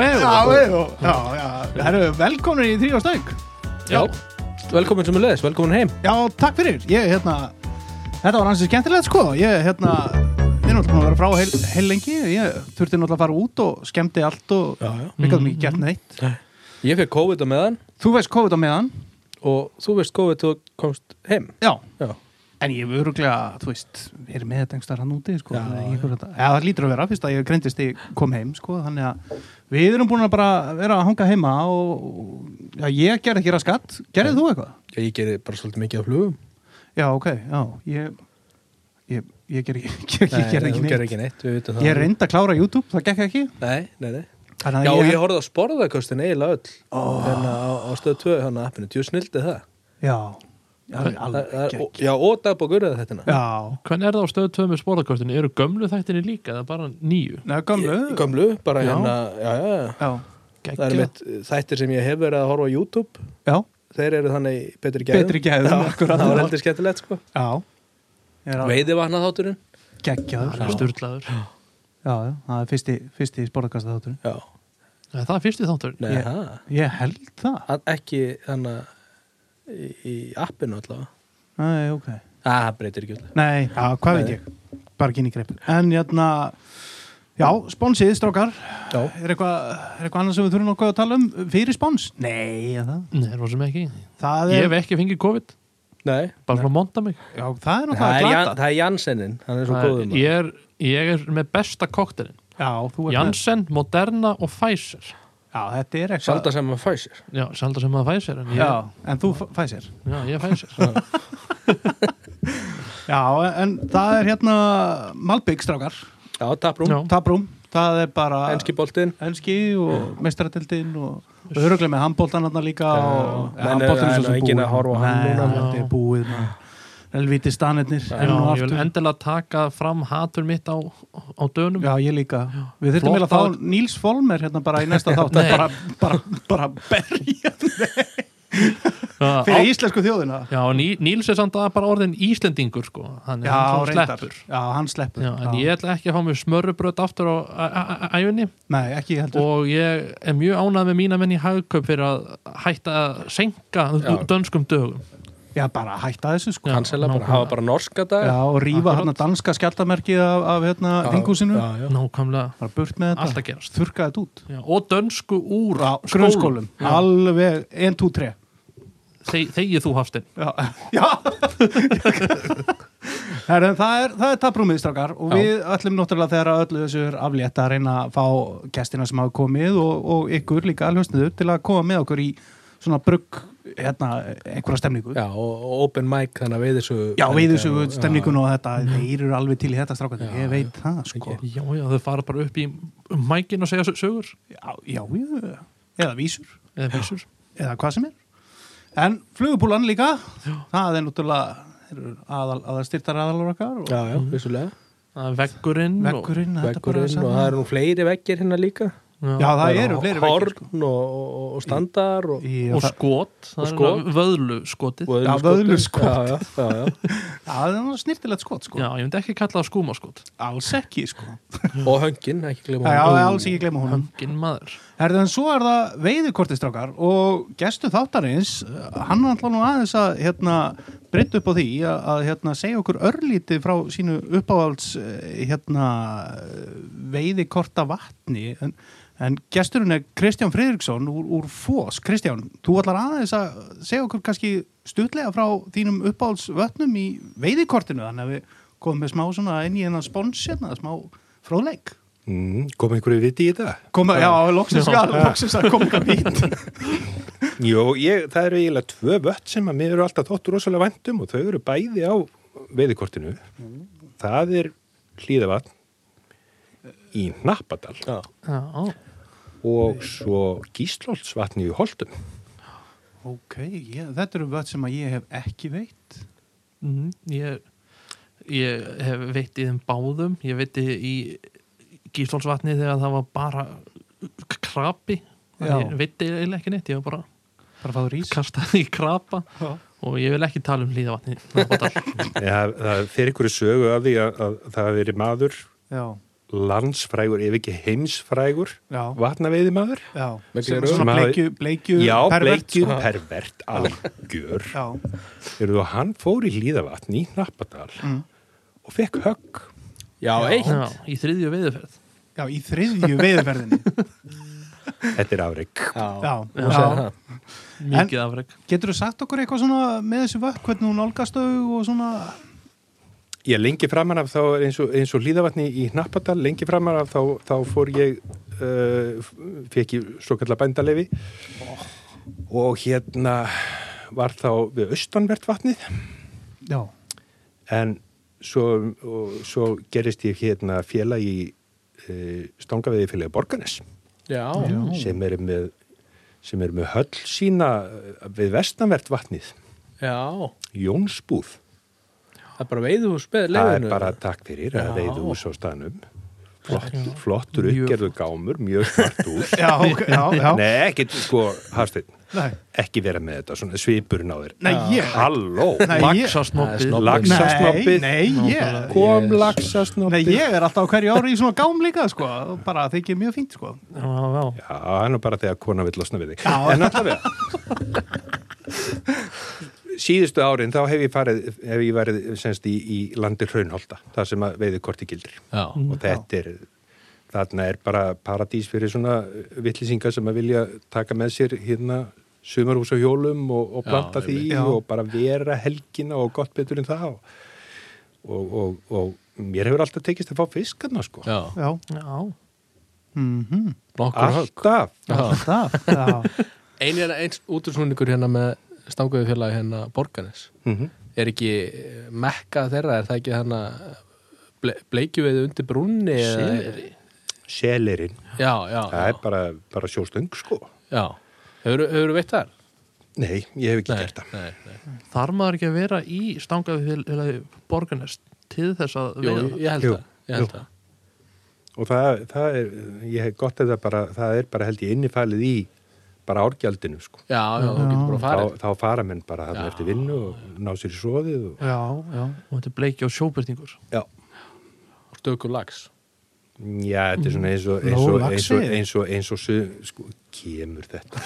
já, já, já, það eru velkomin í þrjóð stæk Já, velkomin sem er leðis, velkomin heim Já, takk fyrir, ég, hérna Þetta var ansið skemmtilegt, sko Ég, hérna, ég er náttúrulega búin að vera frá heil, heil lengi Ég þurfti náttúrulega að fara út og skemmti allt og Já, já. Mm, við gætum ekki gert neitt Ég fekk COVID á meðan Þú veist COVID á meðan og þú veist COVID og komst heim Já, Já, en ég er öruglega, þú veist Ég er með þetta einhverstaðar hann úti, sko Já, þannig að ég- þetta- Já, það lítur að vera, fyrst að ég greindist ég kom heim, sko Þannig að við erum búin að bara vera að hanga heima og, og já, ég gerði ekki raskatt Gerðið þú eitthvað? ég gerði bara svolítið mikið af flugum Já, ok, já, ég, ég, ég ger ekki, ég, ég ger ekki þú gerði neitt. ekki neitt, við vitum það Ég reyndi að klára YouTube, það gekk ekki. Nei, nei, nei Þannig Já, að ég horfði á sporðarkostin eiginlega öll oh. Hérna á, á stöð 2, hann að appinu, tjú snildi það Já, það er alveg Það- það- gekk. Já, og dagbókurða þetta hérna Já, Hvernig er það á stöðu 2 með sporðarkostinu? Eru gömlu þættinni líka? Það er bara nýju neða, gamlu. Gömlu, bara Já. hérna, já, já, já Já, Það er mitt eh, þættir sem ég hef verið að horfa á YouTube já, Þeir eru þannig í betri gæðum Betri gæðum, Já, akkurat. Það var heldur skemmtilegt sko já. Ég er alveg Veiði vatna þátturinn geggjaður. Geggjað, Já, sturglaður já, það er fyrsti, fyrsti sporðkasta þátturinn. Já, Nei, Það er fyrsti þáttur nei, Ég- það Ég held það. Hann- ekki hann í, í appinu allavega Nei, ok. Það breytir ekki allavega Nei, já, hvað Nei. veit ég? Bara kynni greipin. En hérna, já, sponsið, strákar. Já, Er eitthvað, er eitthvað annars sem við þurfum nokkuð að tala um fyrir spons? Nei, er það. Nei, rosum ekki Það Ég er, hef ekki fengið COVID nei Bara svona monta mig já, það er Það er, náttúrulega Jan, glata. það er Jansenin, hann er svo Það góðum er- ég, er, ég er með besta koktelin Já, þú ert með- Janssen, Moderna og Pfizer Já, þetta er eitthvað Salda sem að Pfizer Já, sjaldan sem að Pfizer en ég, Já, en þú f- fæ sér já, ég er Pfizer Já, en það er hérna Malbygg strákar, Já, taprúm, Já. taprúm Það er bara enski boltinn enski og meistaratildin og, og öruglega með handbóltan hann líka og menn er- það er nú enginn að horfa á hann Nei, núna. þetta er búið maður. Elvíti stanirnir Já, enn og Ég vil aftur. endilega taka fram hatur mitt á, á dönum Já, ég líka. Við þurfum Flott eiginlega að að- fá Níls Folmer hérna bara í næsta þátt Nei. bara, bara, bara berja Já, á- fyrir íslensku þjóðina. Já, og Ní- Níls er samt að bara orðin Íslendingur sko, hann er Já, hann svona reyndar. sleppur Já, hann sleppur. Já, en ég ætla ekki að fá mér smörrubröð aftur á á- á- á- ævinni Nei, ekki heldur. og ég er mjög ánað með mína menn í hagkaup fyrir að hætta að senka Já. dönskum dögum Já, bara hætta þessu sko Já. Hansela bara, nákvæmlega. hafa bara norska dag Já, og rífa Akkurat. hérna danska skjaldamerkið af, af hérna Já, þingúsinu já, já. nákvæmlega Bara burt með allt þetta, að gerast þurrka þetta út Já, og dönsku úr Úr skólum. grunnskólum, alveg 1, 2, 3 Þeg, Þegið þú Hafstein Já, já. Her, það er, það er taprúmið strákar og Já. við ætlum náttúrulega þegar að öllu þessu er aflétt að reyna að fá gestina sem hafa komið og, og ykkur líka hlustniður til að koma með okkur í svona brugg hérna, einhverja stemningu Já, og og open mic, þannig að veiði svo Já, við þessu stemningun og þetta, þeir eru alveg til í þetta strákandi, ég veit það sko. Já, já, þau fara bara upp í um mækin og segja sö- sögur Já, já, já, eða vísur, eða vísur eða hvað sem er. En flugubúlan líka, það er náttúrulega þeir eru aðal, aðal styrtar aðalur okkar og Já, já, vissulega Það er veggurinn og- veggurinn, þetta er bara Veggurinn að og það eru nú fleiri veggir hérna líka Já, Já, það eru fleiri veggir. sko. Horn og, og, og standar og, Í- og það- skot, það er skot. skot. vöðlu skotið og Já, sko. vöðluskot. Já, já, já, já. Já, það er nú snirtilegt skot, sko. Já, ég myndi ekki kalla það skúmaskot Alls ekki, sko. og höngin, Já, ekki glemma já, honum. alls ekki glemma honum. Höngin maður Herðu, en svo er það veiðikortistrákar og gestu þáttarins, eh, hann ætla nú aðeins að hérna, breytta upp á því að, að hérna, segja okkur örlítið frá sínu uppáhalds eh, hérna, veiðikorta vatni en, en gesturinn er Kristján Friðriksson úr, úr FOS. Kristján, þú ætlar aðeins að segja okkur kannski stutlega frá þínum uppáhalds vötnum í veiðikortinu þannig að við komum með smá svona inn í hennar spons hérna, smá fróðleik. Mm, kom einhverju viti í þetta? Koma, já, loksins, já, loksins að koma eitthvað nýtt Jó, ég, það eru eiginlega tvö vött sem að mér eru alltaf þótt rosalega vandum og þau eru bæði á veiðikortinu. Það er hlýðavatn í Nappadal Já. Já, á. og svo Gíslóldsvatni í Holtum. Ok, ég, þetta eru völd sem að ég hef ekki veit Mhm, ég, ég hef veitt í þeim báðum ég veitti í Gíslólsvatni þegar það var bara k- krabi Já. ég veitti eiginlega ekki neitt, ég var bara Bara fáður ís kastaði í krapa og ég vil ekki tala um hlýðavatni Narfadal. Það, það fer einhverju sögu af því að, að það hafi verið maður Já, landsfrægur ef ekki heimsfrægur Já. vatnaveiðimaður já, sem Með er gleraugun. svona Maður- bleikju, bleikju Já, pervert, bleikju sko. pervert, algjör já, Eru þú, hann fór í hlýðavatn í Nappadal mm. og fekk högg Já, eitt Já, í þriðju veiðuferð já, í þriðju veiðferðinni Þetta er afreg já, Hún segir já. það. Mikið afreg getur þú sagt okkur eitthvað svona með þessu vökk hvernig hún nálgast þau og svona Ég lengi framan af þá er eins og, eins og hlýðavatni í Nappadal, lengi framan af þá, þá fór ég uh, fekk ég svo kallar bændalefi og hérna var þá við austanvert vatnið já, en svo, og, svo gerist ég hérna félag í uh, stangaviði félagi Borganes Já, sem er með sem er með höll sína eh, við vestanvert vatnið, já Jónsbúð Það er bara veiðhús með það er leiðinu bara takk fyrir að Já. veiðu hús á staðnum Flott, flottur uppgerðu gámur mjög svart hús já, ok, já, já. Nei, ekki, sko, Hafsteinn Nei. ekki vera með þetta, svona svipurinn á þér Nei, ég Halló, Nei, ég- Laxasnoppið Það er lax- Nei, Laxasnoppið. nei, ég Yes. kom Nei, laxasnoppið ég er alltaf á hverju ári í svona gám líka, sko, og bara þykir mjög fínt, sko. Já, já, Já, það er nú bara þegar kona vill losna við þig. Já. En allavega. Síðustu árin þá hef ég farið, hef ég verið semst í, í landi hraunholta, það sem að veiði korti gildir. Já, Og þetta er, þarna er bara paradís fyrir svona vittlýsingar sem að vilja taka með sér hérna sumarhús á hjólum og, og Já, planta því einmitt. Já. og bara vera helgina og gott betur en það. Og, og, og, og mér hefur alltaf tekist að fá fiskarna sko. já Já. já Mm -hmm. Ah. Nokkur högg Alltaf. Já. Það, já. Ein er eins útursnúningur hérna með stanguðu félagi hérna Borganes Mm Er ekki eh, mekka þeirra, er það ekki hérna ble, bleikjuveiði undir brúnni Sýri Selerinn. Já, já, Það er já, bara, bara sjóstöng sko. já. Hefur, hefur veitt þar? Nei, ég hef ekki Nei, gert það. nei, nei. Þarf maður ekki að vera í stangaði borgarnest til þess að Jú, veiða ég held Jú, það, ég held jú. það. Og það, það er, ég hef gott að það bara, það er bara held ég innifælið í bara árgjaldinu sko. Já, já, þú getur bara Þá, farið þá fara menn bara þarna Já. eftir vinnu og ná sér í svoðið og... Já, já. og þetta er bleiki og sjóbyrtingur Já. Stöku lags Já, þetta er svona eins og, eins Nóg og, eins og, laxveiði. eins og, eins og, su- sko, kemur þetta.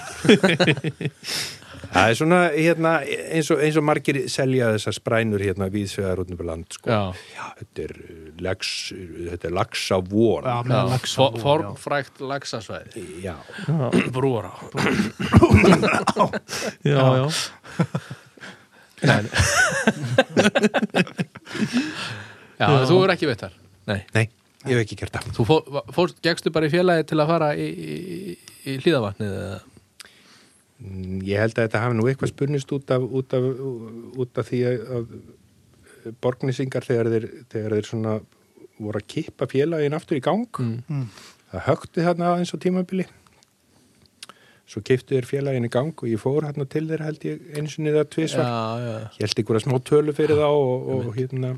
það er svona, hérna, eins og, eins og margir selja þessar sprænur hérna viðsvegar út um land, sko. Já. þetta er uh, lax, þetta er lax á vorn. Já, með Já, laxa. for- Formfrækt lagsasvæði Já. Brúara Já, já, Já, Já. þú er ekki veitt þar Nei Nei, ég hef ekki gert það. Þú fór, fór, gegstu bara í félagi til að fara í, í, í hlýðavatnið eða? Mm, Ég held að þetta hafi nú eitthvað spurnist út af, út af, út af því að að borgnisingar þegar þeir, þegar þeir svona voru að kippa félagin aftur í gang það högtu þarna aðeins á tímabili svo kiptu þeir félagin í gang og ég fór hérna til þeir held ég eins og niður tvisvar ja. Já, já, ég held ykkur að smá tölu fyrir þá og, og hérna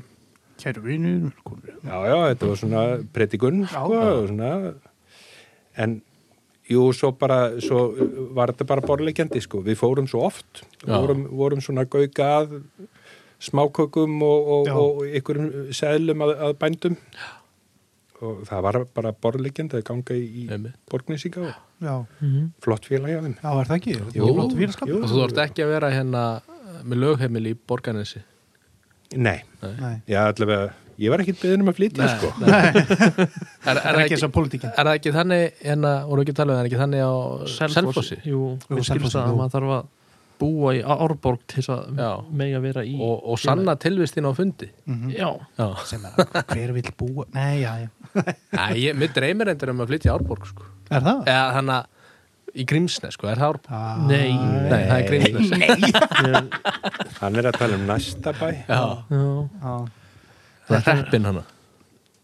Kæru vinnur, konur. já já þetta var svona predikunn sko, svona en jú svo bara svo var þetta bara borlegjandi sko við fórum svo oft Já. vorum, vorum svona gauka að smákökum og, og, Já. og ykkurum seðlum að, að bændum og það var bara borlegjandi að ganga í Einmitt. borgnesinga og Já, Mhm. flott félag hjá þeim já, er það ekki? Jú. Jú. Flott félagskap? Jú. Og þú ert ekki að vera hérna með lögheimil í Borgarnesi nei, Nei. já allavega ég var ekkit beðin um að flytja sko nei. Er, er, Það er ekki ekki, þess að pólitíkin. er það ekki þannig hérna, voru ekki að tala um það, er ekki þannig á Selfossi Jú, mér skilst Selfossi, það jú. að maður þarf að búa í árborg til þess að Já. mega vera í og, og sanna tilvistin á fundi Já, Já, Sem er að hver vill búa? Nei, já, já. Æ, ég, mér dreymir endur um að flytja í Árborg sko. Er það? eða þannig í Grímsnes, sko, er það Árborg? Ah, nei Nei, það er Grímsnes hann er að tala um næsta bæ Já, Já, Já. það er hreppin hana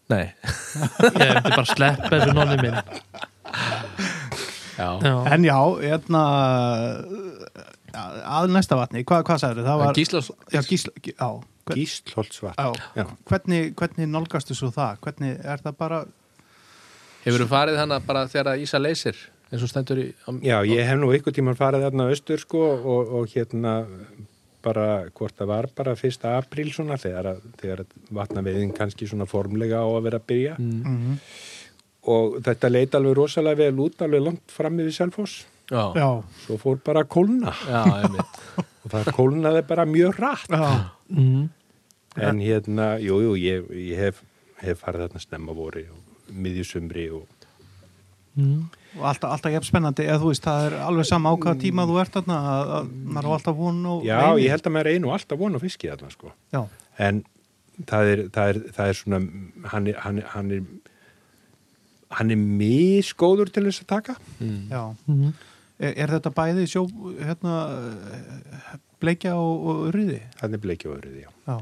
Nei, ég myndi bara sleppa þessu nonni minn já, Já, En já, hérna, að næsta vatni, hvað, hvað sagður það? Var, Gíslas Já, gísla, gí- já. Hvern, Gíslholtsvatn já. Já. Hvernig, hvernig nálgastu svo það? Hvernig, er það bara, Hefur þú farið hana bara þegar að Ísa leysir eins og stendur í á- Já, ég hef nú einhvern tímann farið þarna austur sko og, og hérna bara, hvort það var bara 1. apríl svona þegar, að- þegar vatnaveiðin kannski svona formlega á að vera að byrja Mhm. og þetta leit alveg rosalega vel út alveg langt fram yfir Selfoss já, Já, svo fór bara að kólna já, einmitt og það kólnaði bara mjög rætt já, mm. en hérna, jú, jú, ég, ég hef, hef farið þarna snemma vori og miðjusumri og Mm. og alltaf, alltaf jafn spennandi eða þú veist, það er alveg sama á hvaða tíma þú ert þarna, að, að maður á alltaf von og já, ég held að maður einu alltaf von á fiski þarna sko Já, en það er, það er, það er svona hann er, hann er, hann er hann er misgóður til þess að taka Mm. já Mm. Er, er þetta bæði sjó, hérna, eh, bleikja og, og rýði? hann er bleikjóðurðið, já Já.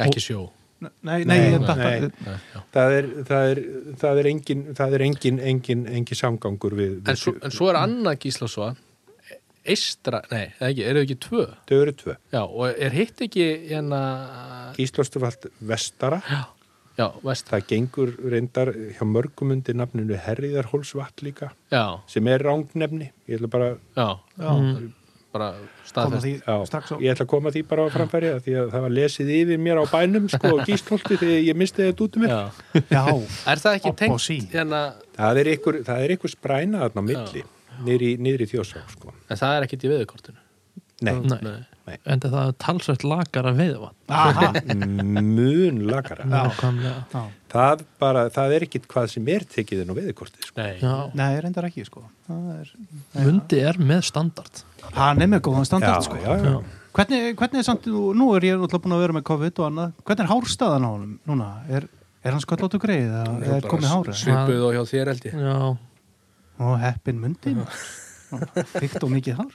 ekki sjó Nei, nei, nei, Nei, ég datt að- nei. Nei, já. það er, það er, það er engin það er engin, engin, engin samgangur við, en, svo, en svo er annað Gíslasva eistra, nei, eða ekki, eru þau ekki tvö þau eru tvö já, og er hitt ekki hérna Gíslostufalt vestara já, vestra, það gengur reyndar hjá mörgum undir nafninu Herriðarhólsvatt líka já, sem er rángnefni ég ætla bara já Já, Mm. bara koma staðfest því Já, strax á. ég ætla að koma því bara á framfæri af því að það var lesið yfir mér á bænum sko, og gístolti þegar ég misti þetta út um mig já Já, Er það ekki Opp og tengt sí. hérna, það er ykkur, það er ykkur spræna þarna á milli, niðri, niðri þjósá sko. en það er ekkert í veðukortinu? nei, Nei. en það er talsvægt lakar að veiða vatn aha, mun lagara nákvæmlega já. það, bara, það er ekkit hvað sem er tekið inn á veðikortið sko. Nei. Já. Nei, reyndar ekki, sko. Það er, Mundi er með standard hann er með góðan standart, já, sko. já, já. Hvernig, hvernig er samt, þú- nú er ég náttúrulega búin að vera með COVID og annað, hvernig er hárstaðan á honum núna? Er, er hann sköllóttu greið eða er komið hárið? Svipuð og hjá þér held ég já, Og heppin mundin, fyrkt og mikið hár.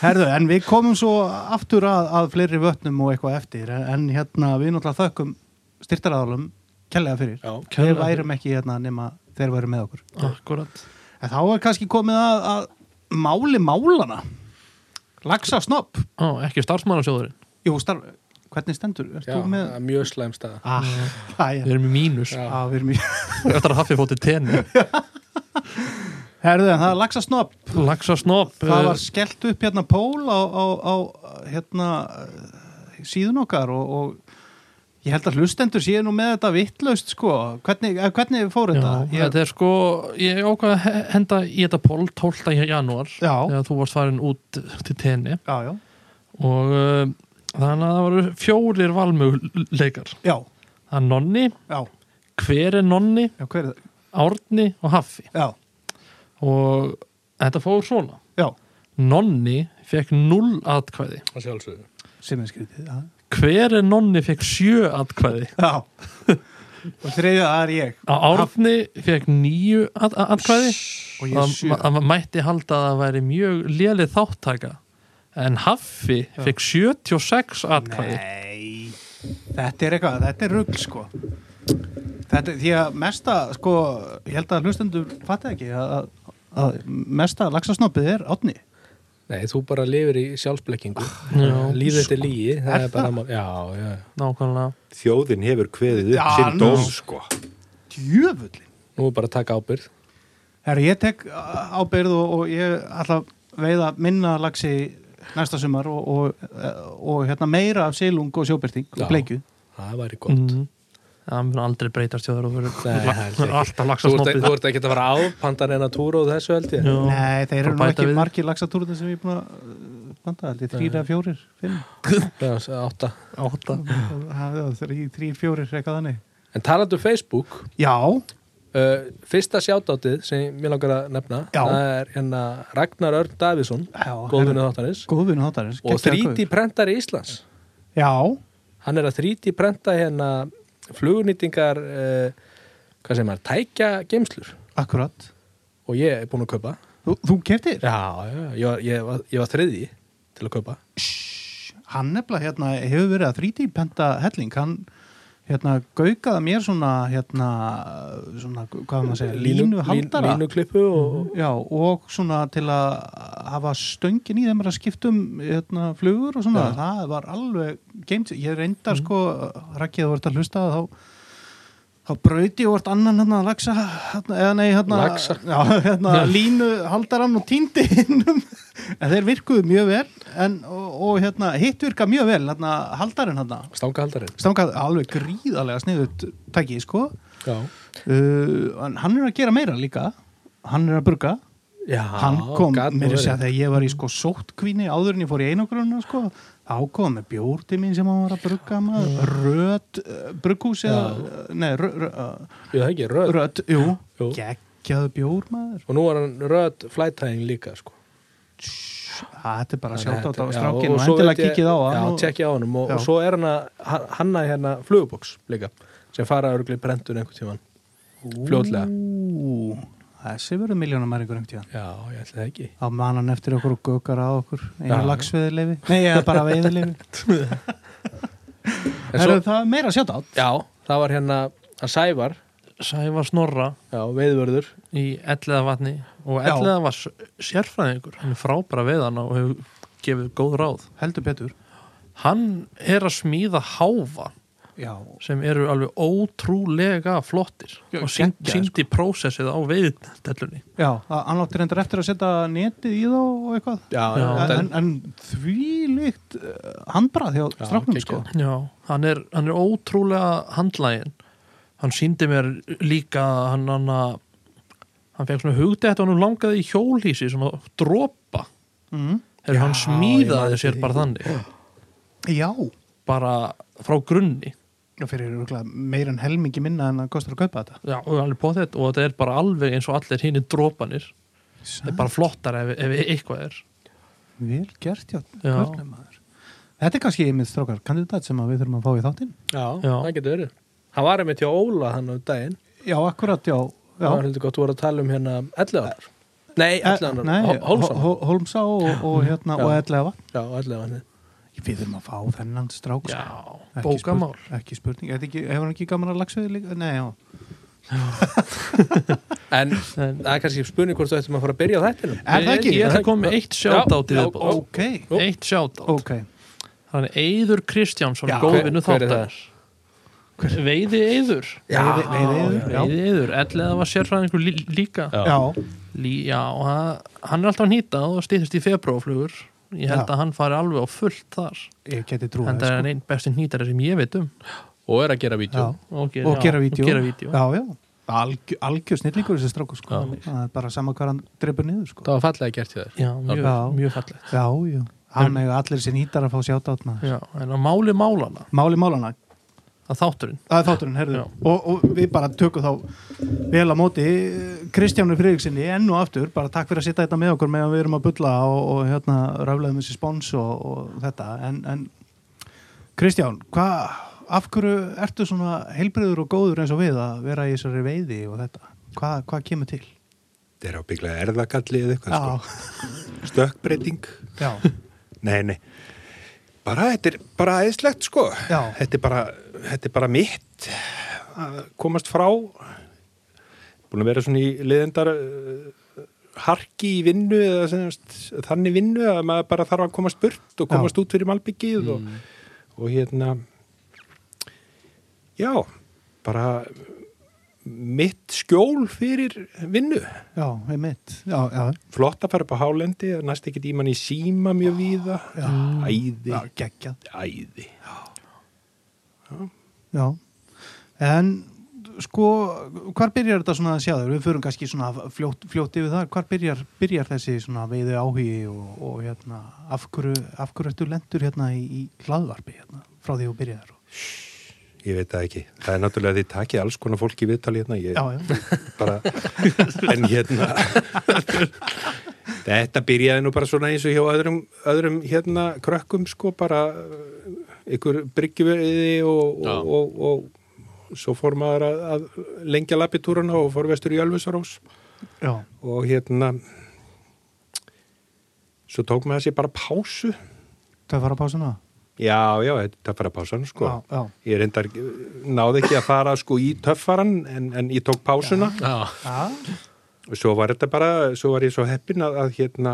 Herðu, en við komum svo aftur að, að fleiri vötnum og eitthvað eftir, en hérna við náttúrulega þökkum styrtaraðalum kellega fyrir. Já, Við kærlega fyrir. værum ekki hérna nema þeir væru með okkur. akkurat En þá er kannski komið að, að máli málana. Laxa snopp. Ó, ekki starfsmannasjóðurinn, Jú, starf, hvernig stendur? Ert já þú með? það er mjög slæm staða Ah, það við er. erum í mínus Já. Ah, við erum í... eftir að hafi fótið tenni Herðu, en það er laxa snopp. Laxa snopp Það var skellt upp hérna pól á, á, á hérna eh, síðun okkar og, og ég held að hlustendur séu nú með þetta vittlaust sko. Hvernig, eh, hvernig fór Já, þetta? ég, þetta er sko, ég ákvað að he- henda í þetta pól 12. janúar Já. þegar þú varst farin út til tenni Já, já. og uh, þannig að það voru fjórir valmöguleikar Já, það er Nonni, já. hver er Nonni Já, hver er það? Árni og Haffi Já, og þetta fór svona já. Nonni fekk 0 atkvæði að sjálfsögðu Sem er skrítið. Já. hver er Nonni fekk 7 atkvæði já. og þriðja, það er ég. Á- Árni fekk 9 at at- atkvæði Og ég er það sjö. ma- það mætti halda að það væri mjög lélið þáttaka en Haffi fekk 76 atkvæði Nei, þetta er eitthvað, þetta er rugl sko þetta, Því að mesta, sko, ég held að hlustendur fatta ekki að, að mesta laxasnoppið er átni Nei, þú bara lifir í sjálfsblekkingu Já. Lífið þetta er lígi Það Ah, Er er bara mál Já, já nákvæmlega þjóðin hefur kveðið upp Já, sinn nú. dóm sko. Djöfullin Nú er bara að taka ábyrð Herra, ég tek uh, ábyrgð og, og ég ætla að veiða minna laxi næsta sumar og, og, uh, og hérna meira af silung og sjóbyrting Já. og bleikju Það væri gott mm. það mun aldrei breytast hjá þér og Nei, verður það held ég la- ekki. alltaf Þú ert, laxasnoppið þú ert ekki að fara ápandar en að túra og þessu held ég Já. Nei, þeir eru Bara nú bæta ekki við. margir laxatúrðin sem ég er búin að uh, banda held ég, þrýra, fjórir, fimm Já, s- átta átta þrýr, fjórir, eitthvað þannig En talandu Facebook Já, uh, Fyrsta sjátátið sem mér langar að nefna Já. Það er hérna Ragnar Örn Davíðsson Já, Góðvinu þáttanis Góðvinu þáttarins Og geggjaður 3D prentari Íslands gaur. Já, Hann er að 3D prenta hérna flugunýtingar uh, hvað sem er, tækja geimslur akkurat og ég er búin að kaupa Þú, þú keftir? Já, já, já, ég var, ég var, ég var þriði til að kaupa Hann nefnilega hérna, hefur verið að 3D penta helling Hann hérna, gaukaða mér svona, hérna, svona hvað maður að segja, línu haldara Línu Mhm. klippu og Já, og svona til að hafa stöngin í þeim að skiptum hérna, flugur og svona, Já. það var alveg geimt, ég reyndar sko rakkið að voru að hlusta þá þá brauti og vart annan hérna laxa, hérna, eða nei hérna, Laxa. já, hérna línu haldarann og týndi innum en um. þeir virkuðu mjög vel en, og, og hérna, hitt virka mjög vel hérna, haldarinn hérna Stangahaldarinn stangað alveg gríðarlega sniðut tæki sko uh, Já, en hann er að gera meira líka hann er að burga Já hann kom, gat nú mér er að segja verið. þegar ég var í sko sóttkvíni áður en ég fór í einogrunna sko þá kom með bjór til mín sem hann var að brugga maður rödd uh, brugghús eða, uh, nei, rö, rö, uh, Jú, það er ekki, rödd rödd, jú, Jú. geggjaðu bjór maður Og nú var hann rödd flætæðing líka sko. það er bara að sjáta á Þetta- þetta já, strákinu og svo endilega veit ég- kikið á Já, hann og- tjekkið á hann og, Já. og svo er hann að hanna hérna fluguboks líka sem fara örgli brentun einhvern tíman fljótlega Ú, þessi verður miljónamæri einhvern tíðan Já, ég ætla það ekki þá man hann eftir okkur og gökar að okkur einu Já. lagsveðilefi, nei eða bara veiðilefi En það svo- er það er meira sjátt átt Já, það var hérna að Sævar, Sævar Snorra já, veiðvörður í elliða vatni og Já. elliða var s- sérfræðingur hann er frábæra veiðana og hefur gefið góð ráð heldur betur hann er að smíða háfa já, sem eru alveg ótrúlega flottir Já, og sín, geggjaðir, síndi prósessið á veiðdellunni já að- hann átti reyndar eftir að setja netið í þá og eitthvað Já, Já. en, en, en, en því líkt uh, handbrað hjá Já, stráknum geggjað. sko já, hann er, hann er ótrúlega handlægin hann síndi mér líka hann hann að hann fekk svona hugdætt og hann langaði í hjólhísi svona dropa mm. þegar hann Já, ég man smíðaði eftir sér því. bara þannig já, bara frá grunni Já, fyrir örugglega meira en helmingi minna en það kostar að kaupa þetta já, og, alveg pottet, og þetta er bara alveg eins og allir hinni dropanir þetta er bara flottar ef, ef eitthvað er vel gert hjá Já. körnum maður þetta er kannski einmitt strákar kandidat sem að við þurfum að fá í þáttinn já, Já. það getur verið Hann var einmitt hjá Óla hann á daginn já, akkurat, já, Það já. Eh, var heldur gott, þú voru að tala um hérna 11 árar Nei, 11 Nei, árar, Hólsson Hó- Hó- Hólmsá og, og hérna Já. og Ellefa Já, 11 árar Við þurfum að fá þennan strák sko. já, Ekki bókamál spurning- Ekki spurning, Er þetta ekki, hefur hann ekki gaman að lagsveði líka? Nei, já En það er kannski spurning hvort þú ættum að fara að byrja á þættinu Er það ekki? Ég ætla að koma með eitt sjátátt í Já, viðbót Ok, ó. Eitt sjátátt ok Þannig Eyður Kristjánsson, Já. góðvinnu Hver- hver er þáttar Veiði Eyður Já, Veiði- veiði yður, já. Veiði Eyður, elleða var sérfræðingur lí, líka Já. Já, Lí, Já, og hann- hann er alltaf að nýta og stýttist í febróflugur Ég held Já. að hann fari alveg á fullt þar ég geti trú En það er hann einn besti nýtari sem ég veit um Og er að gera vídeo Og Og gera og vídeo gera vídeo. Já, já Algjör, algjör snillingur þessi stráku sko Já. Það er bara sama hvað hann dreipur niður sko Það var fallega gert í þér Já, mjög, Já. mjög fallegt Já, já Hann hefur allir sér nýtar að fá sjátt át maður Já, en á máli málana, Máli málana, að þátturinn það er þátturinn, herðu Já. og, og við bara tökum þá vel á móti Kristjánu Friðriksinni enn og aftur, bara takk fyrir að sitta þetta með okkur meðan við erum að bulla og, og hérna raflegaðum þessi spons og, og þetta en, en Kristján, hvað, af hverju ertu svona heilbriður og góður eins og við að vera í þessari veiði og þetta Hva, hvað kemur til? Þetta er ábygglega erðagalli eða eitthvað sko. Stökkbreyting já, Nei, nei Bara, þetta er bara aðeinslegt sko Já. þetta er, bara, þetta er bara mitt að komast frá Búin að vera svona í leiðendar uh, harki í vinnu eða semast, þannig vinnu að maður bara þarf að komast burt og Já. Mm. komast út fyrir malbyggið og, og hérna Já, bara mitt skjól fyrir vinnu já, einmitt já, já, flott að fara upp á hálendi það næst ekki tíman í síma mjög víða æði, já geggjað æði já, en sko, hvar byrjar þetta svona að sjá þau? Við förum kannski svona fljótt, fljótt yfir það, hvar byrjar, byrjar þessi svona veiðu áhugi og, og hérna, af hverju, af hverju ertu lendur hérna í, í hlaðvarpi hérna, frá því þú byrjar? Og, ég veit það ekki, það er náttúrulega að þið takið alls konar fólki í viðtali hérna ég, já, já, bara, en hérna þetta byrjaði nú bara svona eins og hjá öðrum, öðrum hérna krökkum sko bara uh, ykkur bryggjuveiði og, Já. og, og, og svo fór maður að, að lengja lapitúrana og fór vestur í Ölfusarós já, og hérna svo tók maður sér bara pásu það fara að pása hana? Já, já, þetta er töffarapásan sko. Já, já. Ég reyndar, eh, náði ekki að fara sko í töffaran en, en ég tók pásuna Já, Já, og svo var þetta bara, svo var ég svo heppin að, að hérna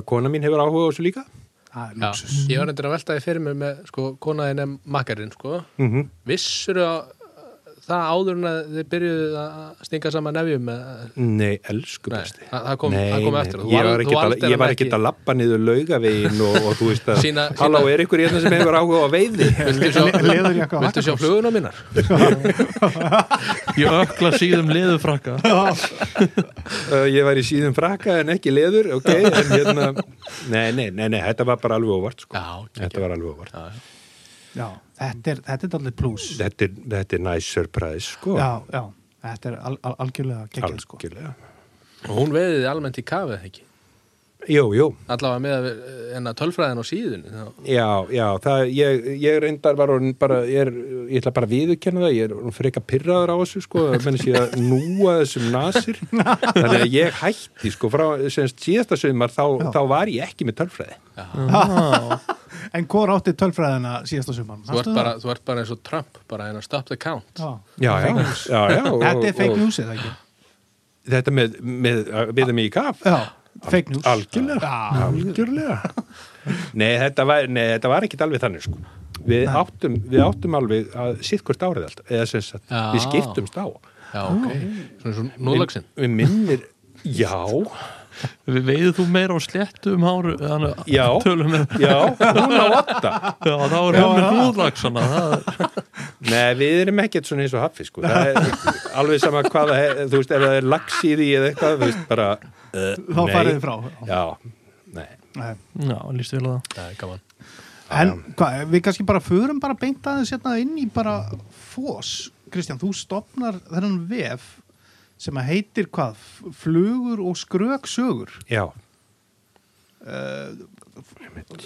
að kona mín hefur áhuga á þessu líka það er já. luxus. Ég var endur að velta því fyrir mig með sko, konaðin em makkarinn sko mm -hmm. Vissur að það áður en að þeir byrjuðu að stinga saman nefjum eða- Nei, elsku Nei, besti. það- það kom- það kom eftir á. Þú Ég val- var þú ekkert valdir að, hann ég var ekki. ekkert að lappa niður laugavegin og, og þú veist að Sýna- Halló, sýna- er ykkur hérna sem hefur áhuga á veiði? Viltu sjá, leðurjakka og viltu sjá hakkakross? fluguna mínar? ég ökla síðum liðufrakka Uh, ég var í síðum frakka en ekki leður, ok, en hérna Nei, nei, nei, nei, þetta var bara alveg óvart sko. Já, Þetta var alveg óvart. Já, þetta er, þetta er allir pluss Já, Þetta er, þetta er nice surprise, sko. já, þetta er al, al, algjörlega geggjum sko Algjörlega. og hún veiðið almennt í kafið ekki Jú, jú, allavega með að enna tölfræðin á síðunni þá Já, já, það, ég, ég reyndar var orðin bara, ég, er, ég ætla bara að viðurkenna það, ég er orðin freka pirraður á þessu sko, það mennir sér að núa þessum nasir, þannig að ég hætti sko frá, semst síðasta sögumar þá, þá var ég ekki með tölfræði. En hvor átti tölfræðina síðasta suman? þú ert, bara, þú ert bara eins og Trump bara enna stop the count Já. Já, já, já, já. og- Þetta er fake og- news eða ekki? Þetta með, með, við mig í kaf. Já, fake news Algjörlega. Já, Algjörlega. Nei, þetta var, nei, þetta var ekkit alveg þannig sko. Við áttum, við áttum alveg að sittkvort árið allt, eða sem sagt, Já. við skiptumst á. já ok, svona svona núlagsinn Við minnir, já, Við veiðu þú meira á sléttum háru Já. Tölum með já, hún á åtta. Já, þá er hún með húðlagsana það er- Nei, við erum ekkert svona eins og haffi, sko. Það er alveg sama hvað það er, þú veist, ef það er lax í því eða eitthvað, þú veist, bara... Uh, Þá farið þið frá. Já, nei. Nei. Já, líst vel að það það er gaman En hvað, við kannski bara förum bara beint aðeins hérna inn í bara fós. Kristján, þú stopnar þennan vef sem að heitir hvað? Flugur og skröksögur. Eh, Já,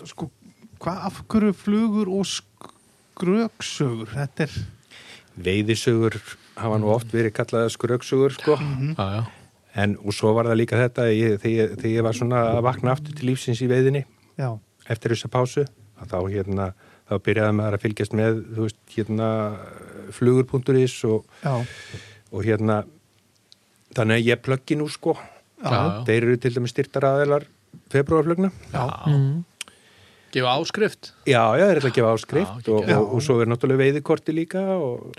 Sko, hvað af hverju flugur og skröksögur? Þetta er, veiðisögur hafa nú oft verið kallaða skröksugur, sko. já, já. En, og svo var það líka þetta, ég, þegar, ég- þegar ég var svona að vakna aftur til lífsins í veiðinni, já, eftir þessa pásu, að þá hérna, þá byrjaði maður að fylgjast með, þú veist, hérna, flugur.is og já, og hérna þannig að ég plöggi nú sko Já. þeir eru til dæmis styrtar aðeilar februarflugna já, gefa áskrift já, já, þeir ætla að gefa Já, áskrift ekki og, ekki. og, og svo er náttúrulega veiðikorti líka og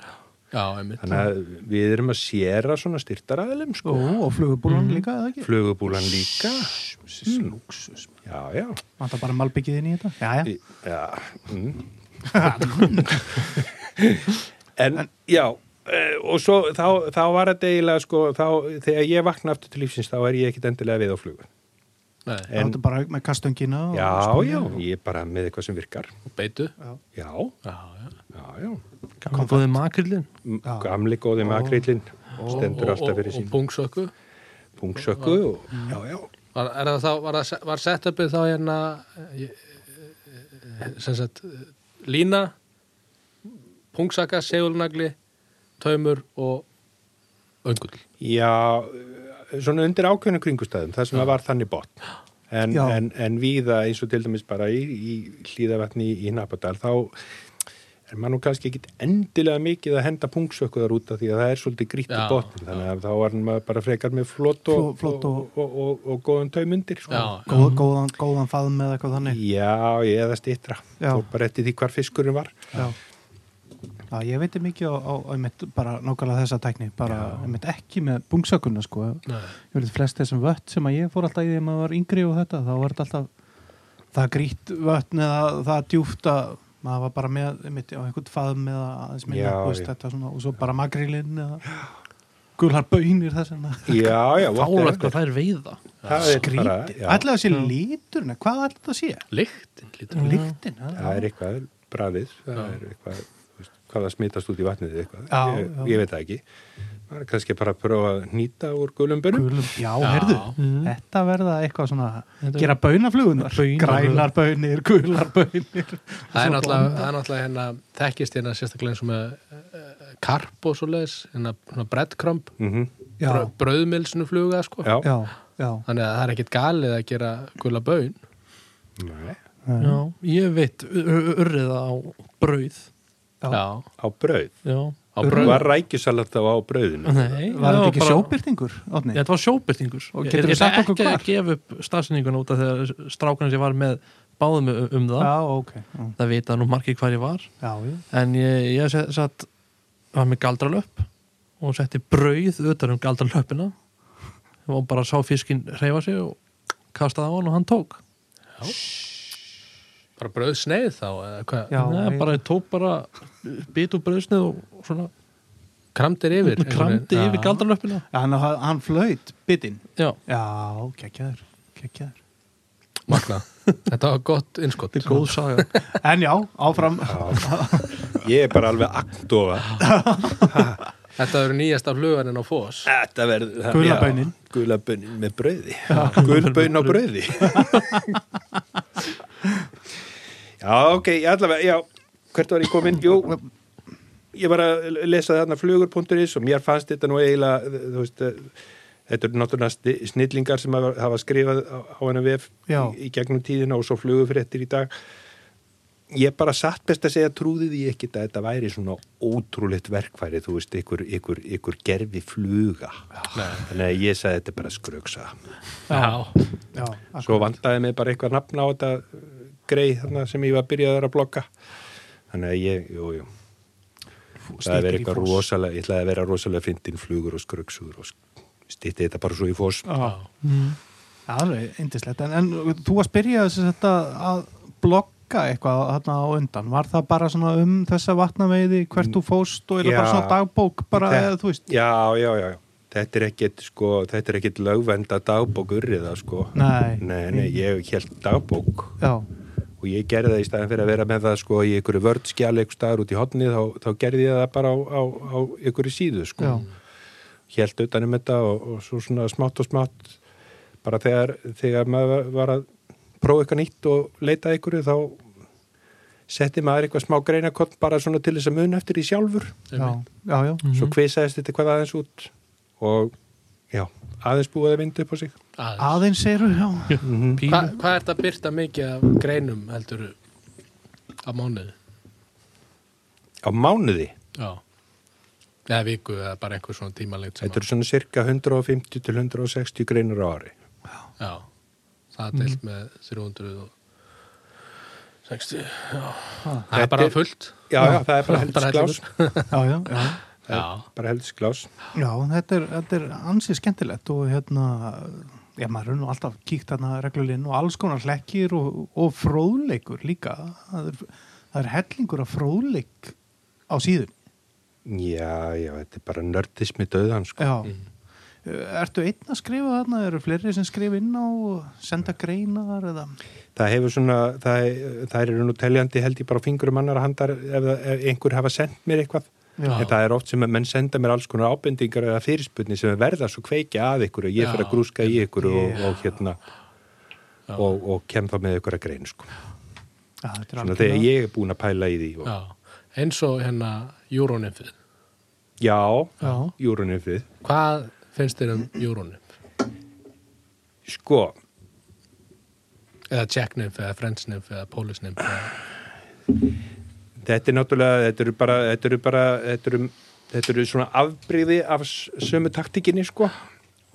já, einmitt þannig að við erum að séra svona styrtar aðeilum sko Ó, og flugubúlan Mhm. líka eða ekki? flugubúlan líka Hmm. Flugsis, lúksus. já, já, Vantar bara malbyggið inn í þetta? Já, já. Í- já mm. en, já eh, og svo þá, þá var þetta eiginlega sko þá, þegar ég vakna aftur til lífsins þá er ég ekkit endilega við á flugu Nei, en, Vantar bara með kastöngina og já, já, spunnið ég er bara með eitthvað sem virkar beitu já já, já. Já, já. Gamla góði makrillin M- Já. Gamli góði makrillin og, stendur alltaf og, fyrir og sín pungsöku pungsöku og, já, já. var, er það þá, var, það, se- var setupið þá hérna eh, eh, sem sagt eh, lína pungsaka, segulnagli taumur og öngull já, eh, svona undir ákveðnum kringustæðum, það sem að var þannig botn. En, Já. en, en víða eins og til dæmis bara í, í hlýðavatni í Hnapadal, þá er maður nú kannski ekkit endilega mikið að henda pungsökuðar út af því að það er svolítið grýtt í Já, botn, þannig að þá var maður bara frekar með flott og, Fló- flott og- og, og, og, og góðan taumundir. Sko. já, Góð, góðan, góðan faðm með eitthvað þannig. Já, ég eða stýttra. Já. Fór bara eftir því hvar fiskurinn var. Já. Já, ég veitir mikið á, á, á einmitt, bara nákvæmlega þessa tækni, bara einmitt ekki með bungsökunna sko. Nei. Ég veit flest þessum vött sem að ég fór alltaf í þegar maður var yngri og þetta, þá var þetta alltaf það grýtt vötn eða það djúft að maður var bara með einmitt á einhvern faðum eða aðeins minna, Já, þú veist já. þetta svona, og svo bara magrilinn eða gulhar bönir þess vegna. Já, já, Fálega hvað það er veiða það er bara, já, Ætlaði að sé líturinn, hvað ætlaði að sé? lyktin lítur Líktinn, það er eitthvað bræðið, það er eitthvað, þú veist, hvað það smitast út í vatnið eða eitthvað, Já, ég, já. ég veit það ekki. Það er kannski bara að prófa að nýta úr gulum bönum. Gulum, já, herðu, Mm. þetta verða eitthvað svona, gera baunaflugunar, Baunaflugur. grænar baunir, gular baunir. Það er náttúrulega, það er náttúrulega hérna, þekkist hérna sérstaklega eins og með eh, karp og svo leiðis, hérna svona breadcrumb, Mm Já, brö, bröðmilsinu fluga, sko. Já, já, já, Þannig að það er ekkit galið að gera gula baun. Nei, Já, ég veit urriða á brauð Já. á brauð. Já, Á bröð. Var rækjusalat þá á brauðinu? Nei, var þetta það ekki bara- sjóbyrtingur, Átni? Nei, Þetta var sjóbyrtingur Og Ég- geturðu ég ætla sagt okkur ekki hvar? að gefa upp stafsynningun út af þegar strákan sem ég var með báðum um, um það Já, ok, já, Það vita nú margir hvar ég var já, já, En ég, ég sett var með galdralöpp og setti brauð utan um galdralöppina og bara sá fiskinn reyfa sig og kastaði á hann og hann tók bara bröð sneið þá eða hvað, Já, Nei, ég- bara tók bara bit úr brauðsnið og svona kramdir yfir einhvern kramdi veginn. yfir Já. galdralöppina Já, hann, hann flöyt bitinn. já, Já, geggjaður, geggjaður. Magna, þetta var gott innskott þetta er góð saga En já, áfram. Ég er bara alveg agndofa. Þetta eru nýjasta fluganinn á fós Þetta verður... Gula baunin. Gula baunin með brauði. Gul baun á brauði. já, ok, ég allavega, já, hvert var ég komin? Jú, ég var að lesa þarna flugur.is og mér fannst þetta nú eiginlega, þú veist, eh, þetta eru náttúrulega sni- snillingar sem hafa hafa skrifað á, á hennar vef í, Já. í gegnum tíðina og svo flugufréttir í dag. Ég bara satt best að segja trúði því ekkit að þetta væri svona ótrúlegt verkfæri, þú veist, ykkur, ykkur, ykkur gerfi fluga. Þannig að ég sagði þetta er bara skröksa. Já, Já, Svo vandaði mig bara eitthvað nafn á þetta uh, grei þarna sem ég var byrjaður að blokka. Þannig að ég, jú, jú. Það er verið eitthvað rosalega, ég ætlaði að vera rosalega fyndin flugur og skröksugur og stýtti þetta bara svo í fós. Já, Já, alveg indislegt. En, en þú að spyrja þess að þetta að blogga eitthvað þarna á undan. Var það bara svona um þessa vatnaveiði, hvert þú fóst og Já. eða bara svona dagbók bara, Þetta- eða þú veist? Já, já, já. já. Þetta er ekkit, sko, þetta er ekkit lögvenda dagbókur eða, sko. Nei. Nei, nei, ég held dagbók Já, og ég gerði það í staðin fyrir að vera með það sko í einhverju vördskjali einhver staðar út í hotni þá, þá gerði ég það bara á, á, á einhverju síðu sko. Já. Hélt utanum þetta og, og svo svona smátt og smátt bara þegar, þegar maður var að prófa eitthvað nýtt og leita að einhverju þá setti maður eitthvað smá greinakott bara svona til þess að muna eftir því sjálfur já, já, já. svo kvisaðist þetta eitthvað aðeins út og já, aðeins búið að vinda upp á sig aðeins Aðeins eru, já. Hva, pínu Hvað ert að byrta mikið af greinum heldur á mánuði? á mánuði, Já eða viku eða bara einhver svona tímalegt sem þetta eru svona cirka 150 til 160 greinur á ári að, já, það er Mhm. deilt með 360 já. það Þetta er bara er- fullt Já, já, það er bara heldur sklás hellingur. Já, já, já. Já, bara heldur sklás Já, þetta er, þetta er ansið skemmtilegt og hérna, já maður er nú alltaf kíkt hérna reglulinn og alls konar hlekkir og, og fróðleikur líka. Það er, það er hellingur af fróðleik á síðun. Já, já, þetta er bara nördismi döðan sko. Já. Ertu einn að skrifa þarna? Eru fleiri sem skrifa inn á og senda greinar eða? Það hefur svona, það, það eru nú teljandi held ég bara á fingurum annar handar ef, það- ef einhver hafa sendt mér eitthvað Já. en það er oft sem að menn senda mér alls konar ábendingar eða fyrirspurni sem verða svo kveikja að ykkur og ég fyrir Já. að grúska í ykkur og, Já. og hérna og, og kem þá með ykkur að grein sko. Já, þetta er Svona algjörlega- þegar ég er búin að pæla í því og, já eins og hérna júrónymfið Já, Já. júrunum við Hvað finnst þér um júrónymf? Sko, Eða tjekknymf eða frensnymf eða pólisnymf eða... Þetta er náttúrulega, þetta eru bara, þetta eru bara, þetta eru, þetta eru svona afbrigði af s- sömu taktikinni, sko.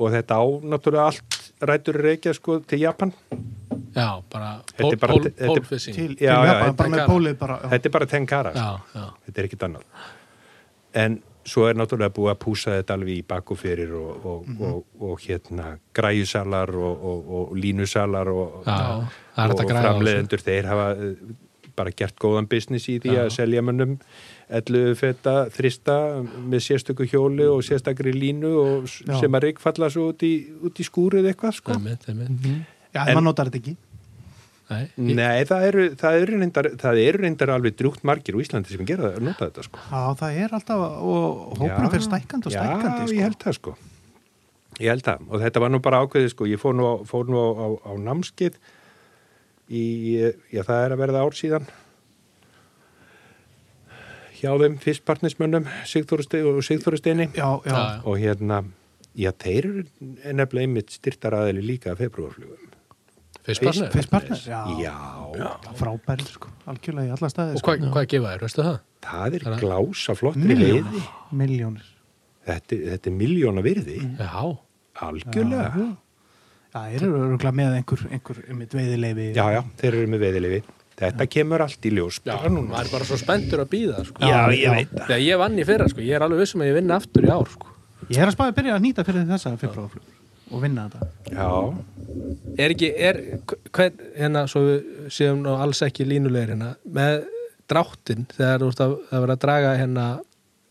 Og þetta á náttúrulega allt rætur reykja, sko, til Japan. Já, bara Þetta er bara- pól- þetta er- pólfissing Til, til Já, já, Japan, þetta bara er með gaman. pólið bara. Já. Þetta er bara tenkara, sko. Já, já, Þetta er ekkit annað. En svo er náttúrulega búið að púsa þetta alveg í bakku fyrir og, og, Mhm. og, og, hérna græjusalar og, og, og línusalar og, já, já. Það er hægt og að græða á þessu. framleiðendur, þeir hafa eh, bara gert góðan business í því að selja mönnum ellu feta þrista með sérstöku hjóli og sérstakri línu og s- Já. sem að reikfalla svo út í, út í skúrið eitthvað sko. Einmitt, einmitt. Já, En- maður notar þetta ekki. Nei, ég- Nei, það eru, það, eru reyndar, það eru reyndar alveg drjúkt margir úr Íslandi sem gera það, nota þetta sko. Já, það er alltaf, og hópurum Já. fyrir stækandi og stækandi. Já, sko. ég held það sko Ég held það, og þetta var nú bara ákveðið sko, ég fór nú, á- fór nú á, á, á námskið í, já það er að verða ár síðan hjá þeim fyrstpartnismönnum Sigþóru Ste- og Sigþóru Steini Já, já, Já, já. og hérna, já þeir eru nefnilega einmitt styrtaraðili líka af februarflugum. fyrstbarnir. fyrst barnir. Já, já, frábæri sko, algjörlega í alla staði Og sko. hvað, hvað gefa þér, veistu það? það er Það er- glása flottri Miljónir. veiði. miljónir Þetta, er- þetta er miljóna virði, Mm. Já, algjörlega. það eru öruglega með einhver, einhver einmitt veiðileifi Já, já, þeir eru með veðilefi Þetta kemur allt í ljós Já, bara maður núna. er bara svo spenntur að býða sko. Já, ég veit það. Þegar ég vann í fyrra, sko, ég er alveg vissum að ég vinna aftur í ár sko. Ég er að spáði að byrja að nýta fyrir þessa februarflug og vinna þetta. Já, Er ekki, er, hvern, hérna svo við séum nú alls ekki línulegir hérna, með dráttin þegar þú ert að, að vera að draga hérna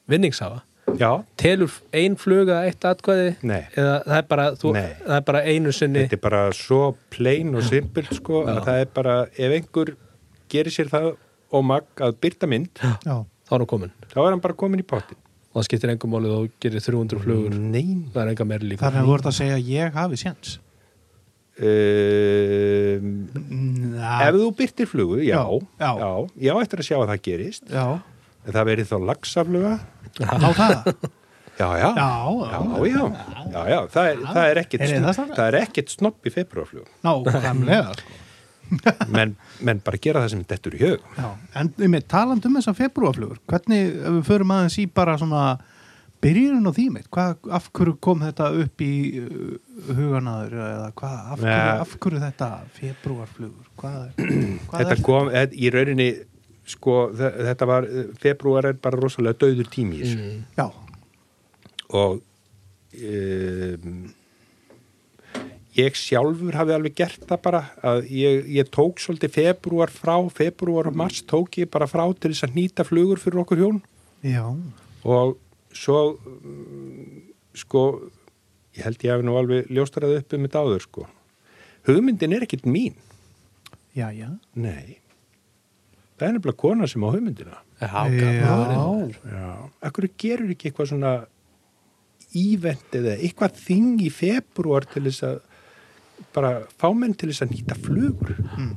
vinningshafa, já, telur ein fluga eitt atkvæði Nei. eða það er bara, þú, Nei. það er bara einu sinni þetta er bara svo plain og simpult sko að það er bara, ef einhver gerir sér það og mag að byrta mynd, Já. þá er hún komin þá er hann bara komin í pottin. og það skiptir engum málið og gerir Mm. 300 flugur Nein. það er enga meir líka Þar hefur voruð að segja að ég hafi séns. Um, ef Næ, þú byrtir flugu, já, Ah. Já, já. já, já, eftir að sjá að það gerist. já, En það verið þá lagsafluga. á það. Já, Já, já, já, já. já, já, já, það er, það er ekkit, Er það snobb, strákar? það er ekkit snopp í februarflugum. Nákvæmlega, sko. menn, menn bara gera það sem dettur í hug. Já, en um með taland um þessar februarflugur, hvernig, ef við förum aðeins í bara svona byrjun á því mitt, hvað, af hverju kom þetta upp í uh, huganaður eða hvað, af hverju, Nei. af hverju þetta februarflugur, hvað, hvað þetta kom eð, í rauninni sko, þe- þetta var februar er bara rosalega döður tími í þessu Já, og um, ég sjálfur hafi alveg gert það bara að ég, ég tók svolítið februar frá februar og mars tók ég bara frá til þess að nýta flugur fyrir okkur hjón já, og svo mm, sko ég held ég hafi nú alveg ljóstarað upp um þetta áður sko hugmyndin er ekkert mín já, já, nei það er nefnilega kona sem á hugmyndina já, Já. Akkur gerur ekki eitthvað svona ívent eða eitthvað þing í februar til þess að bara fá menn til þess að nýta flugur. Mm.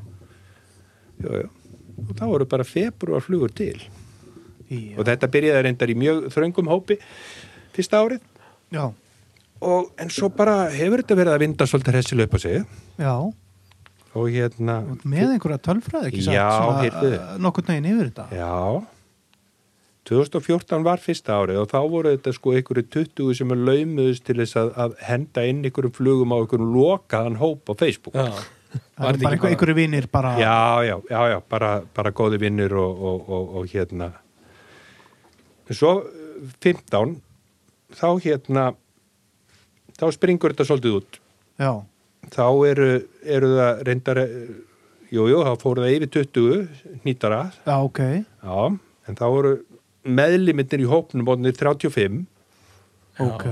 Jú, jú. Og þá voru bara februar flugur til. já, Og þetta byrjaði reyndar í mjög þröngum hópi fyrsta árið. já, Og, en svo bara hefur þetta verið að vinda svolítið hressil upp á sig. já, Og hérna... og með einhverja tölfræði ekki Já, satt, heyrðu. uh, nokkurn veginn yfir þetta. Já 2014 var fyrsta árið og þá voru þetta sko einhverju 20 sem er laumuðust til þess að, að henda inn einhverjum flugum á einhverjum lokaðan hóp á Facebook. Já. Það var bara einhver, einhverju vinir bara, já, já, já, já, bara, bara góði vinnur og, og, og, og hérna. Svo eh, 15, þá hérna, þá springur þetta svolítið út. já, Þá eru, eru það reyndar, eh, jú, jú, þá fóru það yfir 20 nýtara já, ok, Já, en þá voru meðlimitnir í hópnum orðinir 35 ok,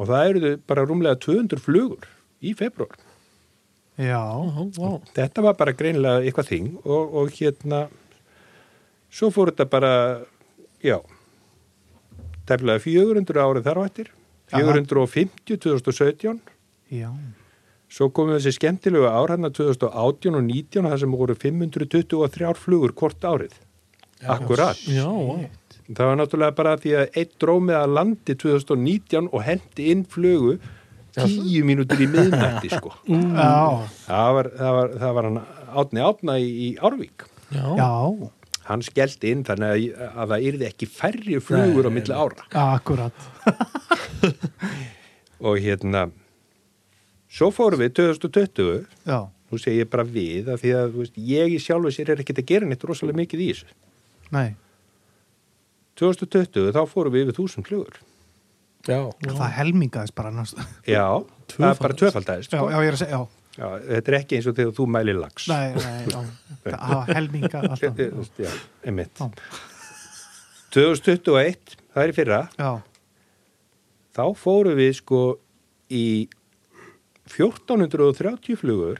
og það eru bara rúmlega 200 flugur í februar. já, wow. Þetta var bara greinilega eitthvað þing og, og hérna, svo fór þetta bara, já, tefnilega 400 árið þar á eftir, Jaha. 450 2017, já, svo komum þessi skemmtilegu árhanna 2018 og 19 þar sem voru 523 flugur hvort árið. Akkurat. já, wow. Það var náttúrulega bara því að eitt drómið að landi 2019 og hendi inn flugu tíu mínútur í miðnætti sko. já, Það var, það var, það var hann átni átna í, í Árvík. já. já, Hann skellti inn þannig að, að það yrði ekki færri flugur á milli ára. akkurat, Og hérna, svo fórum við 2020, já, nú segi ég bara við, að því að þú veist, ég í sjálfu sér er ekkert að gera neitt rosalega mikið í þessu. nei. 2020 þá fórum við yfir þúsund flugur. Já. Það helmingaðist bara næst já, Já, það er bara tvöfaldæðist. sko. já, ég er að segja, já, Já, þetta er ekki eins og þegar þú mælir lags. nei, nei, já Það hafa helmingað alltaf Þú veist, Já, einmitt. Já. 2021, það er í fyrra, Já, þá fórum við sko í 1430 flugur,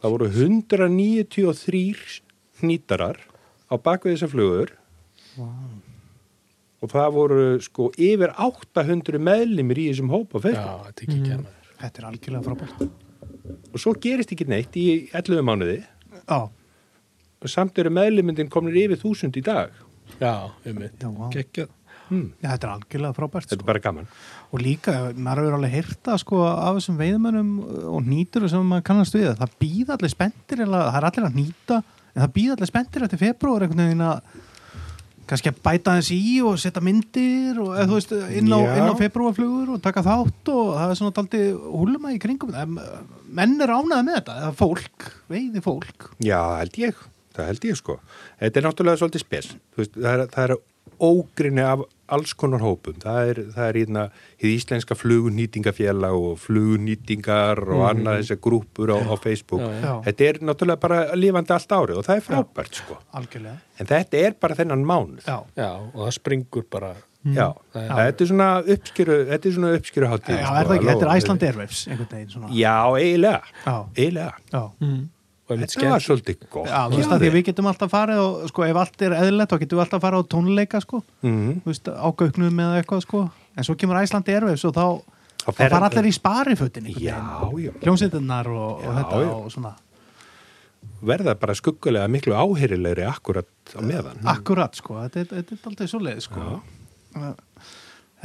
það voru 193 hnýtarar á bakvið þessar flugur vá, og það voru sko yfir 800 meðlimir í þessum hópa Já, fyrst. þetta er ekki ekki hérna. þetta er algjörlega frábært Og svo gerist ekki neitt í 11 mánuði Já, og samt eru meðlimindin komnir yfir 1000 í dag. Já, um mitt. já, vá Já, geggjað þetta er algjörlega frábært Þetta er sko. bara gaman. Og líka, maður hefur alveg heyrta sko, af þessum veiðmönnum og nýtur sem maður kannast við, það býð allir spenntir eða það er allir að nýta, en það býð allir spenntir eftir februar einhvern veginn að kannski að bæta þessi í og setja myndir og eða, þú veist, inn á, Já. inn á februarflugur og taka þátt og það er svona daldi húluma í kringum Em, menn er ánæði með þetta, eða fólk veiði fólk Já, held ég, það held ég sko. Þetta er náttúrulega svolítið spes. Þú Veist, það, er, það er ógrinni af alls konar hópum. Það er, það er hérna hið íslenska flugunýtingafélag og flugunýtingar og annað þessar grúpur á, á Facebook. Já, Mhm. já. Þetta er náttúrulega bara lifandi allt árið og það er frábært sko. algjörlega En þetta er bara þennan mánuð. já, Mhm. Já, og það springur bara Já, þetta er svona uppskjöru, þetta er svona uppskjöru hátíð. sko. já er það ekki, þetta er Iceland Airwaves einhvern veginn svona Já, eiginlega, Já. eiginlega. Já. og einmitt Þetta var skemmt svolítið gott. Já, þú veist að því við getum alltaf farið og sko ef allt er eðlilegt þá getum við alltaf farið á tónleika sko Mhm. þú veist á gögnum eða eitthvað sko en svo kemur Æslandi Airwaves og þá Þá þá fer- fara allir í sparifötin Já, já. hljómsveitinnar og, og Já, þetta já. og svona verða bara skuggulega miklu áheyrilegri akkurat á meðan. akkurat sko, þetta er, þetta er aldrei svo leið sko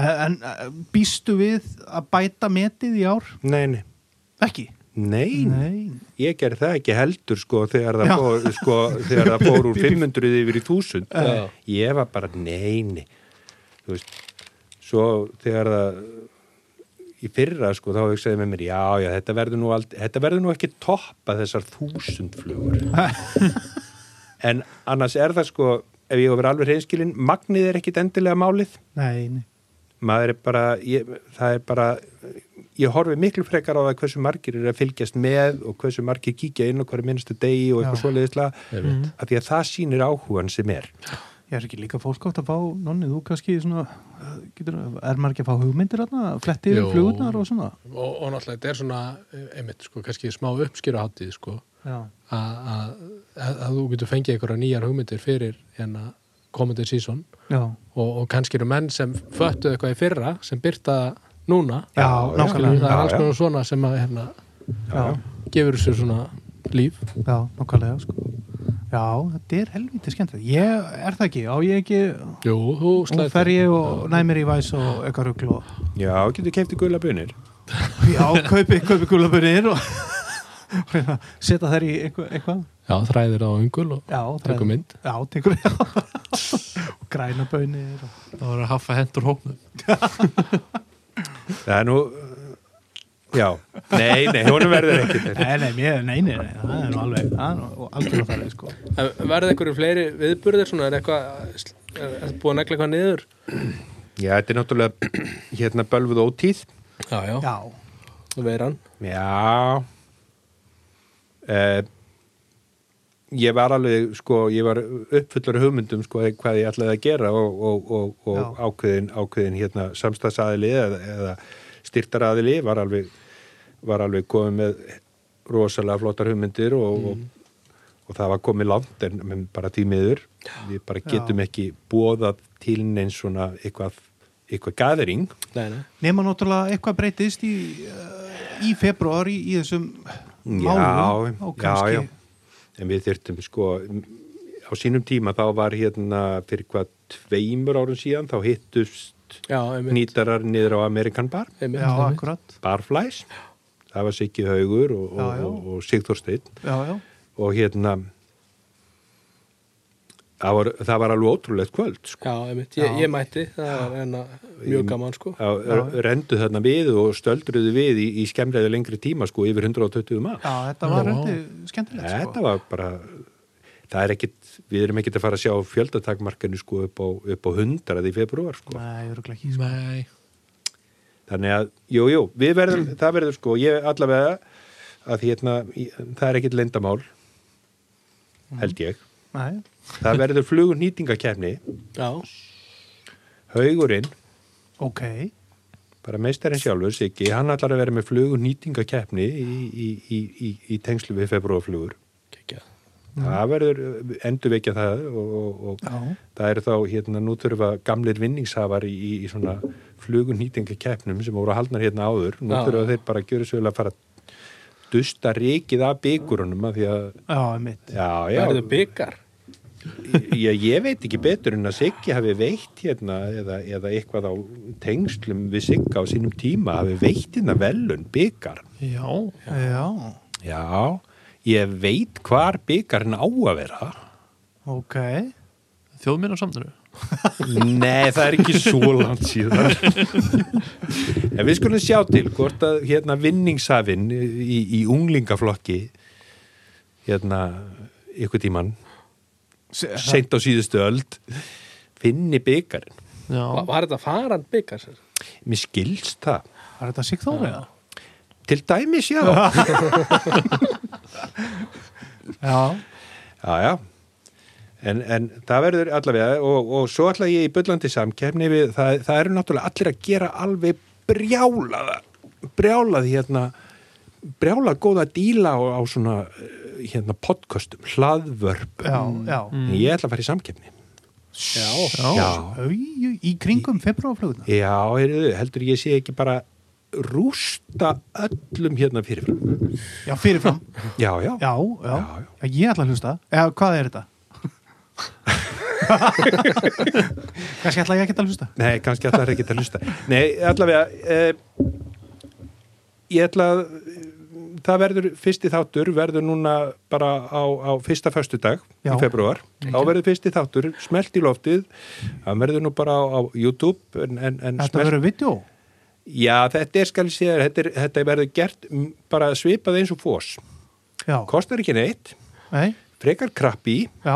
en eh, býstu við að bæta metið í ár? Nei, nei, Ekki? nei, Nei, ég ger það ekki heldur sko þegar það, Já. fór, sko, þegar það fór úr 500 yfir í 1000. Já. Ég var bara nei, nei. Þú veist, svo þegar það í fyrra sko þá hugsaði ég með mér já, já, þetta verður nú, ald, þetta verður nú ekki toppa þessar þúsund flugur. en annars er það sko, ef ég hefur alveg hreinskilin, magnið er ekkit endilega málið. nei, nei. maður er bara ég, það er bara ég horfi miklu frekar á það hversu margir eru að fylgjast með og hversu margir kíkja inn á hverju minnstu degi og eitthvað Já. svoleiðislega af því að það sýnir áhugan sem er Ég er ekki líka fólk átt að fá, nonni, þú kannski svona, eh, getur, er maður ekki að fá hugmyndir þarna, fletti Jú. yfir flugurnar og svona? og, og náttúrulega þetta er svona eh, einmitt sko, kannski smá uppskýra hátíð sko, Já. að- að að þú getur fengið einhverja nýjar hugmyndir fyrir hérna komandi sísón Já, og, og kannski eru menn sem föttuðu eitthvað í fyrra sem byrta það núna já, Já, já. Skilur, það nákvæmlega. er alls Já, já. konar svona sem að hérna, Já, gefur sér svona líf já, nákvæmlega, sko. Já, þetta er helvítið skemmtilegt. Ég er það ekki, á ég ekki, Jú, þú hún slæðir fer ég og næ mér í væs og eitthvað rugl og, já, getur kefti gula bunir já, kaupi, kaupi gulabunir og og reyna að setja þær í eitthvað, eitthvað. Já, þræðir á ungul og Já, það er- Tekur mynd. Já, tekur, já, og græna bönir og, það var að hafa hendur hóknum það er nú já, nei, nei, honum verður ekki þetta nei, nei, mér, nei, nei, nei, það er nú alveg, það er nú algjörlega það sko. Verða einhverju fleiri viðburðir svona er eitthvað, er, er búið að negla eitthvað niður já, þetta er náttúrulega hérna bölvuð ótíð Já, já, Já, þú veir hann Já uh, Ég var alveg sko, ég var uppfullur af hugmyndum sko, hvað ég ætlaði að gera og, og, og, og Já. ákveðin, ákveðin hérna, samstæðsaðili eða, eða styrtaraðili var alveg, var alveg komið með rosalega flottar hugmyndir og, og, og það var komið langt en en bara tímiður við bara getum Mhm. Já. ekki bóðað til neins svona eitthvað, eitthvað gathering Nei, nei nema náttúrulega eitthvað breytist í, eh, í februar í, í þessum málum og kannski já, já. En við þyrftum sko, m- á sínum tíma þá var hérna fyrir hvað tveimur árum síðan þá hittust Já, einmitt nýtarar niður á Amerikan Bar, Einmitt, já, einmitt. akkurat Barflies, það var Siggi Haugur og, Já, já. og, og, og Sigþór Steinn já, já, og hérna það var, það var alveg ótrúlegt kvöld sko. Já, einmitt, ég, Já. ég mætti, það var enna mjög gaman sko Það rendu þarna við og stöldruðu við í, í skemmlega lengri tíma sko yfir 120 maður. já, þetta Já. var hætti skemmtilegt Þetta sko. var bara það er ekkit, við erum ekkit að fara að sjá fjöldatakmarkanu sko upp á, upp á hundrað í februar sko. Nei, örugglega ekki, sko. nei, Þannig að, jú, jú, við verðum, það verður sko, ég allavega að hérna, ég- það er ekkit lendamál Mhm. held ég. Nei, Það verður flugunýtingakefni, Já, haugurinn, ok, bara meistarinn sjálfur, Siggi, hann allar að vera með flugunýtingakefni í, í, í, í, í tengslu við februarflugur. kekja Það verður endurvekja það og, og, og já það eru þá hérna nú þurfa gamlir vinningshafar í, í, í svona flugunýtingakeppnum sem voru haldnar hérna áður nú Já. þurfa þeir bara að gjöra sögulega að fara að dusta rikið af bygurunum af því að, já, einmitt, já, já Verðu byggar ég, ég veit ekki betur en að Siggi hafi veitt hérna eða, eða eitthvað á tengslum við Sigga á sínum tíma hafi veitt hérna velun byggar já já já, ég veit hvar byggarn á að vera ok, þjóðminna samtunum Nei, það er ekki svo langt síðan En við skulum sjá til hvort að hérna vinningshafinn í, í unglingaflokki hérna ykkur tíman, seint á síðustu öld finni byggarinn já, Var, var þetta faran byggar? sem sagt? Mér skilst það Er þetta Sigþór eða? Til dæmis, já já, Já, já En, en það verður allavega og, og svo ætla ég í bullandi samkefni við, það, það eru náttúrulega allir að gera alveg brjálaða brjálað hérna brjálað góða díla á, á svona eh, hérna podcastum, hlaðvörp Já, já. ég ætla að fara í samkefni Já. Já, Au, í kringum februarfluguna. já heyrðu, heldur ég sé ekki bara rústa öllum hérna fyrirfram Já, fyrirfram. Já, já, Já, já. Já, já. Já, Ég ætla að hlusta. Já, hvað er þetta? Kanski ætla ég ekki að hlusta. Nei, kannski ætlar ekki að hlusta. Nei, allavega, eh, ég ætla að, það verður, fyrsti þáttur verður núna bara á, á fyrsta föstudag Já. í februar. Þá verður fyrsti þáttur, smelt í loftið, það verður nú bara á, á YouTube. En, en, en Þetta verður vídeo. Já, þetta er skal ég segja, þér, þetta, er, þetta verður gert mm, bara svipað eins og fós. Já. Kostar ekki neitt, Nei, frekar krabbi, já.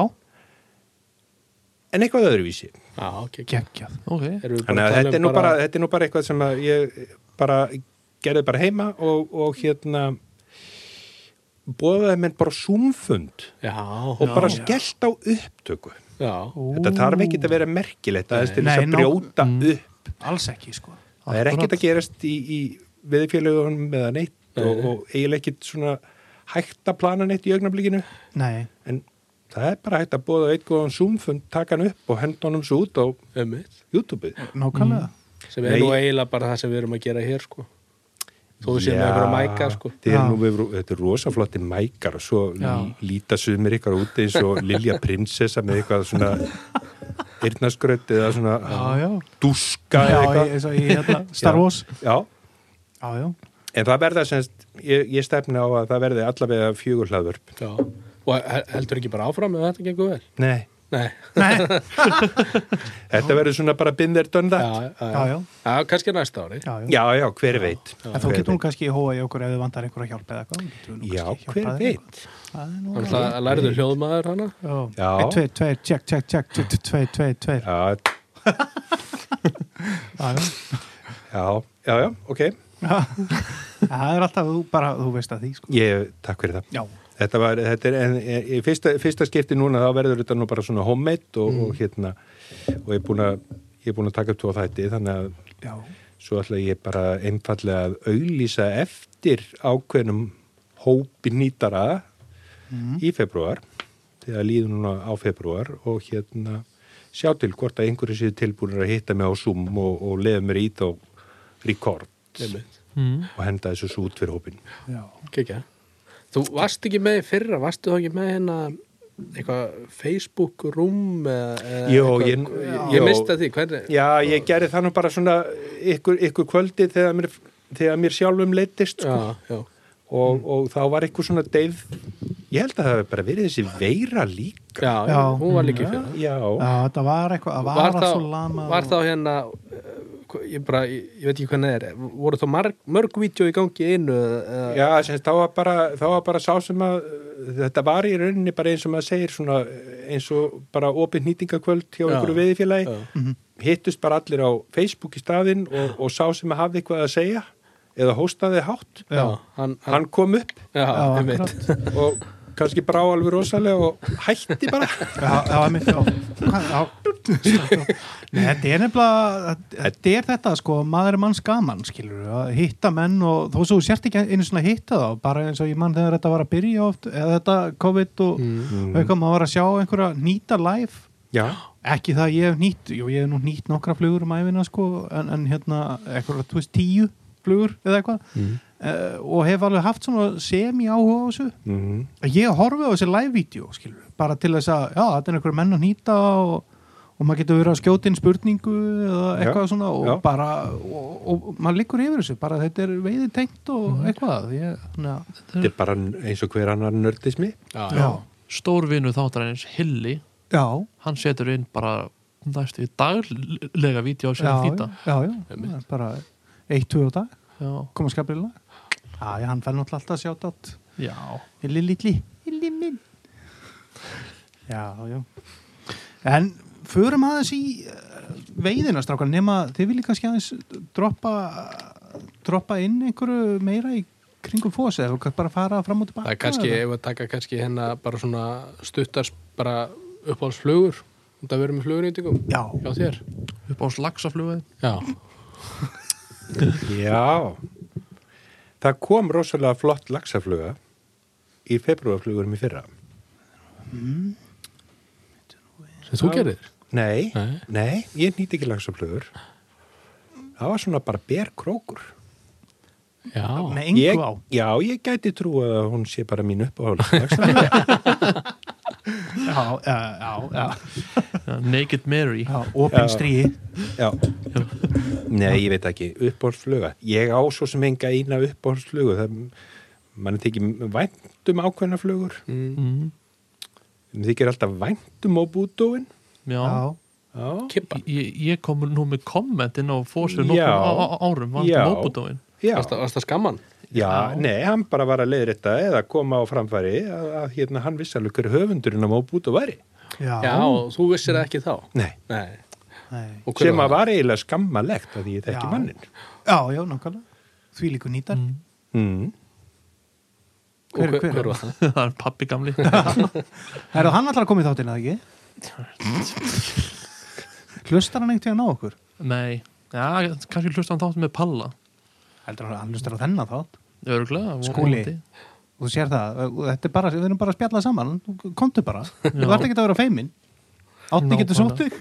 en eitthvað öðruvísi. Já, ok. ok. Gengjað. ok Erum við bara Þannig tala að um þetta er, nú bara, þetta er nú bara eitthvað sem að ég bara gerði bara heima og, og hérna bóðaði menn bara súmfund Já, og bara skellt á upptöku. já. Þetta þarf ekkit að vera merkilegt aðeins til þess Nei, að nák- brjóta upp. Alls ekki, sko. Það er ekkit að gerast í, í viðfélagunum með að neitt og, og eiginlega ekkit svona hægt að plana neitt í augnablikinu Nei. en það er bara hægt að bóða eitt góðan súmfund, taka hann upp og henda honum svo út á Ömmið. YouTube-ið. Mm. Nákvæmlega. Sem er Nei. nú eiginlega bara það sem við erum að gera hér, sko. Þó við séum með einhverja mæka, sko. Þetta er, Já. nú, við- þetta er rosa flotti mækar og svo Já. líta sumir ykkar út eins og Lilja prinsessa með eitthvað svona yrnaskröt eða svona Já, já. dúska Já, eða eitthvað. ég- eins og í hérna, Star Wars. Já, Já, já. en það verða semst, ég, ég stefna á að það verði allavega fjögur hlaðvörp. Já. Og he- heldur ekki bara áfram ef þetta gengur vel? Nei. Nei. Nei, Þetta verður svona bara binder dönda. Já, já, já, já. Já, kannski næsta ári. Já, já. Já, já, hver veit. En þú Hver getur hún veit. kannski hóa í okkur ef þið vantar einhverja hjálp eða eitthvað. Hún getur nú Já, kannski hver hjálpað þér veit. eitthvað. Það er nú Þannig að það lærðu hljóðmaður hana. Já. Já. Eitt, tveir, tveir, tjekk, tjekk, tjekk, tjekk, tjekk, tveir, tveir, tveir. Já, Já, já. já, já, já, ok. Já. Það er alltaf, þú bara, þú veist að því, sko. Ég, takk fyrir það. Já. Þetta var, þetta er, en en- í fyrsta, fyrsta skipti núna þá verður þetta nú bara svona homemade og, og hérna, og ég er búin að, ég er búin að taka upp tvo þætti, þannig að Já. svo ætla ég bara einfallega að auglýsa eftir ákveðnum hópi nýtara í februar, þegar líður núna á februar og hérna sjá til hvort að einhverju séu tilbúinir að hitta mig á Zoom og, og lefa mér í þá rekord Einmitt. og henda þessu svo út fyrir hópin. Já. Kekja. Þú varst ekki með í fyrra, varstu þá ekki með hérna eitthvað Facebook room eða, eða Jó, eitthvað- ég- ég jó. mista því, hvernig Já, ég gerði það nú bara svona ykkur, ykkur kvöldi þegar mér, þegar mér sjálfum leittist sko. já, já, og, og þá var ykkur svona deyf, ég held að það hefur bara verið þessi veira líka. já, Já. hún var líka í fyrra Já, Já, þetta var eitthvað, það var var, allt svo lama. þá, var þá hérna eh, ég, bara, ég, ég veit ekki hvernig það er voru þá marg, mörg vídeo í gangi í einu eh, eða, já sem, þá, var bara, þá var bara sá sem að þetta var í rauninni bara eins og maður segir svona eins og bara opið nýtingakvöld hjá Já. einhverju veðifélagi. Já. Hittust bara allir á Facebook í staðinn og, og sá sem að hafði eitthvað að segja eða hóstaði hátt. já, hann, hann, Hann kom upp já, Já, já akkurat. og kannski brá alveg rosalega og hætti bara Já, það var mitt, já. Hvað- já. Nei, þetta er nefnilega, þetta er þetta, sko, maður er manns gaman, skilur við, að hitta menn og þó svo þú sért ekki einu svona hitta þá, bara eins og ég mann þegar þetta var að byrja oft, eða þetta COVID og eitthvað, maður var að sjá einhverja nýta live Já, ekki það að ég hef nýtt, jú ég hef nú nýtt nokkra flugur um æfina sko en, en hérna eitthvað, þú veist, tíu flugur eða eitthvað Mm. uh, og hef alveg haft svona semi áhuga á þessu Eh, Mhm. ég horfi á þessi live-vídeó skilur, bara til þess að, já, þetta er einhverjum menn að nýta og, og maður getur verið að skjóta inn spurningu eða eitthvað Já, svona og já. bara, og, og, maður liggur yfir þessu bara þetta er veiði tengt og Mm. eitthvað ég, na, þetta er bara eins og hver annar nördismi já, já, já. stórvinu þáttarins Hilli já, hann setur inn bara næst við daglega vídeo á sér að já, fýta já, já, það er bara eitt, tvö á dag, já, koma skaprilla Já, já, hann fær náttúrulega alltaf sjátt átt já, Illi litli, illi minn Já, já En förum aðeins í eh, veiðina strákar nema þið viljið kannski aðeins droppa droppa inn einhverju meira í kringum fósi eða þú kannski bara fara fram og tilbaka það er kannski, eða? ef að taka kannski hérna bara svona stuttar bara uppáhaldsflugur þetta verður með flugurnýtingum Já, hjá þér upp á slagsaflugið já, Já. Það kom rosalega flott laxafluga í februarflugurum í fyrra. sem þú gerir Nei, Nei. nei, ég nýtti ekki laxaflugur. Það var svona bara berkrókur. já, með engu ég, á Já, ég gæti trú að hún sé bara mín uppáhalds. Já, já, já, já, Naked Mary já Open Já. stríði já. Nei, ég veit ekki, uppáhaldsfluga. Ég á svo sem enga eina uppáhaldsflugu. Það, mann tekið væntum ákveðna flugur. mm, um Mér þykir alltaf um væntum á búdóin. já, Já, Já. kippa Ég, ég kom nú með komment inn á fósið Já. nokkur árum, Já. vantum óbúdóin Já. varst það- varst það skamman Já, Já. nei, hann bara var að leiðir þetta eða koma á framfæri að, að hérna, hann vissi alveg hver höfundurinn á móbútu væri. já, já, og þú vissir það ekki þá Nei, Nei. nei. Og hver sem að það? var eiginlega skammalegt að ég þekki Já. mannin. já, já, nákvæmlega Því líku nýtar Mm. Mm. Og Hver- hver, hver- hver var það? það er pappi gamli Er það hann alltaf að koma í þáttinn eða ekki? Hlustar hann einhvern veginn á okkur? nei, já, kannski hlusta hann þátt með Palla Heldur hann að hann hlustar á þennan þátt? örgulega Skúli. Þú sér það, og þetta er bara, við erum bara að spjalla saman, Þú- komdu bara, þú ert ekki að vera feimin, átti getur sótt þig,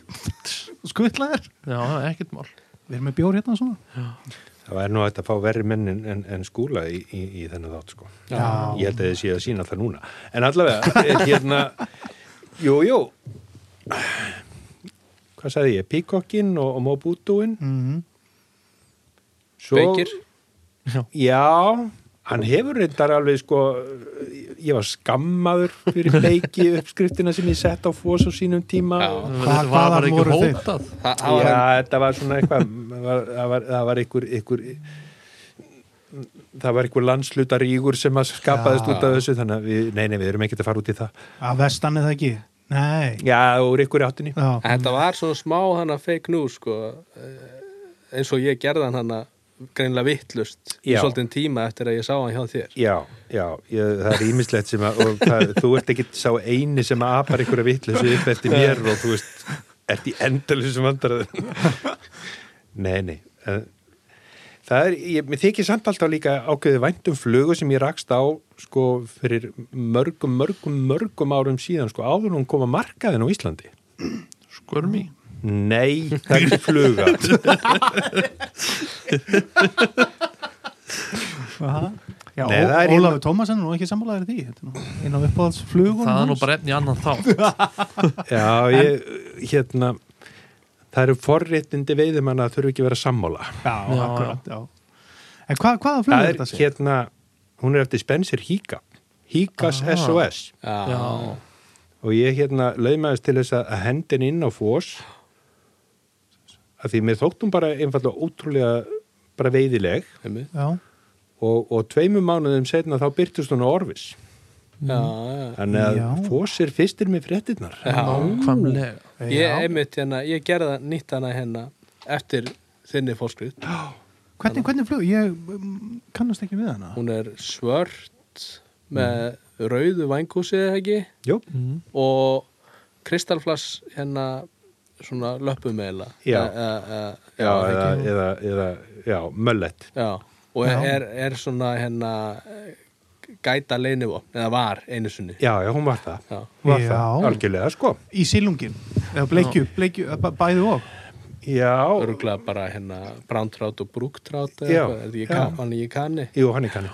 skuttla þér, já, ekkert mál við erum með bjór hérna svona. Það væri nú hægt að fá verri menn en, en, en skúla í, í, í þennan þátt, sko. Já. Ég held að þið séu að sína það núna. En allavega, eh, hérna, jú, jú, hvað sagði ég, píkokkin og, og móbútuinn. Mm Svo- Beikir Já, hann hefur reyndar alveg sko, ég var skammaður fyrir leiki uppskriftina sem ég sett á fós á sínum tíma. Já. Já, þetta var hvaðan bara ekki voru þeir? hótað það, það var þetta var svona eitthvað, það var, það var, það var einhver, einhver, það var einhver landslutarígur sem að skapaðist Já. út af þessu, þannig að við, nei, nei, við erum ekkert að fara út í það. Að vestan eða ekki, nei, Já, úr einhverju áttinni. já, En þetta var svona smá hana fake news sko, eh, eins og ég gerði hann hana greinlega vittlust í Já. svolítið tíma eftir að ég sá hann hjá þér Já, já, ég, það er ímislegt sem að, og það, þú ert ekki sá eini sem að apar einhverja vitleysu upp eftir mér og þú veist, ert í endalusum vandraðum. Nei, nei. eh, Það er, ég, mér þykir samt alltaf líka ákveðið væntum flugu sem ég rakst á, sko, fyrir mörgum, mörgum, mörgum árum síðan, sko, áður en hún kom að markaðin á Íslandi. skörmi Nei, það er ekki fluga. Aha. já, Nei, Ó- það er hérna- Ólafur Tómasen er nú ekki sammálaður því, þetta er nú inn á uppáhaldsflugunum. það er nú hans. bara efni annan þá Já, ég, hérna, það eru forréttindi veiðumanna að þurfi ekki að vera sammála. Já, Já, akkurat, já. En hvað, hvaða flug það er er þetta? Hér... hérna hún er eftir Spencer Híka Híkas Ah. SOS Já, já, og ég hérna laumaðist til þess að að hendi hendin inn á fós af því mér þótt hún bara einfallega ótrúlega bara veiðileg einmitt. Já, og, og tveimum mánuðum setna þá byrtust hún á orvis Mm. já, já. þannig Já. að fós er fyrstir með fréttinnar nákvæmlega Ég, einmitt, hérna, ég gerði það nýtt hana hérna eftir þinni fórskrift hvernig, hvernig flug, ég mm, kannast ekki við hana. hún er svört með rauðu vængúsi eða ekki Jú, mm. og kristalflass hérna svona löpum eða Já. eh, já, já, eða, eða, eða já, möllett Já, og Já. Er, er svona hérna eh, gæta leinivopn, eða var einu sinni. já, já, hún var það, Já. Hún var Já. það algjörlega sko Í sílungin, eða bleikju, bleikju, eh, bæ- bæði og. já, Öruglega bara hérna brántrátt og brúktrátt eða Já. eitthvað, er þetta ekki kann- hann í kanni? jú, hann er kanni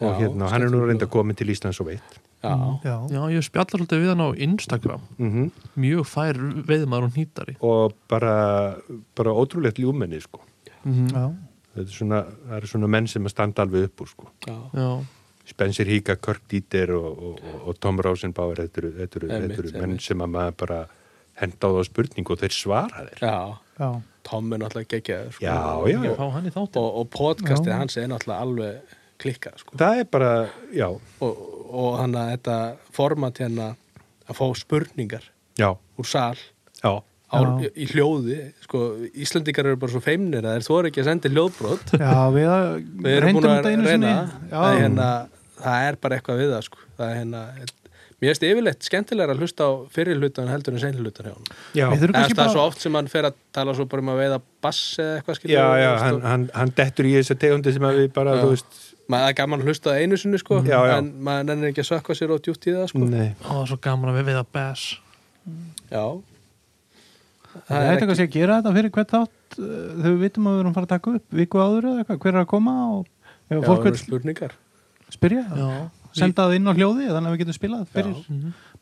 og Já, hérna, hann er nú reynda komin til Íslands og veit Já, Já, já, ég spjallar svolítið við hann á Instagram -hmm. mjög fær veiðmaður og nýtari og bara, bara ótrúlegt ljúmenni sko. mm. já. þetta er svona, það eru svona menn sem að standa alveg upp úr sko. já. já, Spencer Híka, Kirk Dieter og, og, og, og Tom Rosenbauer þetta eru, þetta eru, Einmitt, þetta eru menn einmitt. sem að maður bara henda á það spurningu og þeir svara þér Já, já, Tom er náttúrulega geggjaður sko. Já, já, Ég já. fá hann í þáttin og, og podcastið Já. hans er náttúrulega alveg klikkað sko. Það er bara, já, og, og hann að þetta format hérna að fá spurningar já, úr sal á, já. Já. í hljóði sko, Íslandingar eru bara svo feimnir að þeir þóra ekki að senda hljóðbrot já, við að- við erum búin reyndum að þetta einu reyna sinni það, er já, hérna, það er bara eitthvað við það sko. það er hérna Mér finnst yfirleitt skemmtilegra að hlusta á fyrir hlutan heldur en seinni hlutan hjá hann. Já, við þurfum Það kannski er svo bara oft sem hann fer að tala svo bara um að veiða bass eða eitthvað skilur. já, já þú veist, hann, og- hann, hann dettur í þessa tegundi sem að við bara, Já. þú veist, maður er gaman að hlusta á einu sinni sko, Já, já. en maður nennir ekki að sökka sér á djútt í það sko. nei. og það er svo gaman að við við að Bass já Það er eitthvað sé að gera þetta fyrir hvert þátt uh, þegar við vitum að við erum að fara að taka upp viku áður eða eitthvað, hver er að koma og ef já, fólk það vil eru spurningar spyrja já, senda það inn á hljóði þannig að við getum spilað fyrir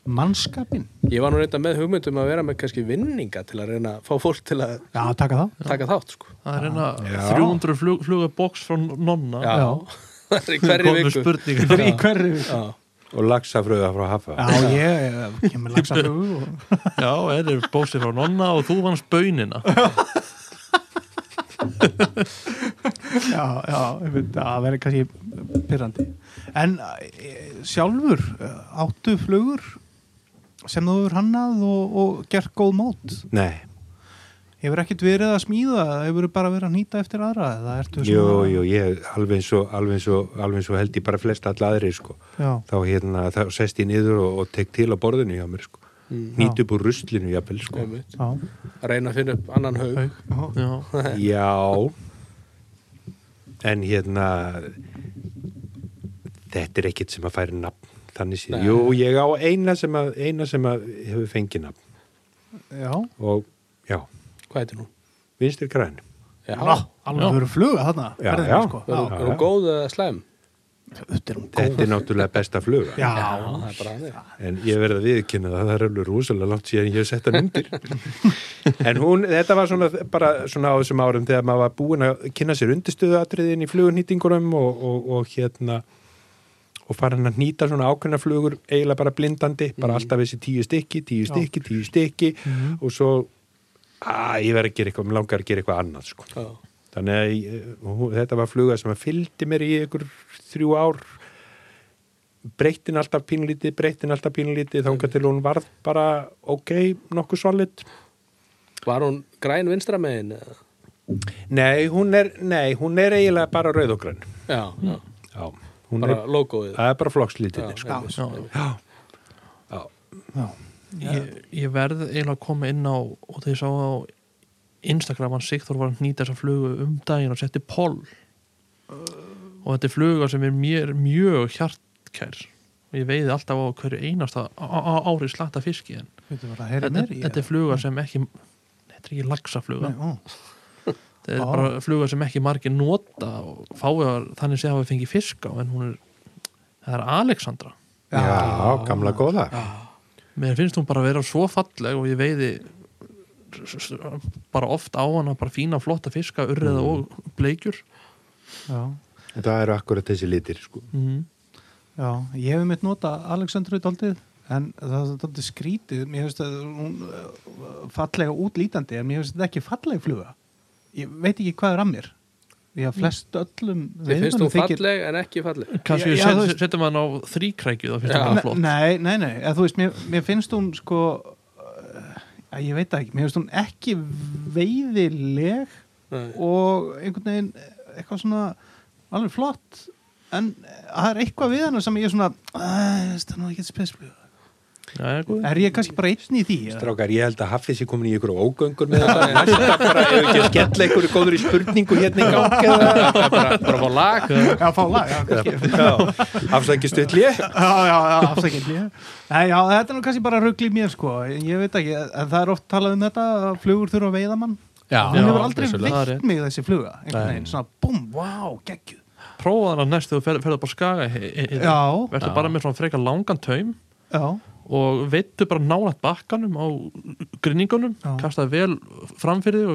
mannskapin ég var nú reynda með hugmyndum að vera með kannski vinninga til að reyna að fá fólk til að Já, taka það taka þátt sko. það er hérna Já. 300 flug, fluga box frá nonna já, það er í hverri komið viku spurningar Í hverju já, og lagsafröða frá hafa. Já, ég eh, kemur lagsafrögu og já, þetta er bósið frá nonna og þú vannst bönina Já, já, ég veit, það verður kannski pyrrandi En eh, sjálfur, eh, áttu flugur sem þú hefur hannað og, og gert góð mót Nei, Hefur ekkert verið að smíða eða hefur bara verið að nýta eftir aðra eða ertu jú, jú, ég alveg eins og, alveg eins og, alveg eins og held ég bara flest alla aðri, sko. Já, Þá hérna, þá sest ég niður og, og tek til á borðinu hjá mér, sko. Mm. Nýt upp úr ruslinu, jafnvel, sko. einmitt. já, að reyna að finna upp annan haug haug já. já, Já En hérna Þetta er ekkit sem að færi nafn Þannig séð, Nei. jú, ég á eina sem að eina sem að hefur fengið nafn Já, og já, hvað heitir nú? vinstir græn já, Ná, alveg verður fluga þarna Já, ferðinni, já. sko. er hún- Já, er hún já. góð eða slæm? Þetta er hún góð Þetta er náttúrulega besta fluga Já, það er bara hannig En ég verði að viðkynna það, það er alveg rúsalega langt síðan ég hef sett hann undir. en hún, þetta var svona, bara svona á þessum árum þegar maður var búin að kynna sér undirstöðuatriðin í flugunýtingurum og, og, og hérna og farin að nýta svona ákveðna flugur eiginlega bara blindandi, bara alltaf þessi tíu stykki, tíu stykki, tíu stykki og svo, að ég verði að gera eitthvað, mér langar að gera eitthvað annað sko. já, Þannig að ég, hún, þetta var fluga sem að fylgdi mér í ykkur þrjú ár breytin alltaf pínlítið, breytin alltaf pínlítið þangað til hún varð bara ok, nokkuð solid var hún græn vinstra megin? eða? Nei, hún er, nei, hún er eiginlega bara rauð og grönn já, já, Já, hún bara er, logoið það er bara flokkslítið sko. einmitt. já. Já, já, Ég, ég verð eiginlega að koma inn á og þegar ég sá á Instagram hann Sigþór var að nýta þessa flugu um daginn og setti poll og þetta er fluga sem er mér mjög hjartkær og ég veiði alltaf á hverju einasta á- á- ári slatta fiski en Þetta var að heyra þetta, meir í þetta er fluga sem ekki þetta er ekki lagsafluga þetta er Ó. bara fluga sem ekki margir nota og fáiðar þannig sé að hafa fengið fiska en hún er, það er Alexandra já, gamla góða mér finnst hún bara að vera svo falleg og ég veiði s- s- bara oft á hana bara fína flotta fiska, Mm. urriða og bleikjur Já, Það eru akkurat þessi litir sko. Mm-hmm. mm. já, ég hef mitt nota Alexandru daldið en það er daldið skrítið mér hefst að hún eh, fallega útlítandi en mér hefst þetta ekki falleg fluga ég veit ekki hvað er að mér því að flest öllum þið finnst veiðimönnum hún falleg en ekki falleg kannski Já, já, þú set, veist- setjum hann á þríkrækju það finnst Já. hún bara flott Nei, nei, nei, eða, þú veist, mér, mér finnst hún sko uh, ég veit það ekki, mér finnst hún ekki veiðileg Nei. og einhvern veginn eh, eitthvað svona alveg flott en eh, það er eitthvað við hana sem ég er svona "Æ, veist það er nú ekki spesfluga Jæja, góði. er ég kannski bara einn í því eða? Strákar, ég held að Hafið sé komin í ykkur ógöngur með þetta Næsta bara, ef ekki að skella ykkur góður í spurningu hérna í gangi eða- bara, bara fá lag já, fá lag, já, kannski já, Afsækist vill ég já, já, afsakið Nei, já, þetta er nú kannski bara ruggli mér sko ég veit ekki, en það er oft talað um þetta að flugur þurfa að veiða mann já, hún hefur aldrei vissulega. Það er rétt. veitt mig þessi fluga einhvern veginn, svona búm, vá, geggjuð prófa hann næst þegar þú fer- ferðu bara að skaga he- he- he- Já. verður bara með svona frekar langan taum já, og veittu bara nálægt bakkanum á grinningunum Já. kastaði vel framfyrir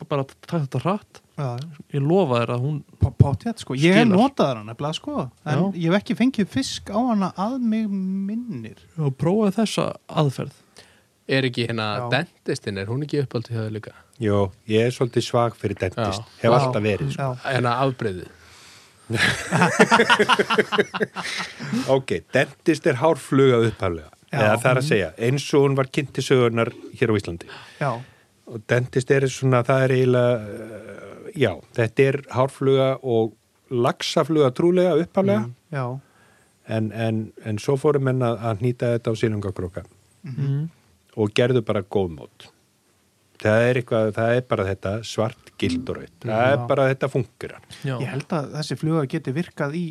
og bara takk þetta hratt já, ég lofa þér að hún potjætt sko ég hef Skilar. notað hana nefnilega sko en Já. ég hef ekki fengið fisk á hana að mig minnir prófaði þessa aðferð er ekki hérna Já. dentistinn, er hún ekki uppáldið hjá það líka Jó, ég er svolítið svag fyrir dentist. Hef Já. alltaf verið. Sko. Já. hérna afbreyðið Ok, dentist er hárfluga upphaflega. Já. Eða það er að segja, eins og hún var kynnt í sögurnar hér á Íslandi. já, Og dentist er svona, það er eiginlega, uh, já, þetta er hárfluga og laxafluga trúlega upphaflega. já En, en, en svo fórum henn að, að nýta þetta á sílungakróka mm. og gerðu bara góðmót. Það er, eitthvað, það er bara þetta svart gilduröyt. Það er Já. bara þetta fungur hann. já, Ég held að þessi fluga geti virkað í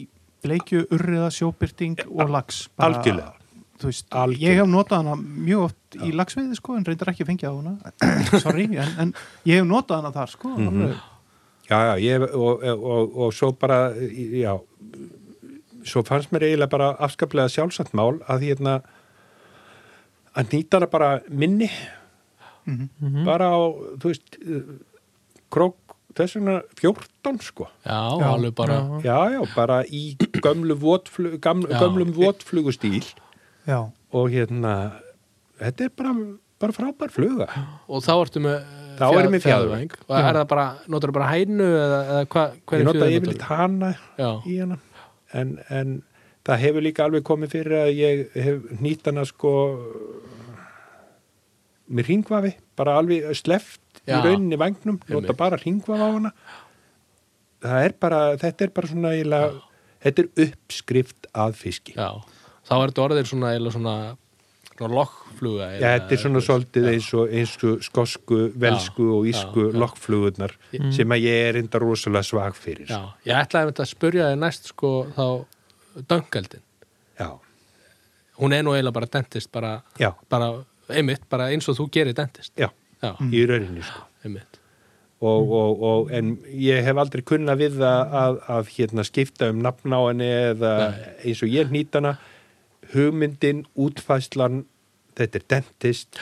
bleikju, urriða, sjóbyrting og lax. Algjörlega. Þú veist, Algjörlega. ég hef notað hana mjög oft í laxveiði sko, en reyndar ekki fengið á hana. Sorry, en, en ég hef notað hana þar sko. Mm Já, já, ég, og, og, og, og svo bara, já, svo fannst mér eiginlega bara afskaplega sjálfsagt mál að því hérna að nýta hana bara minni, Mhm. bara á, þú veist, krók, þess vegna 14 sko. já, alveg bara já. Já, já, bara í gömlu votflug, gaml, Já. gömlum votflugustíl Já, og hérna, þetta er bara, bara frábær fluga. og þá ertu með eh, Þá erum fjað- við fjaðurvæng. fjaðurvæng. og er það bara, notar það bara hænu eða, eða hva, Ég hverju nota fjöður yfirleitt hana notarðu? já, í hana en, en það hefur líka alveg komið fyrir að ég hef nýtt hana sko með ringvafi, bara alveg sleft í Já. rauninni vagnum, nota Einmitt. bara ringvafa á hana það er bara, þetta er bara svona eiginlega, þetta er uppskrift að fiski, já, þá ertu orðið svona, eiginlega svona, svona lokkfluga Já, þetta er svona svolítið eins og, eins og skosku, velsku og ísku lokkflugurnar sem að ég er enda rosalega svag fyrir já, ég ætlaði einmitt að spurja þið næst sko þá döngeldin já, hún er nú eiginlega bara dentist bara, já, bara einmitt, bara eins og þú gerir dentist já, já, í rauninni sko einmitt Mm. og, og, og, en ég hef aldrei kunna við það að, að hérna, skipta um nafn á henni eða eins og ég hnýt hana hugmyndin, útfæslan þetta er dentist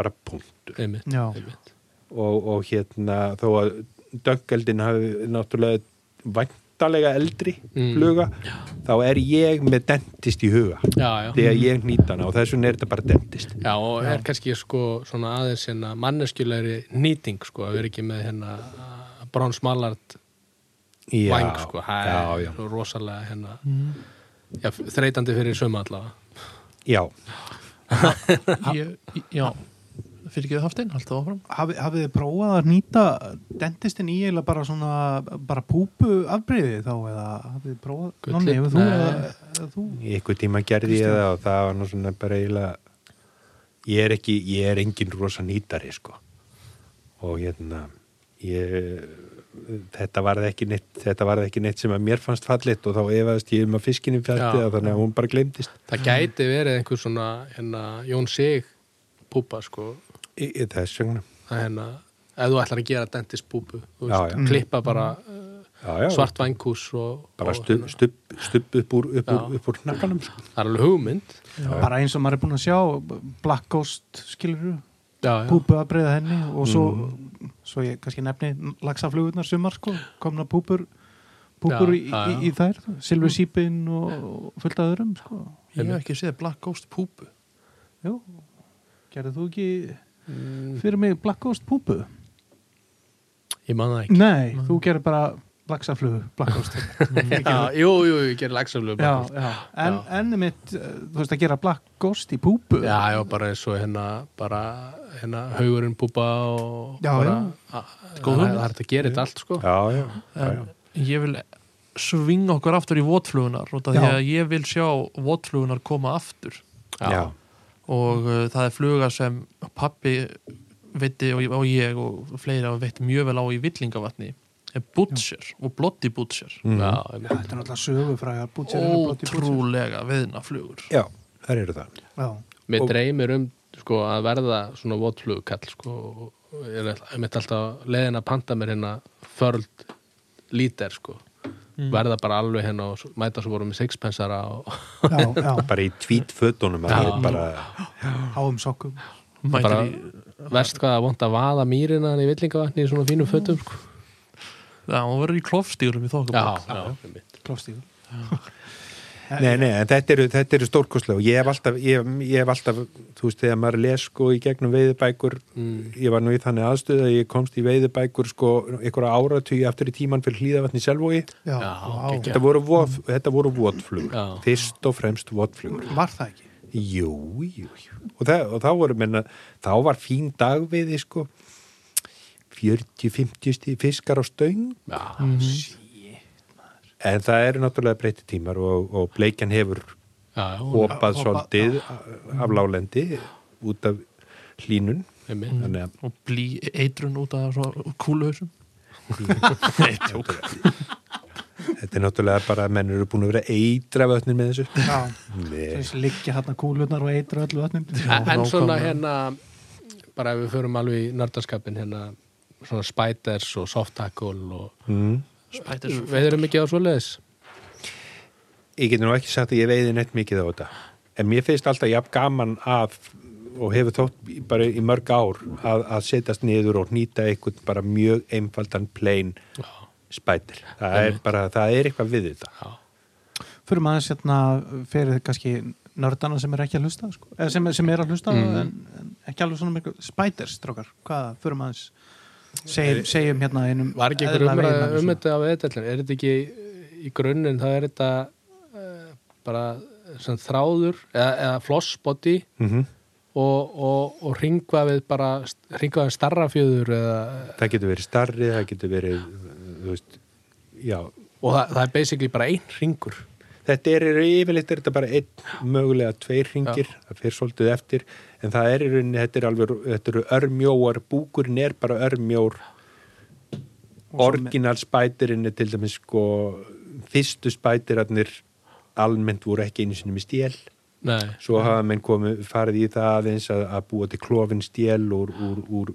bara punktur einmitt, já, einmitt. og, og hérna þó að döngeldin hafi náttúrulega væntalega eldri Mm. fluga, þá er ég með dentist í huga Já, já. þegar ég hnýt hana og þess vegna er þetta bara dentist Já, og er kannski sko svona aðeins hérna manneskjulegri nýting sko, að vera ekki með hérna bronsmallart já, vang sko, það já, er já, Mm. svo rosalega hérna, já, þreytandi fyrir suma allavega. já, ég, já fyrir ekki haftin, haldið áfram Hafi, hafið þið prófað að nýta dentistinn í eiginlega bara svona bara púpu afbreyði þá eða hafið þið prófað, Gullið, Nonni, hefur þú, nei. eða, eða þú einhver tíma gerði ég það og það var nú svona bara eiginlega ég er ekki, ég er engin rosa nýtari sko og hérna ég, þetta varð ekki neitt þetta varð ekki neitt sem að mér fannst fallit og þá efaðist ég um að fiskinum fjallt Já. eða þannig að hún bara glemdist Það gæti verið einhver svona hérna Jón Sig púpa sko, í, í þess vegna að hérna ef þú ætlar að gera dentist púpu, þú Já, veist, já. klippa bara uh, já, já, svart vangkús og, bara og stubb stub, stub upp úr, upp úr, Já. upp úr hnakkanum sko. það er alveg hugmynd. bara eins og maður er búin að sjá Black Ghost skilur Já, já. Mhm. púpu afbreyða henni og svo, svo ég kannski nefni laxaflugurnar sumar sko, komna púpur púpur Já, í, já, Mhm. já. Í, í þær Silvi Sýpin og fullt að öðrum sko. ég hef ekki séð Black Ghost púpu Jú, gerðið þú ekki fyrir mig Black Ghost púpu? Mm, Ég man það ekki. Mhm. Nei, þú gerir bara laxaflugu, blakkóst Já, jú, jú, ég gerir lagsaflögu já, já. En, en mitt, eh, þú veist að gera blakkóst í púpu Já, já, bara eins og hérna bara hérna haugurinn búba og Já, bara, já. já. Góð það hugmynd. er hægt að gera þetta allt sko já, já, já, já. en ég vil svinga okkur aftur í votflugunar út af því Já. að ég vil sjá votflugunar koma aftur Já. og uh, það er fluga sem pappi veitti og, og ég og fleira veitti mjög vel á í villingavatni er Butcher og Bloody Butcher Mm. Já, Þetta er náttúrulega sögufrægar bútsir ótrúlega veðna flugur já, þar eru það Já, mér Og- dreymir um sko að verða svona votflugkall sko og ég er all- einmitt alltaf leiðin að panta mér hérna förld lítir sko verða bara alveg hérna og s- mæta svo voru með sixpensara og já, já, bara í tvítfötunum að ég bara, háum sokkum mætir bara í verst hvað að vonda að vaða mýrina hann í villingavatni í svona fínum fötum sko Já, hún verður í klofstýrum í Já, þokkabók já, einmitt. klófstígur Nei, nei, en þetta eru, þetta eru stórkostlega og ég hef alltaf, ég, ég hef alltaf þú veist, þegar maður les sko í gegnum veiðibækur Mm. ég var nú í þannig aðstöð að ég komst í veiðibækur sko einhverja áratugi aftur í tíman fyrir hlýðavatni selvói Já, Já, vá. geggjað. þetta voru, vof, þetta voru votflugur Já. fyrst og fremst votflugur var það ekki jú, jú, jú og, það, og þá voru, menna, þá var fín dagveiði sko 40-50 stig fiskar á stöng já, en það eru náttúrulega breyti tímar og, og bleikjan hefur já, já, hopað Hopað, svolítið af lálendi út af hlínun einmitt. þannig að og blí eitrun út af svona kúluhausum þetta er náttúrulega bara að menn eru búin að vera að eitra vötnin með þessu Já, Nei. þess liggja hérna kúlunar og eitra öllu öllum En- En svona nákvæmlega. hérna bara ef við förum alveg í nördarskapin hérna svona spiders og soft tackle og mm. spætir svo við erum ekki á svoleiðis ég getur nú ekki sagt að ég veiði neitt mikið á þetta en mér finnst alltaf jafn gaman að og hefur þótt í- bara í mörg ár að, að setjast niður og nýta einhvern bara mjög einfaldan plain Já, spætir það er bara, það er eitthvað við þetta já, Fyrir maður sérna hérna fyrir kannski nördana sem er ekki að hlusta sko. Eða sem, sem er að hlusta en, en ekki alveg svona mjög spiders strókar, hvað fyrir maður segjum, segjum hérna einum Var ekki einhver eðlilega umræða veiðimanni um svona. þetta á veðdellin? Er þetta ekki í- í grunninn, það er þetta eh, bara sem þráður eða, eða flossbody mm og, og, og ringvað bara ringvað starra fjöður eða, það getur verið starri, það getur verið þú veist, já og það, það er basically bara einn ringur Þetta er í raun- yfirleitt er þetta bara einn mögulega tveir ringir, það fyrir svolítið eftir en það er í rauninni, þetta er alveg þetta eru örmjóar, búkurinn er bara örmjór orginal spætirinn er til dæmis sko, fyrstu spætirarnir almennt voru ekki einu sinni með stél Nei, svo hafa menn komið, farið í það aðeins að, að búa til klofin stél úr, úr, úr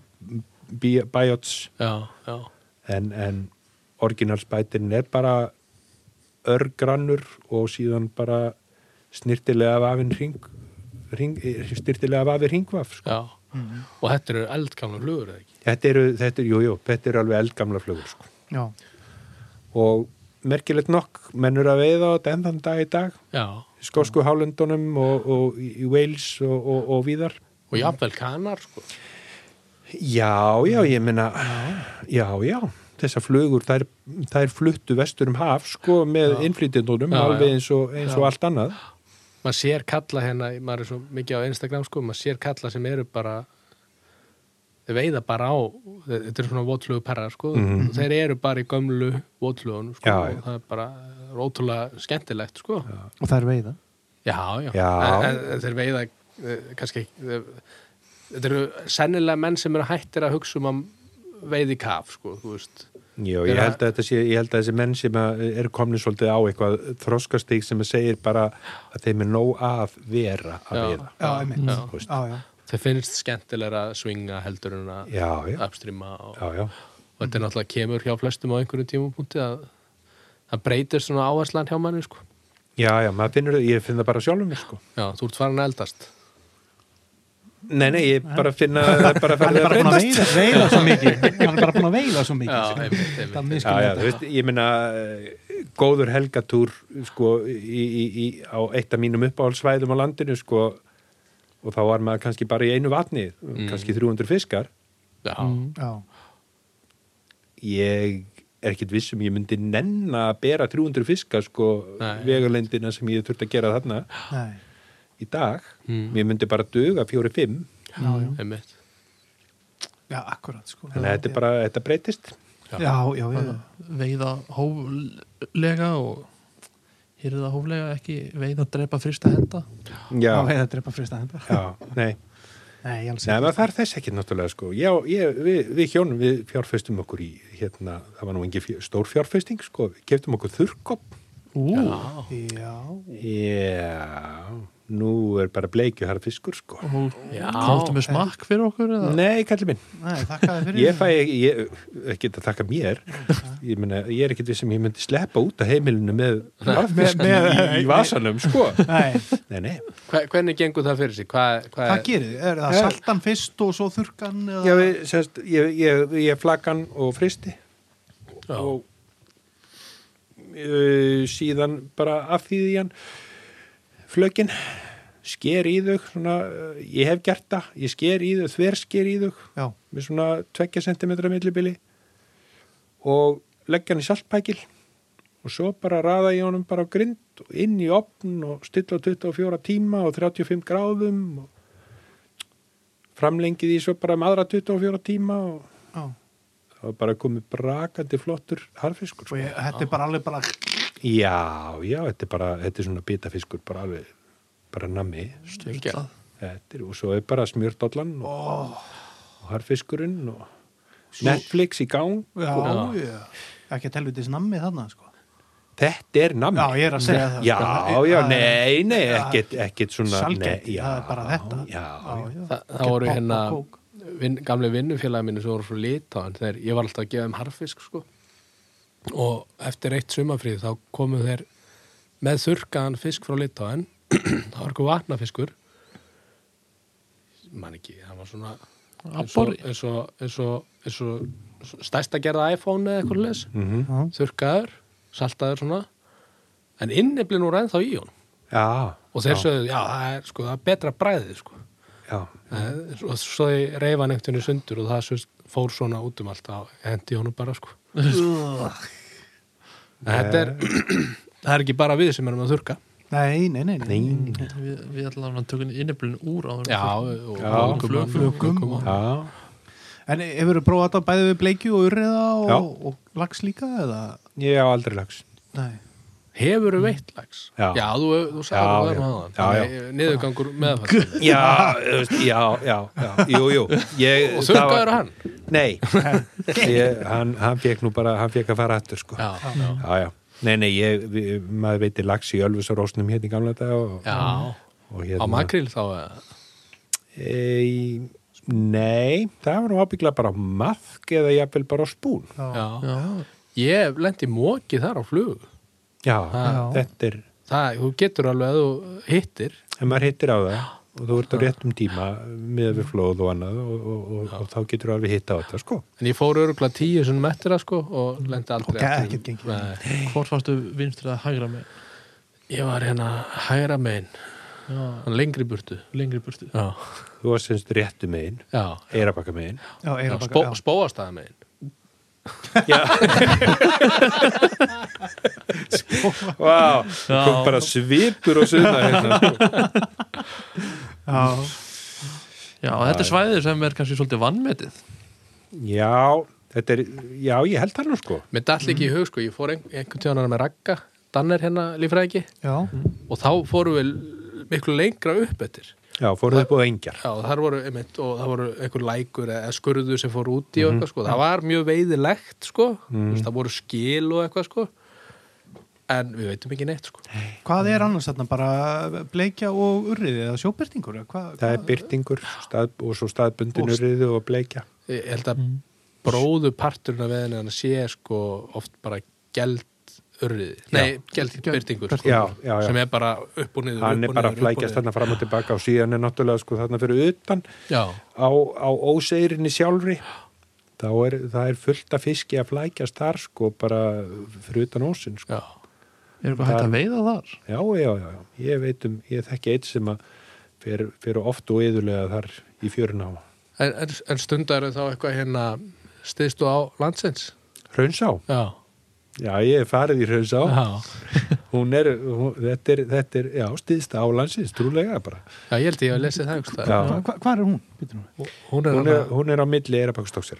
bí- biots já, já en, en orginalspætirinn er bara örgrannur og síðan bara snirtilega vafin ring, ring snirtilega vafi ringvaf sko. Já, og þetta eru eldgamla flugur eða ekki? þetta eru, þetta eru, jú, jú, þetta eru alveg eldgamla flugur sko. Já, og merkilegt nokk mennur að veiða á þetta enn þann dag í dag Já, í skosku hálendunum og, og í í Wales og, og, og víðar og jafnvel kanar, sko. já, já, ég meina já, já, þessar flugur þær, þær fluttu vestur um haf sko með innflytjendunum Já, já. alveg eins og, eins og Já. allt annað Maður sér kalla hérna, maður er svo mikið á Instagram, sko, maður sér kalla sem eru bara, þeir veiða bara á, þetta eru svona votlugu perra, sko, þeir eru bara í gömlu votlugunum, sko, Já, Mhm. já. og það er bara ótrúlega skemmtilegt, sko. og það er veiða Já, já, Já. En, en, en þeir veiða eh, kannski ekki- eh, þetta eru sennilega menn sem eru hættir að hugsa um að veiði kaf, sko, þú veist. Já, Þeir ég að- held að, þetta sé, ég held að þessi menn sem að eh, eru komni svolítið á eitthvað þroskastík sem að segir bara að þeim er nóg af vera að Já. veiða. Já, einmitt Já. þú veist. Já, já, Þeir finnst skemmtilega að svinga heldur en að Já, já, upstreama og, já, já, og þetta er náttúrulega kemur hjá flestum á einhverjum tímapunkti að það breytir svona áherslan hjá manni sko. já, já, maður finnur það, ég finn það bara sjálfum, mér, sko. Já, þú ert farin að eldast Nei, nei, ég bara finna, bara hann farið er að bara búin að breytast. veiða, veiða svo mikið hann er bara búin að veiða svo mikið Já, sko. einmitt, Það er einmitt. Já, já, miskunnandi. þú veist, ég meina eh, góður helgatúr, sko, í, í, í, á eitt af mínum uppáhaldsvæðum á landinu, sko, og þá var maður kannski bara í einu vatni, Mm. kannski 300 fiskar. Já, Já. ég er ekkit viss um ég myndi nenna að bera 300 fiska sko Nei. vegalendina sem ég þurfti að gera þarna Nei. í dag, Mm. mér myndi bara duga 4-5, Já, já. einmitt Já, akkurat sko. þannig að þetta er bara, þetta breytist Já, já, já, já. veiða hóflega og hýrða hóflega ekki veiða drepa fyrsta henda já, Má veiða drepa frista henda. já, nei Nei, alls Nei, maður þarf þess ekki náttúrulega sko já, ég, við, við hjónum, við fjárfestum okkur í hérna, það var nú engin fjör, stór fjárfesting sko, við keftum okkur þurrkopp Ú, ekki. Já. já, nú er bara bleikju harð fiskur sko og Já. komstu með smakk fyrir okkur eða? nei, kallir minn Nei, þakka þið fyrir. Ég fæ, ég, ekki að taka mér ég, meina, ég er ekkit við sem ég myndi sleppa út af heimilinu með varfisk í, í vasanum, sko Nei, Nei, nei, Hva, Hvernig gengur það fyrir sig? Hva, hva hvað gerir þið? Er það Eh. saltan fyrst og svo þurkan? Eða... ég, við, semst, ég, ég, ég flaggan og fristi Já. og uh, síðan bara affýði hann flökin sker í þau svona, uh, ég hef gert það, ég sker í þau þversker í þau já, með svona 2 cm millibili og leggja hann í saltpækil og svo bara raða ég honum bara á grind og inn í opn og stilla á 24 tíma og 35 gráðum og framlengið í svo bara með aðra 24 tíma og já. það var bara komið brakandi flottur harfiskur og sko. ég, þetta er bara alveg bara Já, já, þetta er bara þetta er svona bitafiskur bara alveg bara nammi Sturlað. þetta er, og svo er bara smjörtollan og, ó, og harfiskurinn og Netflix í gang já, Já. já. ekki að telvitis nammi þarna sko. Þetta er nammi já, ég er að segja það Já, sko. já, Það er- nei, nei, Já. ekkert, ekkert svona Sælgæti, nei, já, það er bara þetta. Já, já, já. Þa, það Ekkert voru popp hérna og kók. vin, gamle vinnufélagi mínu sem voru frá Litáin þegar ég var alltaf að gefa þeim harfisk sko. og eftir eitt sumafríð þá komu þeir með þurrkaðan fisk frá Litáin það var eitthvað vatnafiskur man ekki, það var svona eins og, Abbori. eins og, eins og, eins og stærsta gerða iPhone eða eitthvað leis mhm. Já. þurrkaður, saltaður svona en inniblinn voru ennþá í hún já, og þeir sögðu, já, það er, sko, það er betra bræðið sko. já, Eh, og svo þið reyfa nefntinu sundur og það sust, fór svona út um allt að hendi honum bara sko En þetta er það er ekki bara við sem erum að þurka nei, nei, nei, nei, nei, nei, Við, við ætlum að tökum inniblun úr á já, og Já. flögum Flökum. flögum já, en hefur þú prófað þetta bæði við bleikju og urriða Já. og, og lags líka eða ég á aldrei lags nei, hefur þú veitt lags Já. já, þú, þú Já, sagði það hérna já. Já, já. með það niðurgangur meðfætt Já, þú veist, já, já, já, jú, jú ég, og það var- þurkaður hann Nei, ég, hann, hann fekk nú bara, hann fekk að fara aftur, sko já, já, já, já. Nei, nei, ég, vi- maður veitir lags í Ölfus og Rósnum hérna í gamla dag og, já. og hérna á makril þá eða? e, Nei, það var nú ábyggla bara á maðk eða jafnvel bara á spún já. Já. ég hef lent í móki þar á flug Já, Já. þetta er það, þú getur alveg að þú hittir en maður hittir á það og þú ert á réttum tíma með við flóð og annað og, og, og, og þá getur þú alveg hitta á þetta sko. En ég fór örugla tíu sem mettir það sko og lendi aldrei Ok, ekkert gengið. Nei, Hvort varstu vinstri að hægra með Ég var hérna hægra megin, Já, hann lengri burtu lengri burtu Já, þú var semst réttu megin já, eirabakka megin já, já eyrabakka, spó, já. spóastæða megin Sko. Vá, wow, kom bara svipur og suða hérna, sko. já, Já, þetta er svæðið sem er kannski svolítið vannmetið Já, þetta er já, ég held það nú sko Mér dall ekki í hug sko, ég fór ein, einhvern tíðan með Ragga, Danner hérna lífræðingi já, og þá fórum við l- miklu lengra upp eftir Já, fóruðu upp á engjar Já, þar voru, einmitt, og það voru einhver lækur eða skurðu sem fór út Mhm. í og eitthvað, sko. Það var mjög veiðilegt, sko. Mm -hmm. Það voru skil og eitthvað, sko. En við veitum ekki neitt, sko. hvað er annars þarna bara bleikja og urriði eða sjóbyrtingur eða hvað, Það er byrtingur stað, og svo staðbundinu Og- riðu og bleikja ég held að Mhm. mm. bróðu parturinn af veðinu hann sé sko oft bara geld urriði, nei, geld byrtingur sko, Já, já, já. sem er bara upp og niður Hann upp er og bara niður, að upp og flækjast niður. þarna fram og tilbaka og síðan er náttúrulega sko þarna fyrir utan já, á, á óseirinni sjálfri þá er, það er fullt af fiski að flækjast þar sko bara fyrir utan ósinn sko. já, Er eitthvað hægt að veiða þar? já, já, já, já, ég veit um ég þekki eitt sem að fer, fer oft og yðurlega þar í fjörun á en, en, en stundar er þá eitthvað hérna stiðstu á landsins Hraunsá, já, já, ég er farið í Hraunsá já, hún er, hún, þetta er, þetta er já, stíðst á landsins, trúlega bara já ég held ég að lesi það einhvers staðar. Já. hvað, hvað er hún, býtur hún hún er, hún er, hana, hún er á milli eirabakkstóksir já,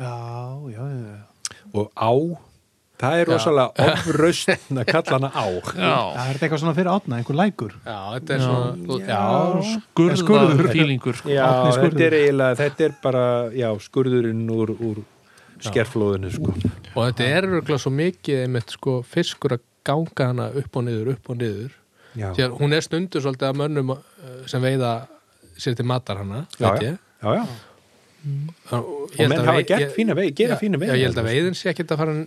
já, já, já og á, það er rosalega ofraust að kalla hana á Já, er þetta eitthvað svona fyrir átna, einhver lækur? já, þetta er svona já, já, Skurðar Skurður. fílingur sko. Já, Árni skurður. þetta er eiginlega, þetta er bara, já, skurðurinn úr, úr skerflóðinu, sko. og þetta er örgulega svo mikið einmitt sko fiskur að ganga hana upp og niður, upp og niður Já, því að hún er stundu svolítið að mönnum eh, sem veiða sér til matar hana já, veit já, ég já, já. og menn hafa gert fína veiði, gera fína veiði. já, ég held að veiðin sé ekkert að fara þú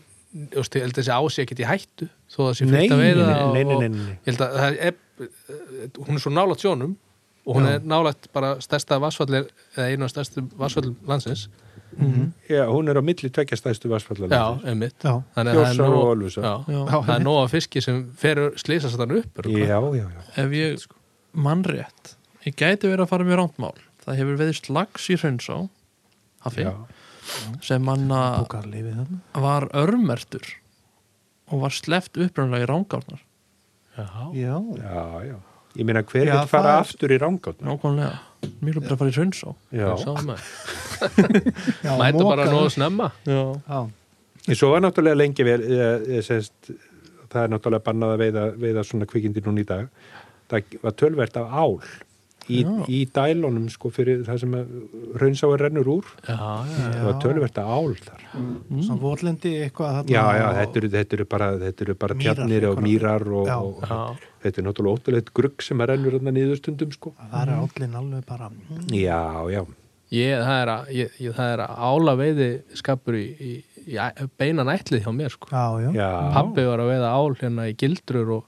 veist, ég held að þessi ási ekkert í hættu þó að sé Nei, fullt að nei, veiða nei, nei, og- nei, nei, nei. og ég held að það er, eh, hún er svo nála sjónum og hún Já. er nálægt bara stærsta vassfallir eða einu af stærstu vassfallum landsins Já, hún er á milli tvekja stæðstu vassfallar já, einmitt Já. þannig að það er Þjórsá og nóg- Ölfusá já, Já. það er nóg af fiski sem ferur slýsast þannig upp örugglega. já, já, já. ef ég mann rétt ég gæti verið að fara mjög rántmál það hefur veðist lags í hraunsá hafi, já. sem manna Búkar lifið þarna. var örmertur og var sleft upprænlega í rángárnar já, Já. já, já. Ég meina, hver Já, vil fara það er- aftur í rángátna? nákvæmlega, mjög bara að fara í hraunsá Já, sáum við Já, mæta bara mokar. nóg snemma já, Já. en svo var náttúrulega lengi vel, ég, ég sést, það er náttúrulega bannað að veiða, veiða svona kvikindi núna í dag. Það var tölvert af ál í, Já. í dælunum, sko, fyrir það sem raunsáir rennur úr. já, já, Það var tölvert af ál þar. Mm. Svona vorlendi eitthvað þarna. Já, já, og- þetta eru, þetta eru bara, þetta eru bara Mýrar, tjarnir og einhverjar. mýrar og, Já. og Já. þetta er náttúrulega óttalegt grugg sem að rennur þarna niður stundum, sko. Það Mm. er állin alveg bara... Já, já, Ég, það, er að, ég, ég, það er að ála veiði skapur í, í, í beina nætlið hjá mér sko. Já, já. já. Pabbi var að veiða ál hérna í gildrur og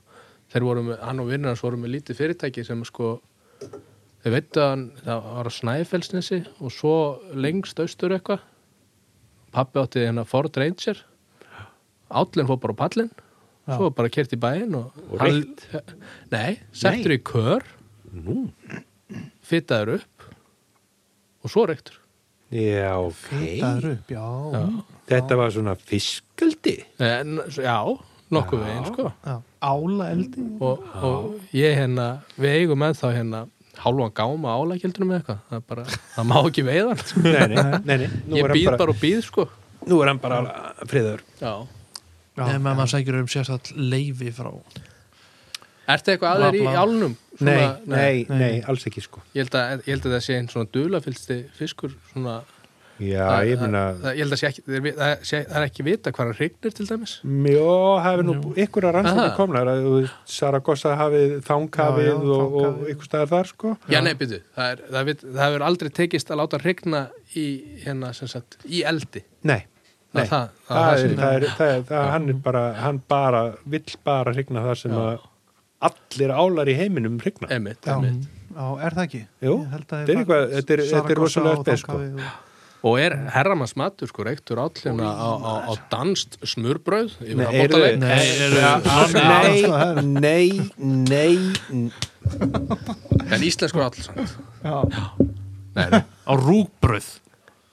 þeir voru með, hann og vinnur hans voru með lítið fyrirtæki sem sko þeir veitu að hann, það var á Snæfellsnesi og svo lengst austur eitthvað Pabbi átti hérna Ford Ranger állinn fór bara á pallinn svo var bara kert í bæinn og, Og hann- Nei, settur í kör Nú. fyttaður upp og svo reyktur Já, ok. Það er upp, já. Þetta var svona fiskaldi. En, Eh, já, nokkuð veginn sko já. Ála eldi. og, og ég hérna við eigum með þá hérna hálfan gáma álagildunum eða eitthvað það, er bara, það má ekki veiða hann, sko. Nei, nei, nei, nei. Nú ég er hann býð bara, bara, og býð sko nú er hann bara friður. já. ef maður sækir um sérstætt leifi frá ertu eitthvað aðeir í Labla. álnum? Nei, Svona- nei, nei, alls ekki sko. Ég held, að, ég held að það sé einn svona dulafylsti fiskur svona, Já, það- ég meina, það- það- ég held að sé ekki, það, er- það, sé, það er ekki vita hvað hann hrygnir til dæmis mjó, hafi nú ykkur að rannsóknir Aha. komnar að þú veist, Saragossa hafið Já, já, þanghafið og, og þanghafið. ykkur staðar þar sko. Já, nei, byrju, það, er, það, vit, það hefur aldrei tekist að láta hrygna í, hérna, sem sagt, í eldi Nei, það, Nei. það, það, það sem er, það er, það er, það, hann er bara, hann bara, vill bara hrygna það sem Já. að allir álar í heiminum hrygna. Einmitt, Já. einmitt. já, er það ekki? Jú, Ég held að þetta er bara eitthvað- þetta er- þetta er Saragossa rosalega og spes, sko. Tangavíð og- Og er herramanns matur sko reyktur átlina á, á, á danst smurbröð yfir Nei, eru- handbóttaleik? nei, eru Nei, nei, nei, nei, En íslenskur átl samt. Já, Nei, nei. á rúbröð,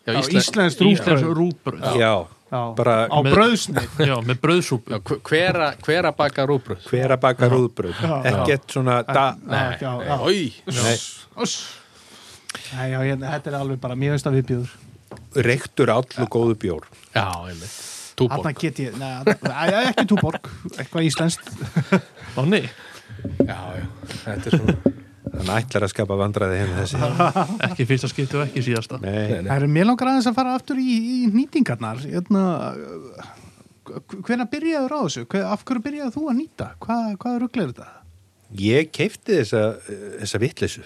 Já, Já, íslen... íslensk íslensk rúbröð. rúbröð já, já, Já. bara Á Með- bröðsni. með bröðsúpu Já, hver- hver að- hver að baka rúbröð? hver að baka rúðbröð Já. ekkert svona da, Nei, já, já. Ói, nei, Nei, já, ég, þetta er alveg bara mjög veist að viðbjóður. reyktur all og góðu bjór já, einmitt. Þarna Túborg. get ég, neða, ekki túborg, eitthvað íslenskt. Manni, Já, já, þetta er svona. þannig ætlar að skapa vandræði heim þessi ekki fyrsta skipti og ekki síðasta nei, Það eru mér langar aðeins að fara aftur í, í nýtingarnar. Hérna, hvernig byrjaður á þessu? Hver, af hverju byrjaður þú að nýta? Hva, hvað rugglir þetta? ég keifti þessa þessa vitleysu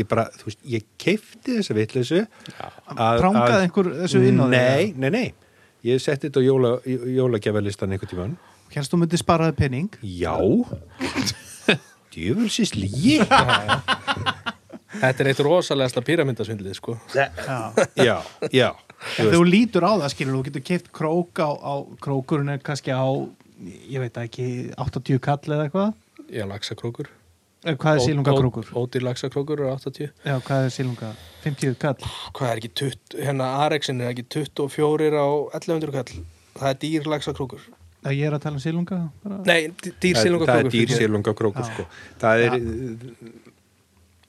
ég bara, þú veist, ég keifti þessa vitleysu að- Prangaði að- einhver þessu inn á þig? nei, nei, nei ég setti þetta á jóla, jólagjafalistan einhvern tímann Hérst þú myndi sparaði penning? já djöfulsins lígi Þetta er eitt rosalegasta píramindasvindlið, sko. Já. já, já Ef þú lítur á það, skilur, þú getur keift krók á, á krókurinn er kannski á, ég veit það ekki, 80 kall eða eitthvað? Já, laxakrókur. Eh, Hvað er sílungakrókur? Ódýr laxakrókur er 80. Já, hvað er sílunga? 50 kall? Hvað er ekki 20, hérna Arexin er ekki 24 á 1100 kall. Það er dýr laxakrókur. Já, Ég er að tala um sílunga? Bara. Nei, d- dýr það, það er sílungakrókur. dýr sílungakrókur sko. það er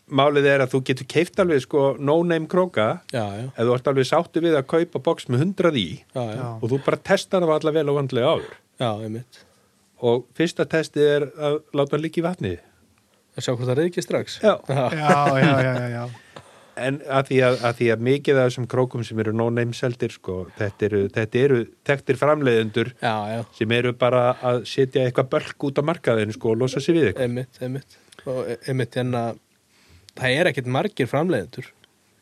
málið er að þú getur keift alveg sko, no-name króka Já, já, ef þú ert alveg sáttu við að kaupa box með 100 í já, já. Já. og þú bara testar það allavega vel og vandlega áður Já, einmitt. og fyrsta testið er að láta hann líka í vatni Að sjá hvort það reyðki strax. Já. Já, já, já, já, já. en að því að, að, því að mikið af þessum krókum sem eru no-name seldir sko, þetta eru, þetta eru tektir framleiðendur Já, já, sem eru bara að setja eitthvað bölk út á markaðin sko, og losa sig við eitthvað einmitt, einmitt. Og e- einmitt, en að það er ekkert margir framleiðendur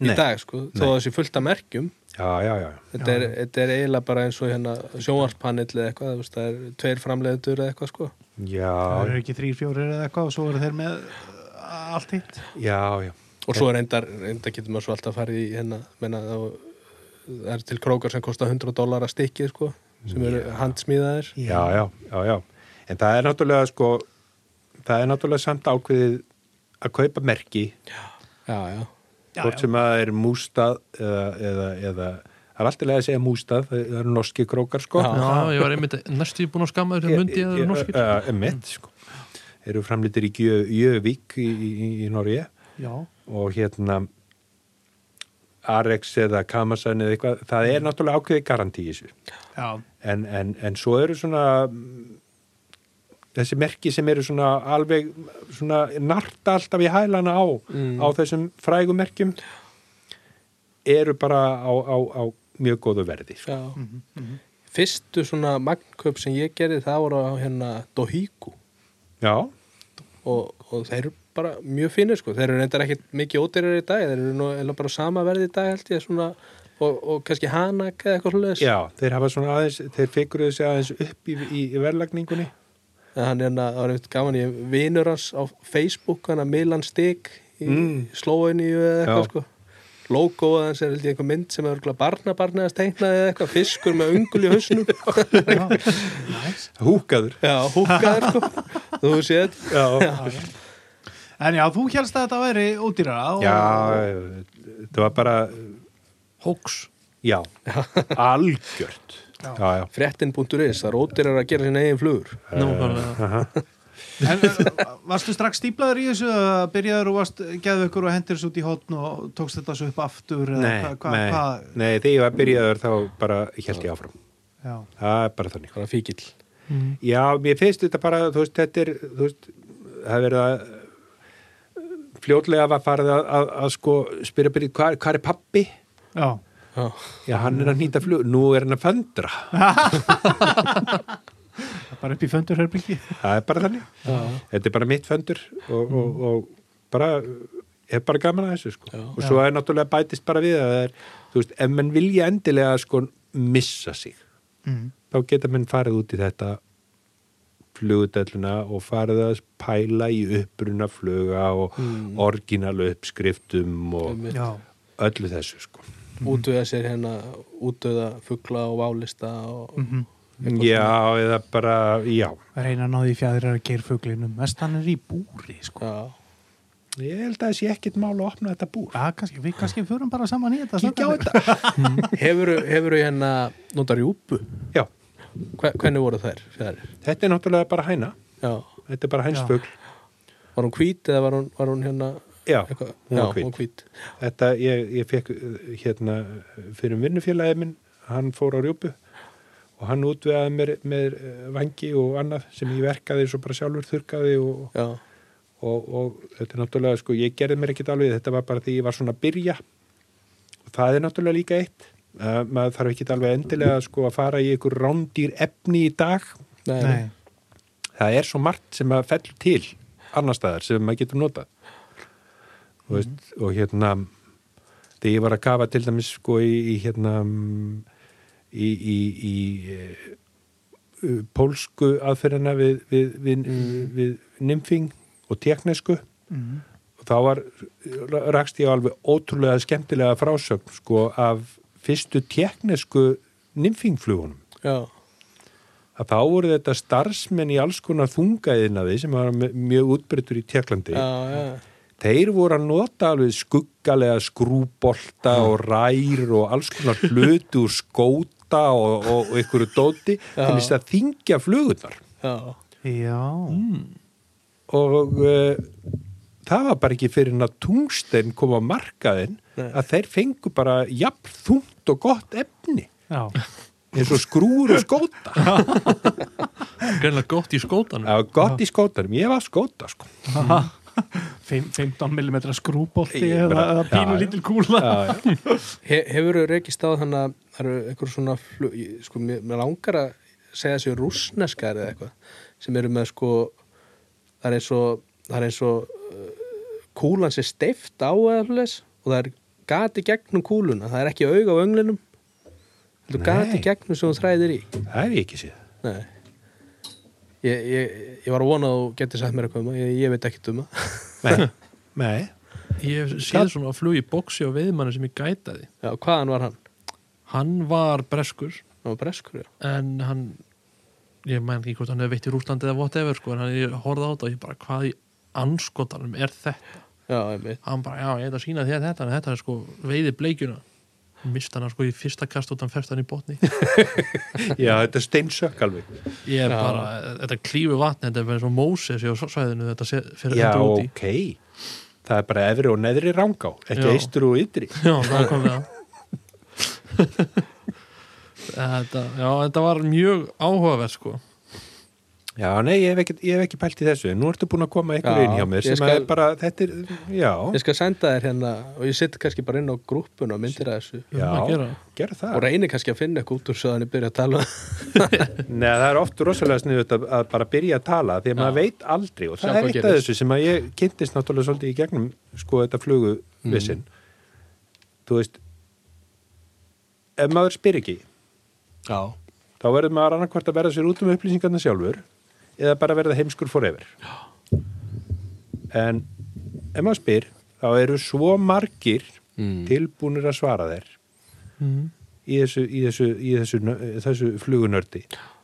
Nei. í dag, sko, þó að þessi fullt af merkjum. já, já, já, Þetta er, þetta er eiginlega bara eins og hérna sjónvarspanill eða eitthvað, þú veist, það er tveir framleiðendur eða eitthvað, sko. já Það eru ekki þrýr, fjórir eða eitthvað og svo eru þeir með allt hitt Já, já. og svo reyndar, reyndar getur maður svo alltaf farið í hérna menna, þá- það er til krókar sem kosta 100 dólar að stikki sko, sem eru handsmíðaðir já, já, já, já. En það er náttúrulega sko, það er náttúrulega samt ákveðið að kaupa merki, já, já, Já, hvort já. sem að það er mústað eða, eða, eða það er alltaf lega að segja mústað, það það eru norski krókar sko. Já. Já, ég var einmitt næstu búin að skamma þér þegar myndi ég að það eru norskir Uh, emitt, sko. Eru framlýttir í Gjövík í, í, í Norge já, og hérna Arex eða Kamasan eða eitthvað, það er náttúrulega ákveðið garantí í þessu. já, en, en, en svo eru svona mm, þessi merki sem eru svona alveg svona narta alltaf í hælana á Mm. á þessum frægum merkjum eru bara á, á, á mjög góðu verði sko. já. fyrstu svona magnkaup sem ég gerði það voru á hérna Dohíku já, og, og þeir eru bara mjög fínir sko. þeir eru reyndar ekkit mikið ódýrar í dag þeir eru nú eiginlega bara á sama verði í dag held ég svona, og, og kannski hanak eða eitthvað hlutis já, þeir hafa svona aðeins þeir fikuruðu sig aðeins upp í, í, í verðlagningunni hann er hérna, það var einhvern gaman ég vinur hans á Facebook, hann að Milan Stig í mm. Mm. Slóiníu eða Já. eitthvað sko logoð hans er held ég einhver mynd sem er örgulega barnabarni hans teiknaði eða eitthvað, fiskur með ungul í hausnum húkaður já, húkaður sko þú séð já, en já, þú helst að þetta væri ódýrara og, já, það var bara Hóks já, algjört já, já, fréttin.is, það er ódýrar að gera sín eigin flugur Nákvæmlega En uh, varstu strax stíplaður í þessu að byrjaður og varst geðu ykkur og hendir þessu út í hotn og tókst þetta svo upp aftur eða nei, hva, hva, nei, hva, nei, þegar ég var byrjaður þá bara held ég áfram já, það er bara þannig það er fíkil já, mér finnst þetta bara, þú veist, þetta er þú veist, það er verið að eh, fljótlega var farið að, að, að sko spyrja byrja, hvað, hvað er pappi? já, já, Já, hann er að nýta flug, nú er hann að föndra bara upp í föndurherbyggi það er bara þannig, já, Mm. þetta er bara mitt föndur og, og, og bara er bara gaman að þessu, sko Já. og svo er náttúrulega bætist bara við að það er þú veist, ef menn vilja endilega sko missa sig, mm. þá geta menn farið út í þetta flugudelluna og farið að pæla í uppruna fluga og Mm. orginalu uppskriftum og einmitt. já, öllu þessu sko. Mhm. útöða sér hérna útöða fugla og válista og Mhm. eitthvað Já, eða bara, já reyna að náði fjæðrar að geir fuglinum mest hann er í búri sko. svona. já, ég held að þessi ekkit mál að opna þetta búr já, kannski, við kannski förum bara saman í þetta kíkja á strákarnir. þetta Hefurðu hefurðu hérna nota rjúpu? já, Hve, hvernig voru þær? Fjær? þetta er náttúrulega bara hæna Já, þetta er bara hænsfugl var hún hvít eða var hún, var hún hérna já, eitthvað? hún var hún hvít hvít. þetta, ég, ég fekk uh, hérna fyrir um vinnufélagið minn hann fór á rjúpu og hann útvegaði mér með vangi og annað sem ég verkaði svo bara sjálfur þurkaði og, Já, og, og þetta er náttúrulega sko, ég gerði mér ekkit alveg þetta var bara því ég var svona að byrja og það er náttúrulega líka eitt uh, maður þarf ekkit alveg endilega sko að fara í einhver rándýr efni í dag nei, nei, nei. það er svo margt sem að fellur til annar staðar sem maður getur notað mm. veist, og hérna þegar ég var að kafa til dæmis sko í, í hérna mm, í, í, í eh, uh, pólsku aðferðina við, við, við, við nymfing og teknesku mm. og þá var rakst ég á alveg ótrúlega skemmtilega frásögn sko af fyrstu teknesku nymfingflugunum já, að þá voru þetta starfsmenn í alls konar þungaðinaði sem var me- mjög útbryttur í Tjekklandi. já, já, Þeir voru að nota alveg skuggalega skrúbolta og rær og alls konar hluti úr skóta og, og, og einhverju dóti til Já. þess að þingja flugurnar. já, já Mm. Og uh, það var bara ekki fyrir en að tungstein kom á markaðinn Nei. að þeir fengu bara jafn þungt og gott efni já, eins og skrúur og skóta. Greinlega gott í skótanum Það var gott í skótanum, ég var skóta sko. Fimm- 15mm skrúbolti Ég eða, bara- eða pínu já, lítil kúla Já, já. He, Hefurðu rekist á þannig að það eru einhver svona flug, ég- sko, mér, mér langar að segja þessi rússneskar eða eitthvað sem eru með sko það er eins og, það er eins og uh, kúlan sér steift á eða fleis og það er gati gegnum kúluna, það er ekki auga á önglinum heldur gati Nei. gegnum sem þú þræðir í Það er ég ekki séð. Nei Ég, ég, ég var að vona að þú getur sagt mér eitthvað um það, ég, ég veit ekkert um það Nei, nei Ég hef séð svona flug í boksi á veiðmanni sem ég gætaði. Já, hvaðan var hann? Hann var breskur Hann var breskur, já. en hann, ég mæn ekki hvort hann hefur veitt í Rúslandi eða whatever sko, en hann ég horfði á þetta og ég bara hvað í anskotanum er þetta? Já, einmitt. Hann bara, já, ég ætla að sína þér þetta, en þetta er sko veiði bleikjuna. Mist hann sko í fyrsta kast og hann ferst hann í botni. Já, þetta er steinsök alveg Ég er Já. bara, þetta klífi vatni, þetta er verið svo Móses í svæðinu, þetta sé- fer Já, enda út í. ok Það er bara efri og neðri rangá ekki Já. eistur og ytri Já, nákvæmlega þetta, Já, þetta var mjög áhugaverð sko Já, nei, ég hef ekki, ég hef ekki pælt í þessu en nú ertu búin að koma Já, einhver inn hjá mér ég sem skal... skal- er bara, þetta er, já, Ég skal senda þér hérna og ég sitt kannski bara inn á grúppun og myndir að þessu um að já, gera. gerð og það reynir kannski að finna eitthvað út úr svo þannig byrja að tala um Nei, það er oft rosalega sniðut að, að bara byrja að tala því að maður veit aldrei og Sjá hvað það er eitt af gerist. þessu sem að ég kynntist náttúrulega svolítið í gegnum sko þetta flugu vissin Mm. Þú veist ef maður spyr ekki Já. þá verður maður annarkvart að verða sér út um upplýsingarna sjálfur eða bara verða heimskur fór yfir en ef maður spyr þá eru svo margir Mm. tilbúnir að svara þér Mm. í þessu, í þessu, í þessu, nö- þessu flugunördi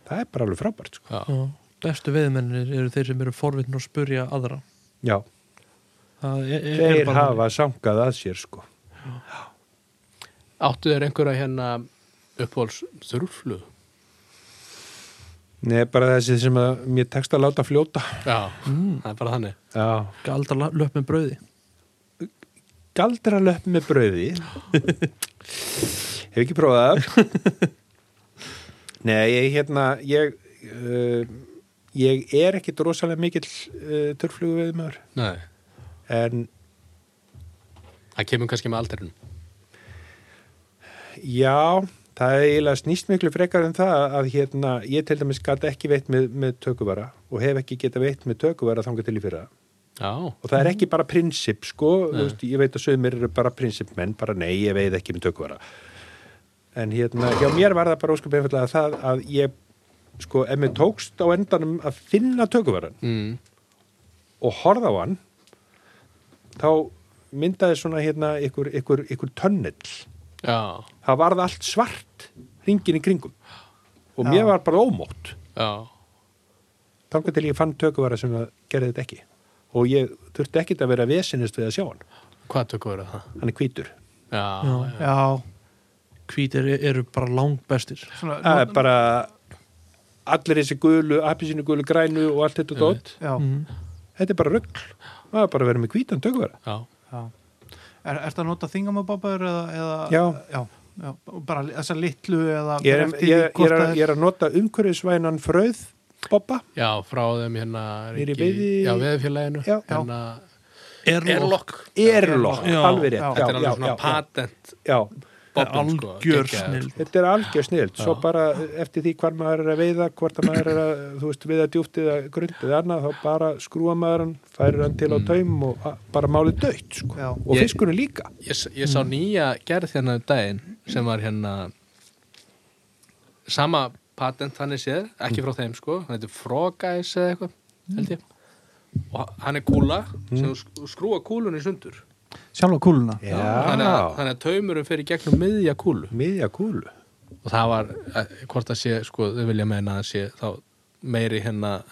það er bara alveg frábært sko. Já, Bestu veðmennir eru þeir sem eru forvitn að spurja aðra Já, Það e- er, er, er þeir bara- hafa sangað að sér sko. Áttu þér einhverja hérna uppáhalds þurrflug? Nei, bara þessi sem að mér tekst að láta fljóta Já, það er bara þannig Já. galdra la- löpp með brauði galdra löpp með brauði hef ekki prófað það nei, ég hérna ég, uh, ég er ekki rosalega mikill uh, törflugu við maður Nei, en það kemur kannski með aldrinum já, það er eiginlega snýst miklu frekar en það að hérna ég til dæmis gata ekki veitt með, með tökuvara og hef ekki geta veitt með tökuvara þangað til í fyrra Já, og það er ekki bara prinsip sko, þú Nei. veist, ég veit að sögumir eru bara prinsipmenn, bara nei, ég veið ekki með tökvara en hérna, hjá mér var það bara óskup einfallega það að ég, sko, ef mér tókst á endanum að finna tökvaran mm. og horða á hann þá myndaði svona hérna ykkur, ykkur, ykkur tönnell já, það varð allt svart ringin í kringum Já. og mér var bara ómótt já þangar til ég fann tökvara sem að gerði þetta ekki og ég þurfti ekkit að vera vesinist við að sjá hann, Hvað tökur verið það? hann er hvítur Já, Já. já, Já, Hvítir e- eru bara langbestir svona það nú- er bara allir þessi gulu, appisínu gulu grænu og allt þetta dótt, Já, mm. þetta er bara rögl maður bara verið með hvítan tökvara já. já Er þetta að nota þingamababur eða, eða Já. já, já, og bara li- þessa litlu eða ég er, bara eftir ég, því ég, hvort er, það að- ég er að nota umhverfisvænan fröð bobba, já frá þeim hérna er Niðri í ekki- veiði- Já, veðfélaginu Já. hérna, Erlokk erlokk Já, alveg já. rétt, Þetta er já, já, alveg svona já, patent já, bobbin, sko, Algjör geggjað, snill sko. þetta er algjör snild svo bara eftir því hvar maður er að veiða hvort að maður er að, þú veist, veiða djúpt eða grund eða annað, þá bara skrúa maður hann færir hann til á taum og a- bara málið döitt, sko, Já. og Mm. Ég- fiskunum líka Ég, s- ég Mm. sá nýja gerð hérna um daginn sem var hérna sama patent þannig séð, ekki Mm. frá þeim sko hann heitir Frogæs eða eitthvað held ég og hann er kúla sem Mm. þú sk- þú skrúa kúlun í sundur Sjálfa kúluna já, þannig að, þannig að taumurum fyrir gegnum miðja kúlu miðja kúlu og það var, eh, hvort að sé sko, þau vilja meina að sé þá meiri hérna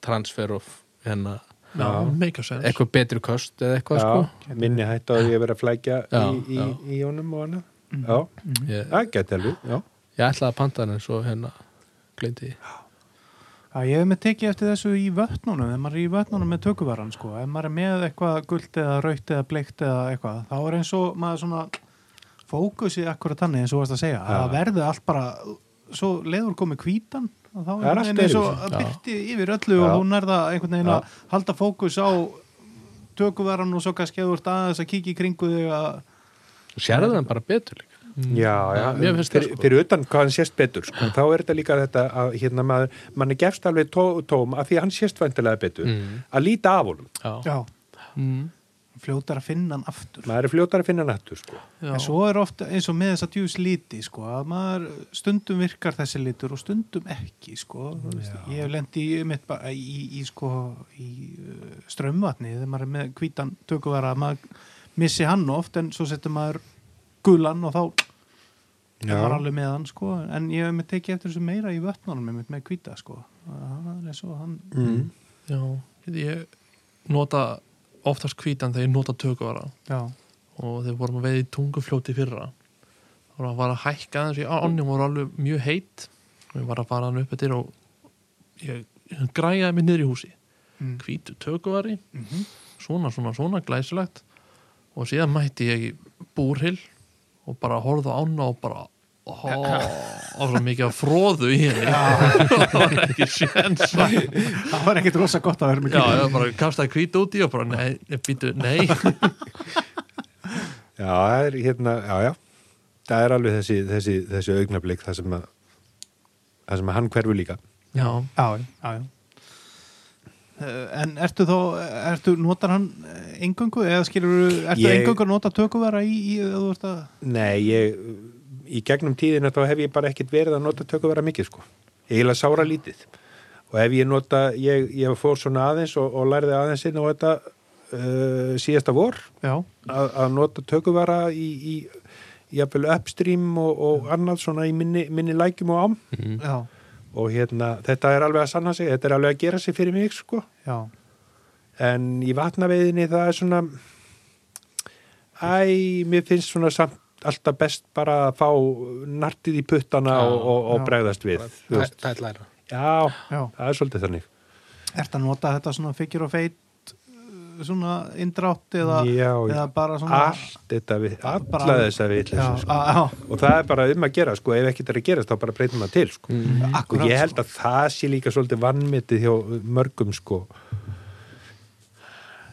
transfer of hérna, Já, make a sense eitthvað betri kost eða eitthvað já, sko minni hætt á því að vera að flækja Já, í, í, já. í honum og hana já, ég, það geti alveg já. ég ætlaði að panta hann en svo hérna glindi Já, ég hef með tekið eftir þessu í vötnunum, ef maður er í vötnunum með tökuvaran, sko, ef maður er með eitthvað gult eða raukt eða bleikt eða eitthvað, þá er eins og maður svona fókusið akkurat þannig eins og þú varst að segja, að það verði allt bara, svo leiður komið hvítan, að þá Það er er allt einn eins og öðruvísi. að byrti yfir öllu Já. og hún er það einhvern veginn Já. að halda fókus á tökuvaran og svo kannski að þú ert aðeins að kíkja í kringu þig að, sérðu hann bara betur líka já, já, Já, Mm. mér finnst það, fyrir, sko. fyrir utan hvað hann sést betur sko. þá er þetta líka þetta að hérna, maður, mann er gefst alveg tó, tóm að því að hann sést vantilega betur Mm. að líta af honum já, já, mm. fljótar að finna hann aftur maður er fljótar að finna nættur sko. já, en svo er ofta eins og með þess að djús liti sko, að maður stundum virkar þessi litur og stundum ekki sko, þú veist, ég hef lendi í, um mitt, ba- í, í, í, sko, í uh, strömmvatni þegar maður er með hvítan tökuvara að maður missi hann oft en svo setur maður gulan og þá Já. var alveg með hann sko en ég hef með tekið eftir þessu meira í vötnunum með, með kvíta sko hann er svo hann mm. já ég nota oftast hvítan þegar ég nota tökuvara já, og þegar við vorum að veiða í tungufljóti í fyrra þá var að fara að hækka aðeins í ánni og voru alveg mjög heitt og ég var að fara hann upp eftir og ég, ég græjaði mig niður í húsi mm. hvítu tökuvari, Mm svona, svona, svona glæsilegt og síðan mætti ég í búrhill og bara horfði á ána og bara ó, og svo mikið af fróðu í henni það var ekki séns já, það var ekkit rosa gott að vera með ég kvíta bara kastaði hvít út í og bara nei, býtu, nei Já, það er hérna, já, já. Það er alveg þessi, þessi, þessi augnablik það sem að, það sem að hann hverfu líka. já, já, já, já, já. Eh, en ertu þá ertu, notar hann engöngu eða skilur, ertu Ég- engöngu að nota tökuvera í, í eða þú ert að Nei, ég, í gegnum tíðina þá hef ég bara ekkit verið að nota tökuvera mikið, sko. Eiginlega sára lítið. Og ef ég nota, ég, ég fór svona aðeins og, og lærði aðeins inn á þetta uh, síðasta vor já, að, að nota tökuvera í, í jafnvel upstream og, og annað svona í minni, minni lækjum og ám já, og hérna, þetta er alveg að sanna sig, þetta er alveg að gera sig fyrir mig, sko. já en í vatnaveiðinni það er svona æ, mér finnst svona samt alltaf best bara að fá nartið í puttana Já, og, og, já. og bregðast við þú tæ- veist. tætlæra já, já, það er svolítið þannig ert að nota þetta svona figure of eight eh, svona indrátt eða, já, eða bara svona allt þetta við, bara- alla þessa við já, sko. á- á, og það er bara um að gera sko, ef ekki þetta er að gerast þá bara breytum það til sko. og akkurat ég held að það sé líka svolítið vannmetið hjá mörgum sko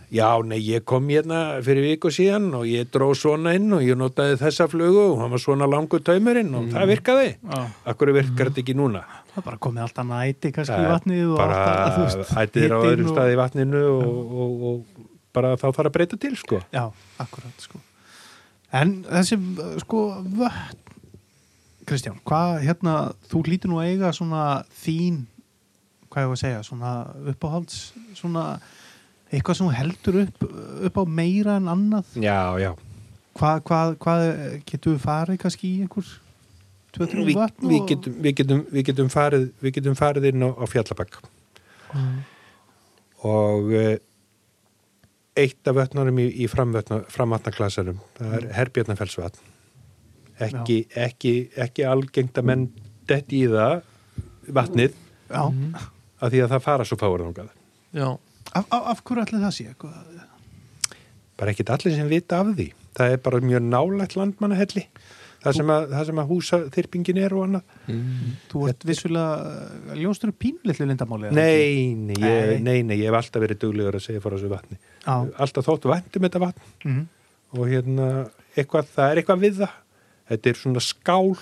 já, nei, ég kom hérna fyrir viku síðan og ég dró svona inn og ég notaði þessa flugu og hann var svona langur taumurinn og það virkaði Mm. Já. akkur virkar þetta ekki núna Það er bara komið alltaf næti kannski Það í er vatnið og bara alltaf, þú veist, ættir á hitinn öðrum og- staði í vatninu og, og, og, bara þá þarf að breyta til sko Já, akkurat, sko. En þessi, uh, sko, vötn, Kristján, hvað, hérna, þú lítur nú að eiga svona þín, hvað ég var að segja, svona uppáhalds, svona eitthvað sem þú heldur upp, upp á meira en annað. já, já, Hvað, hvað, hvað, eh, getum við farið kannski í einhver, tvö, þrjú Vi, vötn við, getum, við, getum, við, getum farið, við getum farið inn á, á fjallabakk Mm. og eh, eitt af vötnunum í, í framvötna- framvatnaklasanum, það er herbjörnafellsvatn ekki, ekki, ekki algengt að menn detti í það vatnið Já, Mhm. af því að það fara svo fáur þangað já, af, af, af hverju ætli það sé eitthvað? bara ekkit allir sem vita af því það er bara mjög nálægt landmannahelli það sem að, það sem að húsa þyrpingin er og annað Þú ert vissulega, ljóstur upp pínlitlu lindamáli? nei, nei, Nei. ég, nei, nei, ég hef alltaf verið duglegur að segja frá þessu vatni Já. alltaf þótt væntum þetta vatn Mm. og hérna eitthvað, það er eitthvað við það þetta er svona skál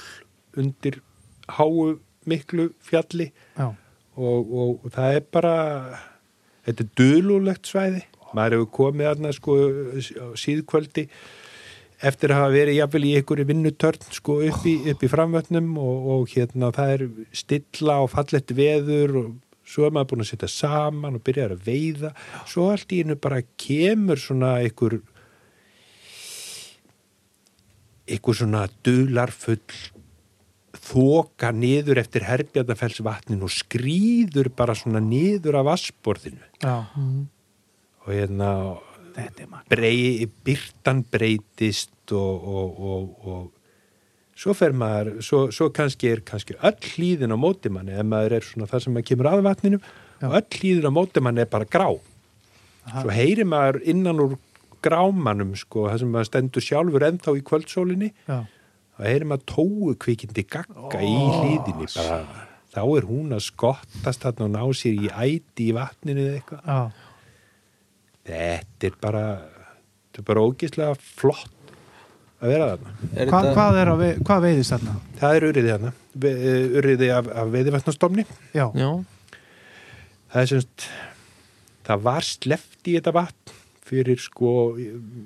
undir háu miklu fjalli Já. og, og það er bara þetta er dululegt svæði maður hefur komið aðna sko á síðkvöldi eftir að hafa verið jafnvel í einhverju vinnutörn sko upp í, upp í framvötnum og, og hérna það er stilla og fallett veður og svo er maður búin að setja saman og byrjar að veiða svo allt í einu bara kemur svona einhver einhver svona dularfull þoka niður eftir Herbjarnafells vatnin og skrýður bara svona niður af vassborðinu Já. Mhm. og hérna Þetta er mann. brei, byrtan breytist og, og, og, og svo fer maður svo, svo kannski er kannski öll hlýðin á móti manni ef maður er svona það sem maður kemur að vatninu og öll hlýðin á móti manni er bara grá svo heyri maður innan úr grámanum sko, það sem maður stendur sjálfur ennþá í kvöldsólinni Já. Það er maður tóu kvikindi gagga í hlýðinni bara. Þá er hún að skottast þarna og ná sér í æti í vatninu eða eitthvað. Já. Þetta er bara, þetta er bara ógislega flott að vera þarna. Er Hva, þetta- hvað, er að, vei- hvað veiðist þarna? Það er urriði þarna, ve- eh, urriði af, af veiðivatnastofni. Já. já Það er semst, það var sleft í þetta vatn fyrir sko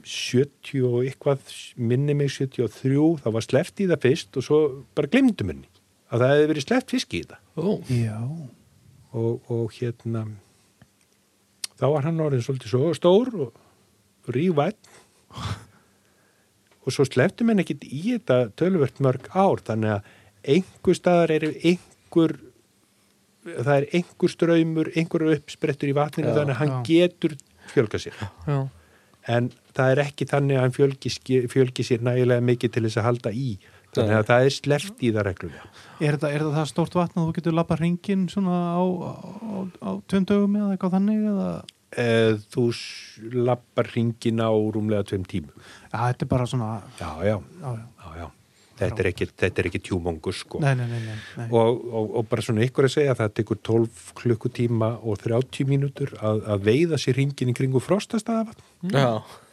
70 og eitthvað minni mig 73, þá var sleft í það fyrst og svo bara glemdum henni að það hefði verið sleft fiski í það Ó, Já. og, og hérna þá var hann orðin svolítið svo stór og rívætt og svo sleftum henn ekkit í þetta tölvört mörg ár þannig að einhver staðar er einhver það er einhver ströymur, einhver uppsprettur í vatninu Já, þannig að hann já. getur fjölga sér já, en það er ekki þannig að hann fjölgi, ske- fjölgi sér nægilega mikið til þess að halda í þannig Nei. að það er sleft í það reglulega Er þetta, er þetta það stórt vatn að þú getur lappa hringin svona á, á, á, á tveim dögum eða eitthvað þannig eða Eh, þú lappar hringin á rúmlega tveim tímum. Já, þetta er bara svona Já, já, já, já. já, já. Þetta er ekki, þetta er ekki tjúmongur sko. Nei, nei, nei, nei, nei. Og, og, og bara svona ykkur að segja að það tekur 12 klukkutíma og 30 mínútur að, að veiða sér hringin í kringu frostastaðavatn. Já,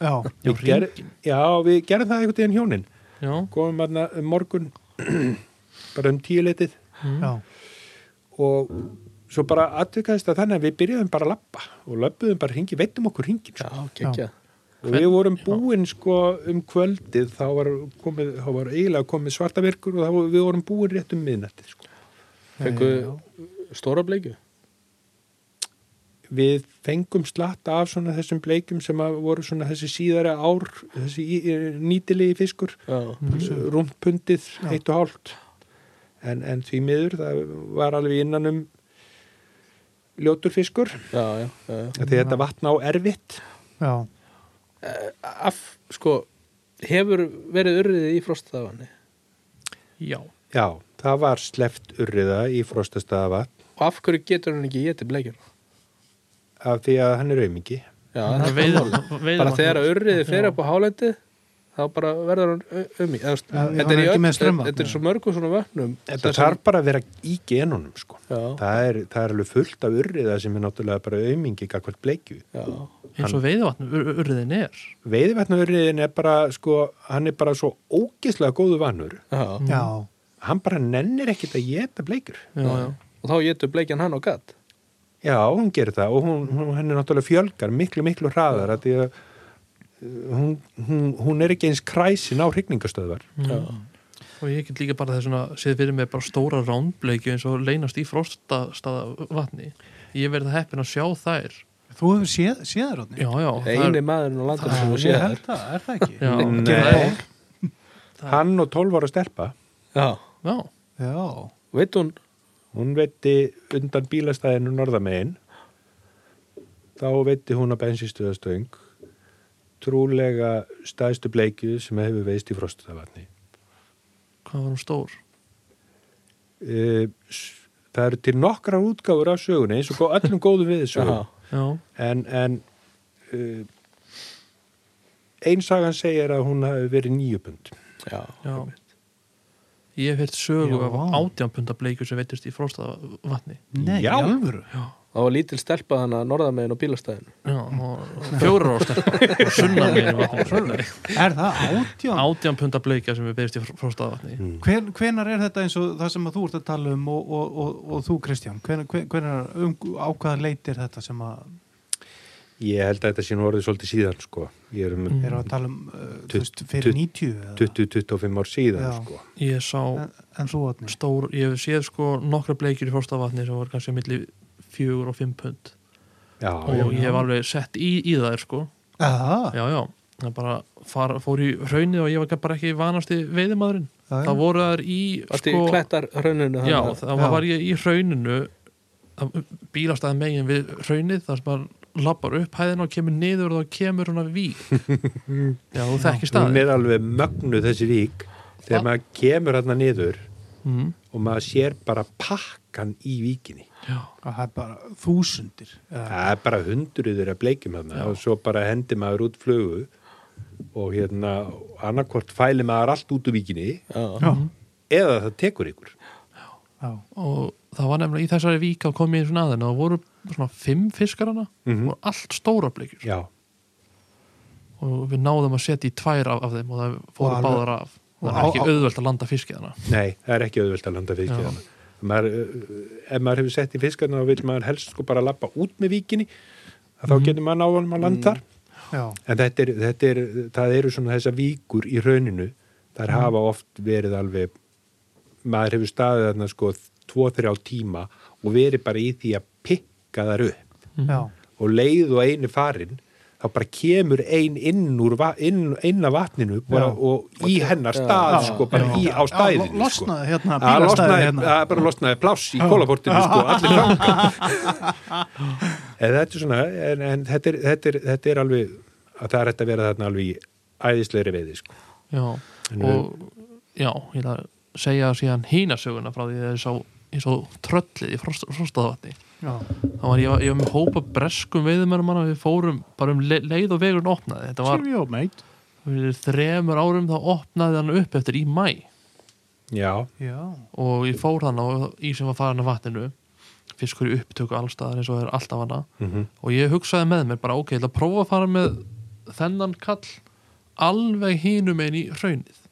Já, Við ger- Já, við gerum það einhvern veginn hjónin. já, Komum aðna um morgun, bara um tíuleitið Mm. já, og svo bara atvikaðist að þannig að við byrjuðum bara að lappa og löppuðum bara hringi, veitum okkur hringin sko. já, gekkja og við vorum búin sko um kvöldið þá var, komið, þá var eiginlega komið svarta virkur og þá, voru- við vorum búin rétt um miðnætti sko. Fengu já. stóra bleikju við fengum slatta af svona þessum bleikum sem að voru svona þessi síðara ár þessi í- nýtilegi fiskur Já, rúmpundið eitt og hálft en, en því miður það var alveg innan um ljótur fiskur já, já, já, já. því þetta vatna á erfitt já. Af, sko, hefur verið urrið í frostaðavanni já. já, það var sleft urriða í frostastafa og af hverju getur hann ekki getið bleikjur af því að hann er aumingi Já, Það það veiðir er veiðir bara mann- þegar að urriði fer Já. upp á hálendi þá bara verður hann ö- um í Eða, Já, já, þetta hann er, er í ekki öll- með straumvatn, þetta er já. svo mörgum svona vötnum Þetta þarf bara að vera í genunum sko. já, það, er, það er alveg fullt af urriða sem er náttúrulega bara aumingi gagvart bleikju. já, eins og veiðvatn, urriðin er Veiðivætnaurriðin er bara, sko, hann er bara svo ógislega góðu vanur. já. já. Hann bara nennir ekkit að geta bleikur. já, já, og þá getur bleikjan hann og gatt Já, hún gerir það og hún, hún, henni náttúrulega fjölgar miklu, miklu hraðar að því að uh, hún, hún, hún er ekki eins kræsin á hrygningastöðvar. já, og ég get líka bara þess að séð fyrir mig bara stóra rándbleikju eins og leynast í frostastaða vatni ég verði það heppin að sjá þær Þú hefur séð, séð Róðni? já, já, Það það er er- eini maðurinn á landinu sem þú Ég séð held það, er það ekki? já, Nei, það- hann og 12 ára stelpa, já, já, Já, veit hún hún veitti undan bílastæðinu norðamegin þá veitti hún á bensinstöðastöng trúlega stæðstu bleikju sem hefur veist í frostavatni hvað var hún stór Eh, s- það eru til nokkrar útgáfur af sögunni eins og gó- öllum góðum við já, sögum já, en, en uh, einsagan segir að hún hafi verið nýjöpund já, já ég hef hirt sögu Já. af átjánpunda bleikju sem veitist í frostaða vatni nei, Já. í alvöru það var lítil stelpa hann að norðamegin og bílastæðin já, og fjórar ástar sunna megin Er það átján? átjánpunda bleikja sem við veitist í frostaða vatni Hven, hvenar er þetta eins og það sem að þú ert að tala um og, og, og, og þú Kristján hvenar, hvenar um, á hvaða leitir þetta sem að ég held að þetta sé nú orðið svolítið síðan sko. ég er um Mm. eru að tala um uh, Tu- tu, veist, fyrir tu- 90 eða? 20-25 ár síðan Já. sko. ég sá en, en þú Róðni? stór, ég hef séð sko nokkra bleikjur í frostavatni sem voru kannski milli fjögur og fimm pund já, og ég hef alveg sett í, í þær sko Já, já, já, það bara far, fór í hraunið og ég var bara ekki vanasti veiðimaðurinn Ah, já, já. það voru þær í sko, allt í klettar hrauninu já, þarna. það Já. var ég í hrauninu það- bílastæðan megin við hraunið þar sem maður lappar upp hæðina og kemur niður og þá kemur hún að vík já, þú þekkir hún staðin er alveg mögnu þessi vík þegar Það- maður kemur hann niður mm, og maður sér bara pakkan í víkinni já, Að það er bara þúsundir eða- það er bara hundruður að bleikjum hann Já. og svo bara hendi maður út flugu og hérna annarkvort fæli maður allt út úr víkinni já, Já, eða það tekur ykkur já, og það var nefnilega í þessari vík að kom ég svona aðeina og voru svona fimm fiskarana Mhm. voru allt stóra bleikjur já, og við náðum að setja í tvær af, af þeim og það Og fóru alveg- báðar af og það á- er ekki á- auðvelt að landa fiskið hérna. hana nei, það er ekki auðvöld að landa Já. fiskjana maður, uh, ef maður hefur sett Mhm. í fiskarna þá vil maður helst sko bara lappa út með víkinni að þá getur maður náðanum að landa þar já, En þetta er, þetta er, það eru svona þessa víkur í rauninu, þar hafa oft verið alveg, maður hefur staðið þarna sko tvo, þrjá tíma og verið bara í því að pikka þar upp já, og leið og einu farin, þá bara kemur ein inn úr, va- inn, inn af vatninu bara, Já. og í hennar stað Já. sko, bara Já. í á Já, stæðinu lo- losnaði sko. hérna, Að bílastæðið losnaði- hérna. að bara losnaði pláss í kólaportinu sko, allir franga en þetta er svona en, en þetta, er, þetta, er, þetta er alveg að það er hægt að vera þarna alveg í æðislegri veiði sko. já og já, ég ætla að segja síðan hínasöguna frá því að ég sá, ég sá tröllið í frost, frostaðvatni já, þá var ég, ég var með hópa breskum veiðumennum manna við fórum bara um le, leið og vegurinn opnaði þetta var cheerio mate fyrir þremur árum þá opnaði hann upp eftir í mæ já, já, og ég fór þann og ísinn var farin af vatninu fiskur í upptöku allstaðar eins og það er alltaf hana mm og ég hugsaði með mér bara ok, ég ætla að prófa að fara með þennan kall alveg hínum einn í hraunið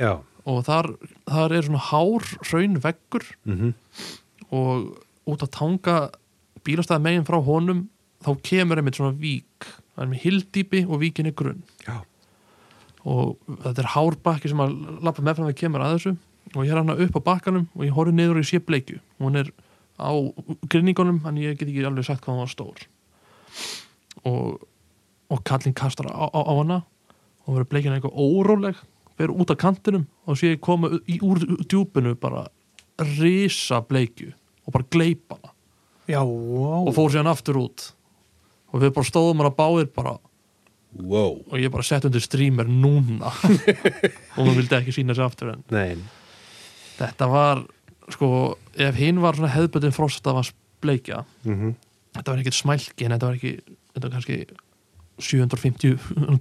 já og þar, þar er svona hár hraunveggur mm og út að tanga bílastæði megin frá honum þá kemur einmitt svona vík það er með hildýpi og víkin er grunn já, og þetta er hár bakki sem að lappa meðfram við kemur að þessu og ég er hana upp á bakkanum og ég horfi niður og ég sé bleikju hún er á grinningunum en ég get ekki alveg sagt hvað hún var stór og, og kallinn kastar á, á, á hana og verður bleikjan eitthvað óróleg verður út af kantinum og sé ég koma í, úr djúpinu bara risa bleikju og bara gleipa hana já, wow. og fór síðan aftur út og við bara stóðum hana báðir bara wow og ég bara sett undir streamer núna og hún vildi ekki sína sér aftur en Nein. þetta var sko, ef hinn var svona hefðböndin frostafans bleikja Mm þetta var ekkert smælki en þetta var ekki þetta var kannski 750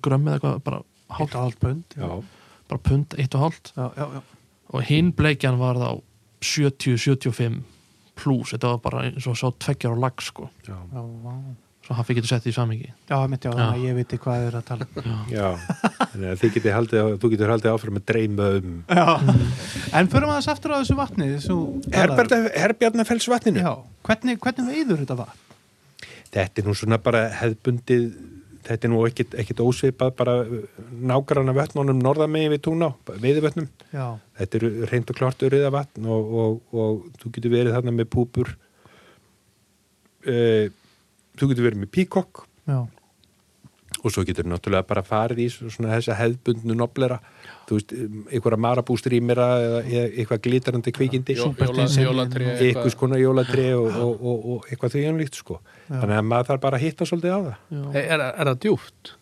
grömm eða eitthvað, bara, hálft hálf, og hálft pund já, já, bara pund, eitt og hálft já, já, já. og hinn bleikjan var þá 70-75 pluss, þetta var bara eins og sá tveggjar og lag sko, já, Já, vá. svo hann fikk þetta sett í samingi já, mitt já, þannig að ég viti hvað þið eru að tala um. já. Þannig að þið getið haldið, á- þú getur haldið áfram að dreyma um Já, en förum aðeins aftur á þessu vatni þessu Herbert, Herbjarnafellsvatninu Já, hvernig, hvernig veiður þetta vatn? þetta er nú svona bara hefðbundið þetta er nú ekkit, ekkit ósveipað bara nágrana vötnunum norðamegi við túná, veiðvötnum Já, þetta eru reynd og klart öryða vatn og, og, og þú getur verið þarna með púpur uh, þú getur verið með píkokk já, og svo getur náttúrulega bara farið í svona þessa hefðbundnu noblera þú veist, um, einhverja marabústrýmera eða eða eitthvað glitarandi kvikindi Jó- Súper jóla- Disney. jólatré eitthvað. eitthvað skona jólatri og, og, og, og eitthvað því anlíkt sko þannig að maður þarf bara að hitta svolítið á það Er, er, er það djúft?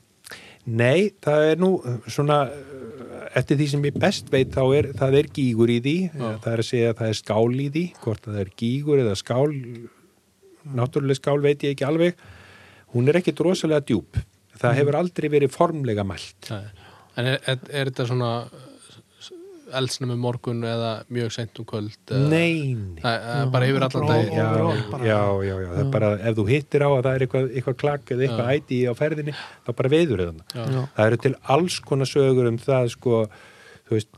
Nei, það er nú uh, svona uh, eftir því sem ég best veit þá er það er gígur í því það er að segja að það er skál í því hvort það er gígur eða skál náttúrulega skál veit ég ekki alveg hún er ekkit rosalega djúp það Mm. hefur aldrei verið formlega mælt Nei. En er, er, er þetta svona eldsnum um morgun eða mjög seint um kvöld? eða- Nein Það það er bara yfir allan Ó, Já, dag. já, overall bara. já, já, það er bara ef þú hittir á að það er eitthvað, eitthvað klakk eða eitthvað æti á ferðinni, þá bara veður eða Já. já, það eru til alls konar sögur um það sko, þú veist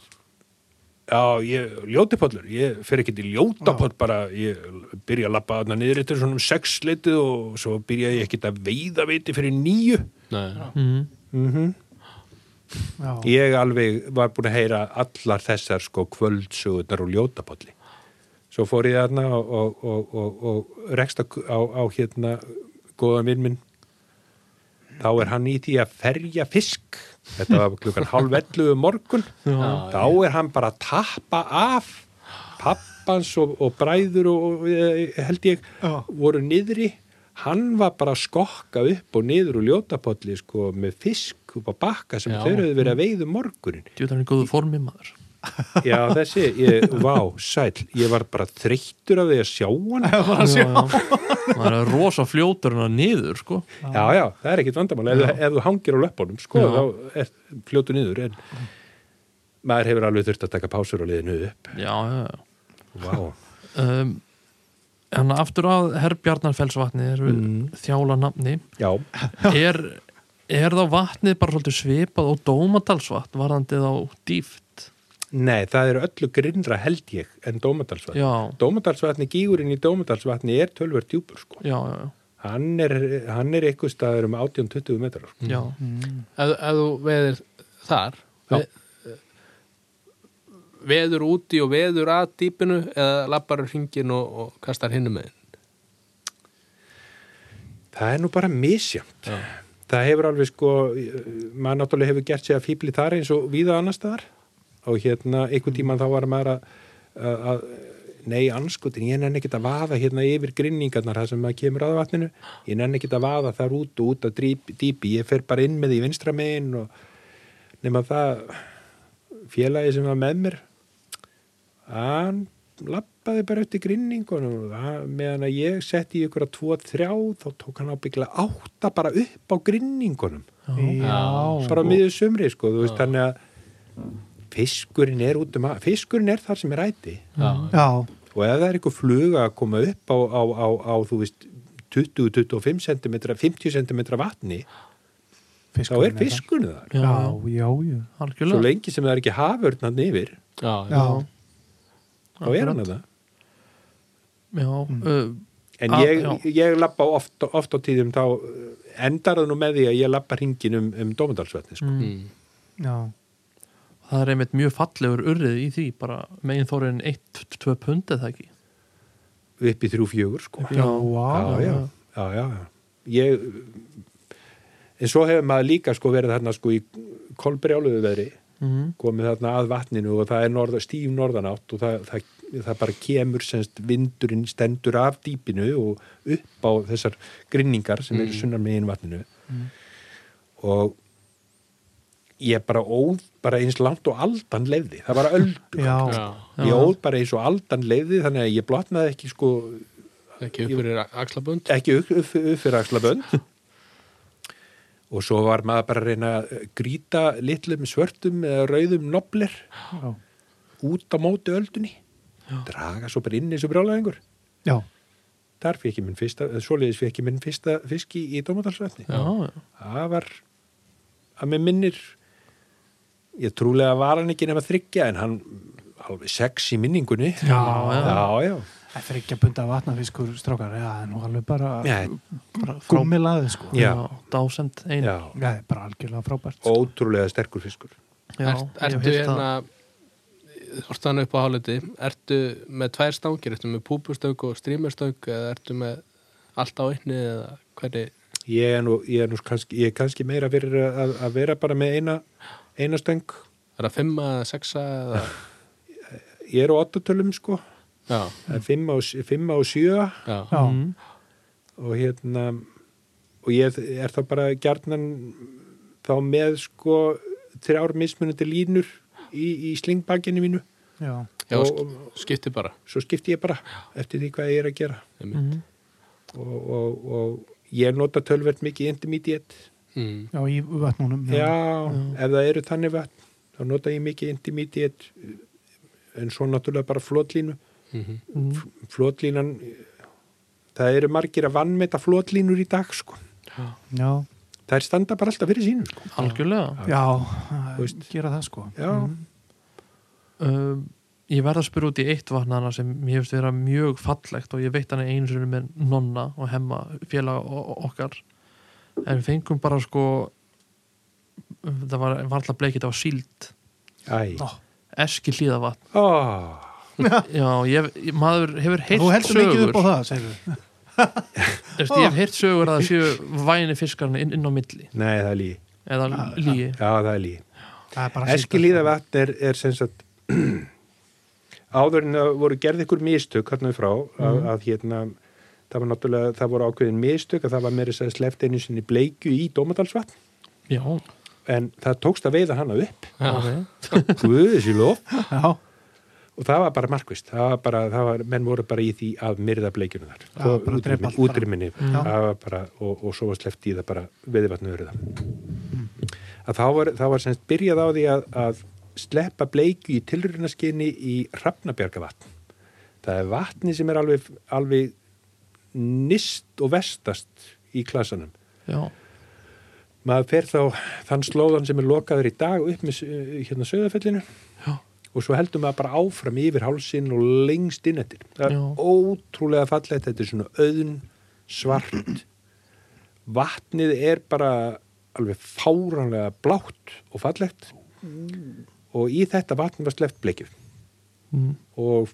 já, ég, ljótipollur ég fer ekki til ljótapoll bara ég byrja að lappa þarna niður eftir svona um sex leitið og svo byrja ég ekkit að veiða veiti fyrir nýju Nei. mm, já, ég alveg var búin að heyra allar þessar sko kvöldsögurnar og ljótapolli svo fór ég þarna og, og, og, og, og rekst á, á, á hérna góðan vinn minn þá er hann í því að ferja fisk þetta var klukkan hálf 11 um morgun Já. þá er hann bara að tappa af pappans og, og bræður og, og eh, held ég Já. voru niðri hann var bara að skokka upp og niður úr ljótapolli sko með fisk upp á bakka sem Já. þeir eru verið að veiða um morgunin djúðan er í góðu formi maður já þessi, ég, vá, sæll ég var bara þreyttur af því að sjá hann já, já. maður er rosa fljótur hennar niður sko já, já, það er ekkit vandamál ef, þú- ef þú hangir á löppunum, sko Já. þá er fljótu niður en maður hefur alveg þurft að taka pásur á liðinu upp, já, já, já vá um, hann aftur að Herbjarnarfellsvatni er við þjála nafni Mm. já, er, er þá vatnið bara svolítið svipað og Dómadalsvatn varðandi þá dýft nei, það eru öllu grinnra held ég en Dómadalsvatn já, Dómadalsvatni, gígurinn í Dómadalsvatni er tölver djúpur, sko já, já, já hann er, hann er eitthvað staður um 18-20 metrar sko. já, ef, ef þú veðir þar Já. ve, veður úti og veður að dýpinu eða labbar hringin og, og kastar hinum með það er nú bara misjant það hefur alveg sko maður náttúrulega hefur gert sig að fýbli þar eins og víða annar staðar og hérna einhvern tíman þá var maður að, að, að nei anskutin, ég nenni ekkert að vaða hérna yfir grinningarnar það sem maður kemur að vatninu ég nenni ekkert að vaða þar út og út að dýpi, dýpi, ég fer bara inn með því vinstra megin og nema það félagi sem var með mér hann lappaði bara eftir grinningunum og það- meðan að ég setti í ykkur að tvo þrjá þá tók hann ábygglega átta bara upp á grinningunum Já. bara á miður sumri sko þú veist þannig að fiskurinn er út um að fiskurinn er þar sem er æti já, Já, og ef það er eitthvað fluga að koma upp á, á, á, á þú veist 20-25 cm, 50 cm vatni þá er fiskurinn þar Já, já, já, já. svo algjörlega lengi sem það er ekki haförn hann yfir já, Já, þá er hann það já, uh, En Ah, ég, já. ég lappa oft, oft á tíðum þá eh, endar það nú með því að ég lappa hringin um, um Dómundalsvetni sko. Mm. já. það er einmitt mjög fallegur urrið í því bara megin þóriðin 1-2 pund eða ekki upp í þrjú fjögur sko. Já, já, vá. já, já, já. Ég, en svo hefur maður líka sko, verið þarna sko, í kolbrjáluðu veðri mm. komið þarna að vatninu og það er norða, stíf norðanátt og það, það, það bara kemur semst vindurinn stendur af dýpinu og upp á þessar grinningar sem eru sunnar megin vatninu og ég bara óð bara eins langt og aldan leiði það var öldu Já. já. ég óð bara eins og aldan leiði þannig að ég blotnaði ekki sko ekki upp fyrir axlabund ekki upp, upp, upp fyrir axlabönd og svo var maður bara að reyna að grýta litlum svörtum eða rauðum nobler Já, út á móti öldunni draga svo bara inn eins og brjálæðingur já. þar fekk ég minn fyrsta, eða svoleiðis fekk ég minn fyrsta fiski í Dómadalsvefni já, já, það var að mér minnir ég trúlega var hann ekki nema þryggja en hann alveg sex í minningunni já, já. já, já. Það er ekki að bunda vatnafiskur strákar, já, það er nú alveg bara Já, bara gúmilaði, sko. Já. dásend einu já. Já, það er bara algjörlega frábært. sko. ótrúlega sterkur fiskur Já, Ert, ég hef ertu heyrt það. hérna Hortu hann upp á háliti Ertu með tvær stangir Ertu með púpustöng og strímerstöng eða ertu með allt á einni eða hvernig ég er nú, ég er nú kannski, ég er kannski meira fyrir að, að vera bara með eina eina stöng, er það fimma eða sexa eða ég er á ottatölum sko já, það er fimm á, fimm á sjö já, Já, Mm. og hérna og ég er þá bara gjarnan þá með sko þrjár mismunandi línur í, í slingbakkinu mínu já. já Og- sk skipti bara svo skipti ég bara eftir því hvað ég er að gera mm. Mm. og, og, og ég nota tölvert mikið intermediate Mm. Já, í vatnunum. já, ef það eru þannig vatn þá nota ég mikið intermediate en svo náttúrulega bara flotlínu Mm Mm. flotlínan það eru margir að vannmeta flotlínur í dag sko, Já, það er standa bara alltaf fyrir sínu sko, algjörlega já, Þú veist. gera það, sko. já um, ég verð að spyrja út í eitt vatnana sem mér finnst vera mjög fallegt og ég veit hann einu sinni með nonna og hemma félag okkar en við fengum bara sko það var, var alltaf bleikið á síld Æ. Ó. eski hlýðavatn Oh. já, ég, ég- maður hefur heyrt Þú heldur mikið upp á sögur það, segir við. Eftir, ég hef heyrt sögur að það séu væni fiskarinn inn, inn á milli Nei, það er lígi. eða lígi Já, það er lígi. Það er bara að sýta, Eskilíða sko. vatn er, er sem sagt áður en það voru gerð ykkur mistök hérna frá að, að hérna það var náttúrulega, það voru ákveðin mistök að það var meiri að sleft einu sinni bleikju í Dómadalsvatn já, en það tókst að veiða hana upp ok Guðis í lof Já, og það var bara markvist það var bara, það var, menn voru bara í því að myrða bleikjunu þar Já, bara drepa allt bara. útrýminni Já. og, og svo var sleppt í það bara veðivatnu öryða að þá var, þá var semst byrjað á því að, að sleppa bleikju í tilrunaskinni í Hrafnabjargavatn það er vatni sem er alveg, alveg nist og vestast í klasanum já, maður fer þá þann slóðan sem er lokaður í dag upp með eh, hérna söðafellinu Já. og svo heldur maður bara áfram yfir hálsin og lengst inn eftir það er Já. ótrúlega fallegt þetta er svona auðn svart vatnið er bara alveg fáranlega blátt og fallegt og í þetta vatn var sleppt bleikjum Mm. og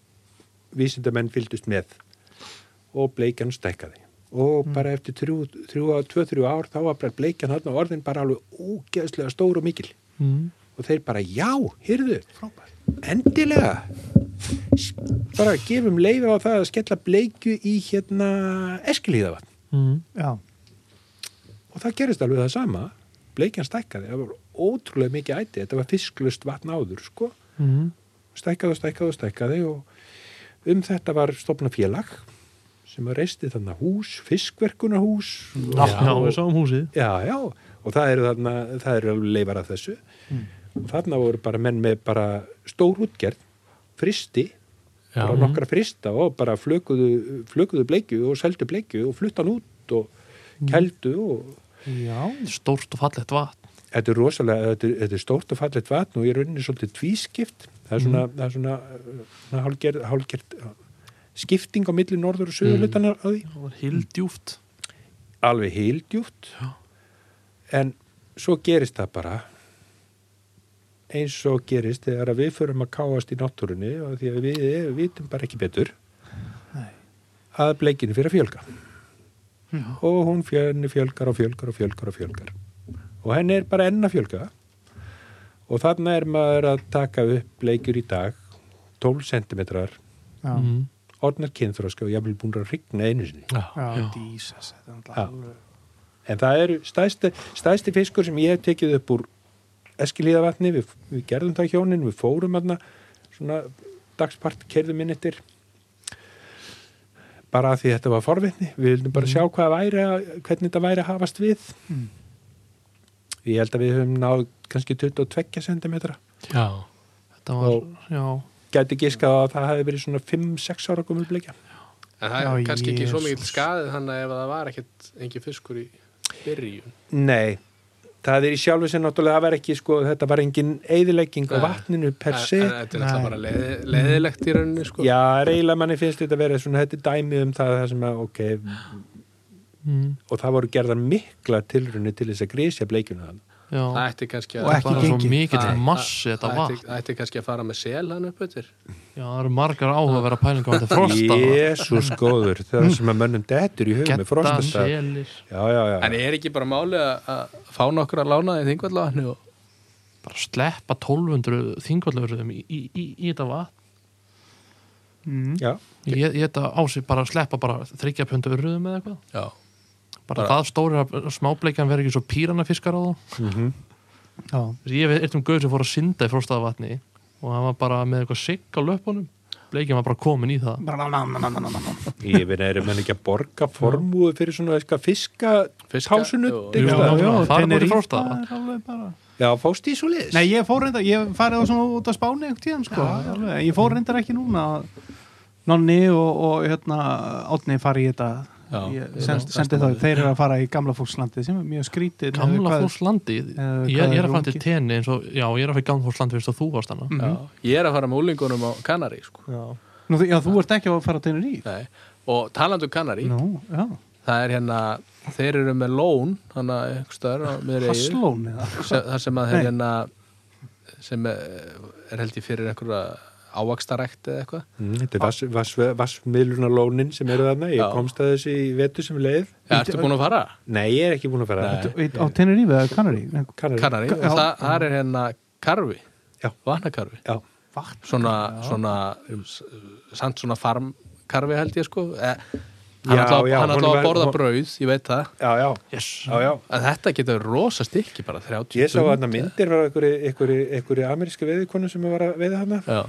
vísindamenn fylgdust með og bleikjan stækkaði og bara eftir 2-3 ár þá var bara bleikjan þarna orðin bara alveg ógeðslega stór og mikil Mm. og þeir bara já, hyrðu endilega S- bara gefum leifi á það að skella bleikju í hérna eskilíðavatn Mm. já, og það gerist alveg það sama bleikjan stækkaði, það var ótrúlega mikið æti þetta var fisklust vatn áður sko Mm. stækkaði og stækkaði og stækkaði og um þetta var stopna félag sem reisti þarna hús, fiskverkunarhús Já, já, við sáum húsið já, já, og það eru þarna það eru alveg leifar af þessu og þarna voru bara menn með bara stór útgerð, fristi Já. bara nokkra frista og bara flökuðu, flökuðu bleikju og seldu bleikju og fluttan út og keldu og já. Stórt og fallegt vatn þetta er rosalega, þetta er, þetta er stórt og fallet vatn og ég rauninni svolítið tvískipt það er svona, það er svona, svona hálgerð, hálgerð skipting á milli norður og söður hlutana á því Það var hildjúft alveg heildjúft Já. en svo gerist það bara eins og gerist þegar að við förum að káast í náttúrunni og því að við, við vitum bara ekki betur Nei. að bleikinu fyrir að fjölga og hún fjölni fjölgar og fjölgar og fjölgar og fjölgar og henni er bara enn að fjölga og þarna er maður að taka upp bleikjur í dag 12 cm já. mm. orðnar kynþróska og jafnvel búin að rigna einu sinni já. Já. Jesus, þetta er náttúrulega Já. alveg- En það eru stæsti, stæsti fiskur sem ég hef tekið upp úr Eskilíðavatni, við, við gerðum það hjónin, við fórum aðna svona dagspart, kerðum inn eftir bara af því þetta var forvitni, við vildum bara sjá hvað væri, að- hvernig þetta væri að hafast við. Mm. Ég held að við höfum náð kannski 22 cm. Já. Þetta var, já, Gæti giskað að það hefði verið svona 5-6 ára komið bleikja. En það Já, er kannski ekki svo Jesus. mikill skaðið hann að ef það var ekkit engin fiskur í byrjun. Nei, það er í sjálfu sem náttúrulega það var ekki, sko, þetta var engin eyðilegging á Nei. vatninu per En- se. En þetta er alltaf Nei. bara leði- leðilegt í rauninni, sko. Já, reyla manni finnst þetta að vera svona þetta er dæmi um það, það sem að, ok mm. og það voru gerðar mikla tilrunni til þess að grísja bleikjuna þann já. Það ætti kannski að... Og ekki bara svo gengið. mikill Það- massi það- þetta það ætti- vatn Það ætti kannski að fara með sel hann upp yfir. Já, það eru margar áhugaverða pælingar á þetta frosta Jésús góður, það sem að mönnum dettur í hugum Gettan, með frostastað Já, selir já, já, En er ekki bara máli að- að fá nokkur að lána því þingvallavatni og... Bara sleppa 1200 þingvallöfruðum í, í, í, í þetta vatn mm. já, Ég, ég þetta á sig bara að sleppa bara 30 pöndu urðum eða eitthvað Já. Bara, Bara- það stóri að smábleikjan verður ekki svo píranafiskar á þá já. Þessi, ég veit um gauð sem fór að synda í frostaða vatni og hann var bara með eitthvað sigg á löpunum bleikjan var bara komin í það ég finn að eru menn ekki að borga formúðu fyrir svona eitthvað fiska Fiska, tásunu jú, til jú. staðar? já, fara bara í Tenerife frostaða. er alveg bara- Já, fóst í svo liðis Nei, ég fór reyndar, ég farið á svona út á Spáni einhvern tíðan, sko, alveg, ég fór reyndar ekki núna Nonni og, og hérna, Átni fari í þetta Já, ég já, send, besta sendi þá, málið. þeir eru að fara í gamla fólkslandi sem er mjög skrítið gamla hvað- fólkslandi ég, eða hvað ég er er að fara til ungi? tenni eins og já, ég er að fara í gamla fólkslandi eins og þú varst hana Mhm. Já. Ég er að fara með úlingunum á Kanari, sko. já. Nú, þú- Já, þú ert ekki að fara á Tenerife Nei. Og talandu Kanari, Nú, já, það er hérna, þeir eru með lón, þannig að einhver stöður á miðri eyju. Hasslón eða Se- það sem að þeir Nei. hérna sem eh, er held ég fyrir einhverja ávaxtarækt eða eitthvað Mm, Þetta er vass, vass, vassmiðlunarlónin sem eru þarna, ég Já. komst að þessu í vetu sem leið Já, ertu búin að fara? Nei, ég er ekki búin að fara Nei. Á Tenerife eða Kanari Nei, Kanari. Kanari, Já. og það, það er hérna karfi, Já. vatnakarfi Já, Vatn svona, svona um, s- samt svona farmkarfi held ég sko eh, Já, hann ætlaði já, hann honum ætlaði var- að borða hon- brauð, ég veit það já, já, yes já, já. að þetta getur rosa stykki bara 30 Ég sá pund. þarna myndir var einhverju ameríska veðikonu sem var að veiða hana. Já,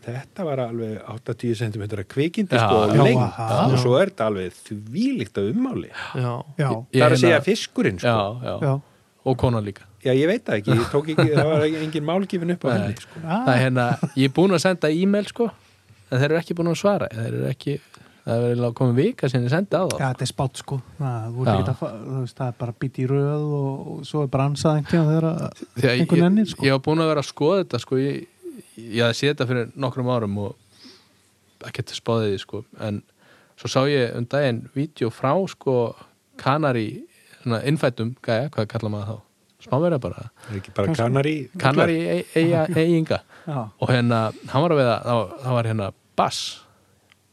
Þetta var alveg 80 cm kvikindi Já, sko og já, lengt já. og svo er þetta alveg þvílíkt að ummáli. já, Já, Það er að segja hérna- fiskurinn já, sko. já. já og konan líka Já, ég veit það ekki, ég tók ekki, það var engin málgifin upp á Nei. henni sko. það er hérna, ég er búin að senda e-mail sko, en þeir eru ekki búin að svara þeir eru ekki, það er vel komið vika sem ég sendi á þá Já, þetta er spátt sko það, þú Já. ert ekki að fa- þú veist, það er bara bíti í röð og, og svo er bransað einhvern tíðan þegar að- Þegar ég, einhvern ennir sko ég var búin að vera að skoða þetta sko, ég, ég hafði séð þetta fyrir nokkrum árum og ekki spáði því sko, en svo sá ég um daginn vídeo frá sko kanari svona innfættum gæja, hvað kallar maður þá? Smáverja bara, er ekki bara kanari kanari eiga eiginga Já. og hérna, hann var að veða þá, þá var hérna bass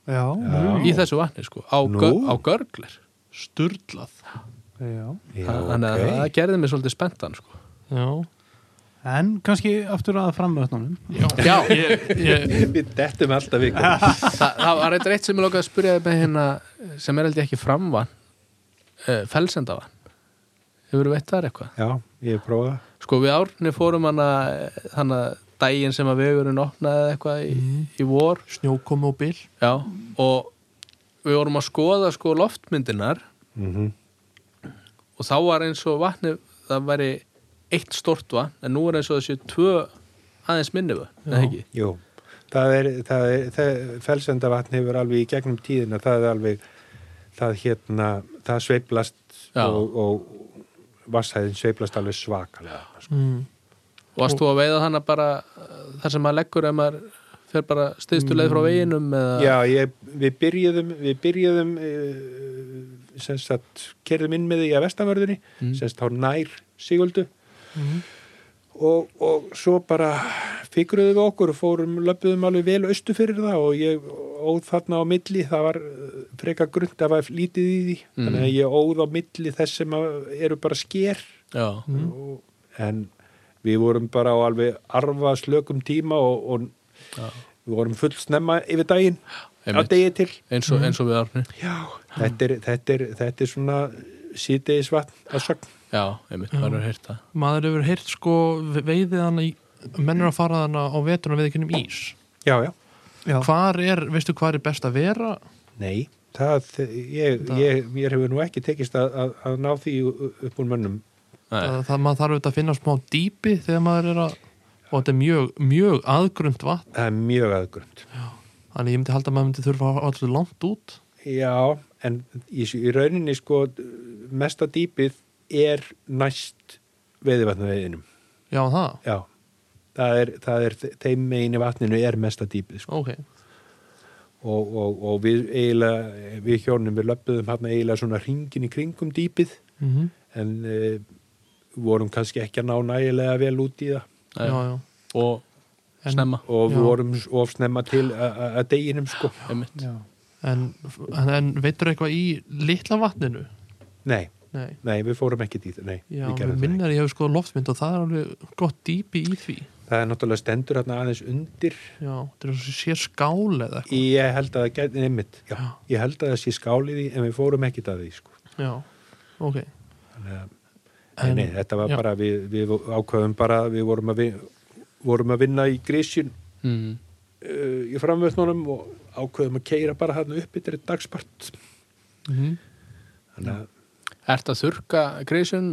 Já. í þessu vatni sko, á, Nú. gör, á görglir sturlað Já. Já, þannig að það ok. gerði mig svolítið spenntan sko. já, En kannski aftur að framvötnunum. já, ég, ég, Við dettum alltaf ykkur Þa, það var eitthvað eitt sem ég lókaði að spyrja þig með hérna sem er held ég ekki framvann uh, felsendavann hefur veitt þar eitthvað Já, ég prófa sko við árni fórum hana þannig að daginn sem að vegurinn opnaði eða eitthvað í, í vor snjókomi og bil já, og við vorum að skoða sko loftmyndinar mm og þá var eins og vatnið það væri eitt stort vatn en nú er eins og þessi tvö aðeins minni vatn, eða ekki Jú, það er, það er það, felsendavatn hefur alveg í gegnum tíðina það er alveg það hérna, það sveiplast Já. og, og vasshæðin sveiplast alveg svakalega sko. mm. og varst þú að veiða hana bara uh, þar sem maður leggur ef maður fer bara stiðstu leið frá veginum eða... Já, ég, við byrjuðum við byrjuðum uh, sem sagt, kerðum inn með því að vestanverðunni, Mm. sem sagt, þá nær Sigöldu og, og svo bara fikruðum við okkur og fórum, löpuðum alveg vel austu fyrir það og ég óð þarna á milli, það var eh, frekar grunnt, það var lítið í því Mm. þannig að ég óð á milli þess sem að eru bara sker Já. og, en við vorum bara á alveg arfa slökum tíma og, og Já. við vorum full snemma yfir daginn á Einmitt. degi til eins og, eins og við Arni Já, þetta er, þetta er, þetta er svona síðdeis vatn að sögn. já, einmitt, maður er heyrt það maður hefur heyrt sko ve- veiðið hana í menn er að fara þarna á veturna við ekki um ís Já, já. Já. hvar er, veistu hvar er best að vera Nei, það, ég, ég, mér hefur nú ekki tekist að, að, að ná því upp úr mönnum. Nei. það, það maður þarf auðvitað að finna smá dýpi þegar maður er að og þetta er mjög, mjög aðgrund vatn Það er mjög aðgrönd. þannig ég myndi halda að maður myndi þurfa að allir langt út Já, en í, s- í rauninni sko mesta dýpið er næst veiðivatnaveiðinum. já það, Já, það er, það er þeim megin í vatninu er mesta dýpið sko. ok Og, og, og við eiginlega, við hjónum við löppuðum hann eiginlega svona ringin í kringum dýpið. mm Mhm. en uh, vorum kannski ekki að ná nægilega vel út í það Nei. já, já. og En- snemma og Já. við vorum of snemma til a- a- að deginum sko einmitt, Já. En, en, en veitur eitthvað í litla vatninu? nei, Nei. nei, við fórum ekki dýð nei, Já, við við gerðum það minnar ég hefur skoða loftmynd og það er alveg gott dýpi í því. ekki það er náttúrulega stendur hérna aðeins undir Já, þetta er svo sé skál eða eitthvað. ég held að það gæti neymitt já, Já. ég held að það sé skálið í en við fórum ekki að því sko Já, ok. Þannig að- En- nei, þetta var já. bara, við, við ákveðum bara að við vorum að, vi, vorum að vinna í grísjun mm. uh, í framvötnunum og ákveðum að keira bara hann upp yfir dagspart Mm þannig að, ert að þurka greiðsjön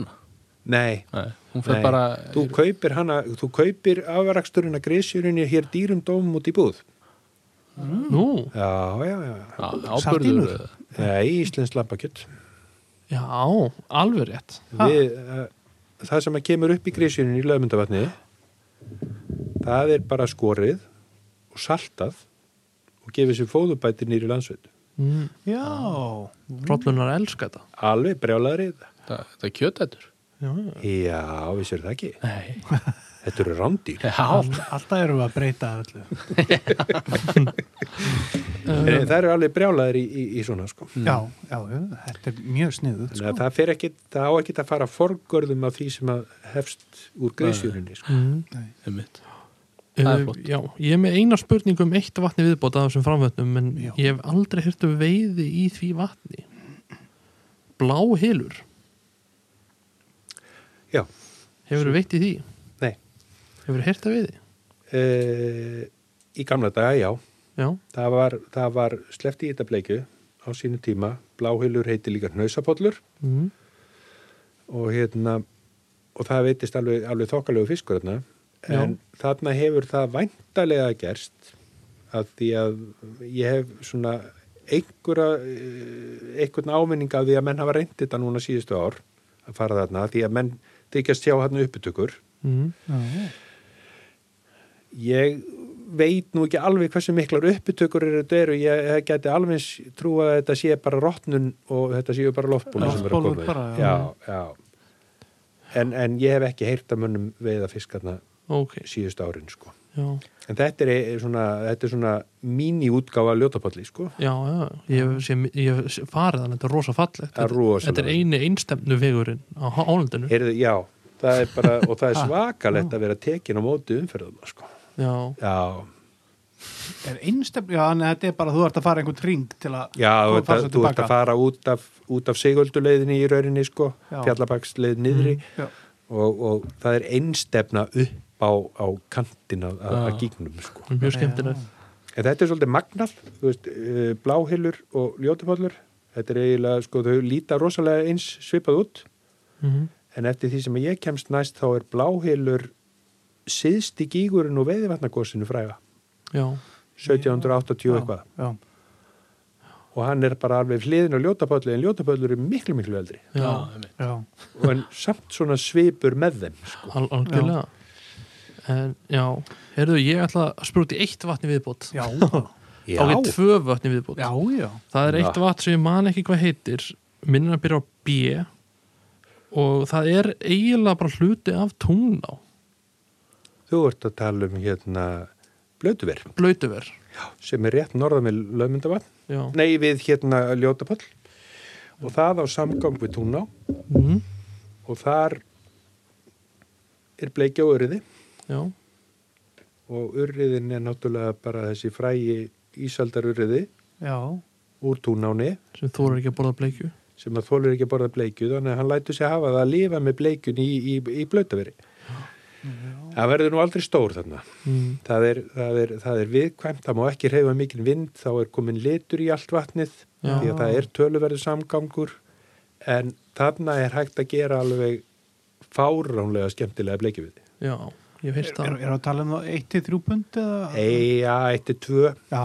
nei hún fer Nei, bara þú kaupir hana, þú kaupir afraksturinn að grísjurinni hér dýrum dómum út í búð Nú, já, já, já, á- Sardínur? áburður nei, íslensk lambakjött já, alveg rétt. við, uh, það sem að kemur upp í grísjurinni í lögmyndavatni það er bara skorið og saltað og gefið sér fóðubæti nýri landsveit Mm, Já. Hrollunar elska þetta. alveg brjálaðrið það, það er kjötætur Já, já. já, við sér það ekki Nei. þetta eru rándýr já, Alltaf erum við að breyta öllu. Eh, En Eh, það eru alveg brjálaðir í, í, í svona sko Mm. Já, já, já, þetta er mjög sko. sniðuð. Þannig að það, fer ekki, það á ekki að fara forgörðum af því sem að hefst úr grísjurinni sko. Mm. einmitt Það er Uh, flott. já, ég er með eina spurningu um eitt vatni viðbóta af þessum framvötnum en Já. ég hef aldrei hirt um veiði í því vatni. Bláhylur, já, hefur þú veitt í því? nei Hefur þú hirt að veiði? Uh, í gamla daga, já. Já, Það var, það var slefti í þetta bleikju á sínu tíma. Bláhylur heiti líka hnausapollur mm. og, hérna, og það veitist alveg, alveg þokkalegu fiskur þarna. En þarna hefur það væntalega gerst að því að ég hef svona einhverja, eh, einhvern áminning af því að menn hafa reynd þetta núna síðustu ár að fara þarna því að menn mhm. þykjast sjá hann uppbytökur. Mm. Já, Ég veit nú ekki alveg hversu miklar uppbytökur eru þetta eru, ég, ég geti alveg eins trúa að þetta sé bara rottnun og þetta séu bara loftbólur sem eru að Loftbólur koma bara, já, já. En, en ég hef ekki heyrt að mönnum veiða fiskarna ok, síðust árin sko. já, en þetta er, e- svona, þetta er svona míníútgáfa ljótapalli sko. já, já, já. ég hef, sé, ég hef sé- farið þannig, þetta er rosa fallegt Það er rosa þetta er fallegt. eini einstemnu vegurinn á hálendinu Heyrðu, já, það er bara og það er svakalegt að vera tekin á móti umferðum sko. já, já, er einstaklega, já, en þetta er bara að þú ert að fara einhvern ring til að já koma fara þú, ert svo að, þú ert tilbaka. að fara út af, út af sigölduleiðinni í rauninni sko, Já. fjallabaksleið niðri Já. og, og það er einstefna upp á, á kantin að, að Já. gígnum sko. það er mjög skemmtileg en þetta er svolítið magnað þú veist, eh, bláhylur og ljótupallur þetta er eiginlega, sko, þau líta rosalega eins svipað út mhm, en eftir því sem ég kemst næst þá er bláhylur síðst í gígurinn og veiðivatnagósinu fræga já 1780 eitthvað já, og hann er bara alveg hliðin á ljótapallu en ljótapallur er miklu, miklu eldri já, einmitt. já, og en samt svona svipur með þeim sko. al algjörlega en já, heyrðu, ég ætla að spyrja út í eitt vatni viðbót já, þá er tvö vatni viðbót já, já. það er eitt Já. vatn sem ég man ekki hvað heitir minnir að byrja á B og það er eiginlega bara hluti af tungná þú ert að tala um hérna blötuver blöytuver sem er rétt norðan við lögmyndavatn já. nei við hérna ljótapall og það á samgang við túná Mm, og þar er bleikja og urriði já, og urriðin er náttúrulega bara þessi frægi ísaldarurriði já. úr túnáni sem þú er ekki að borða bleikju sem að þólur ekki að borða bleikju þannig að hann lætur sig hafa það að lifa með bleikjun í, í, í blötaveri það verður nú aldrei stór þarna mm, það er, það, er, það er viðkvæmt, það má ekki reyfa mikinn vind, þá er komin litur í allt vatnið, Já. því að það er töluverðu samgangur, en þarna er hægt að gera alveg fáránlega skemmtilega bleikjuviði. já, ég hef heyrst Er, það er að tala um það 1-3 pund eða? Eja, eitt er tvö, Já,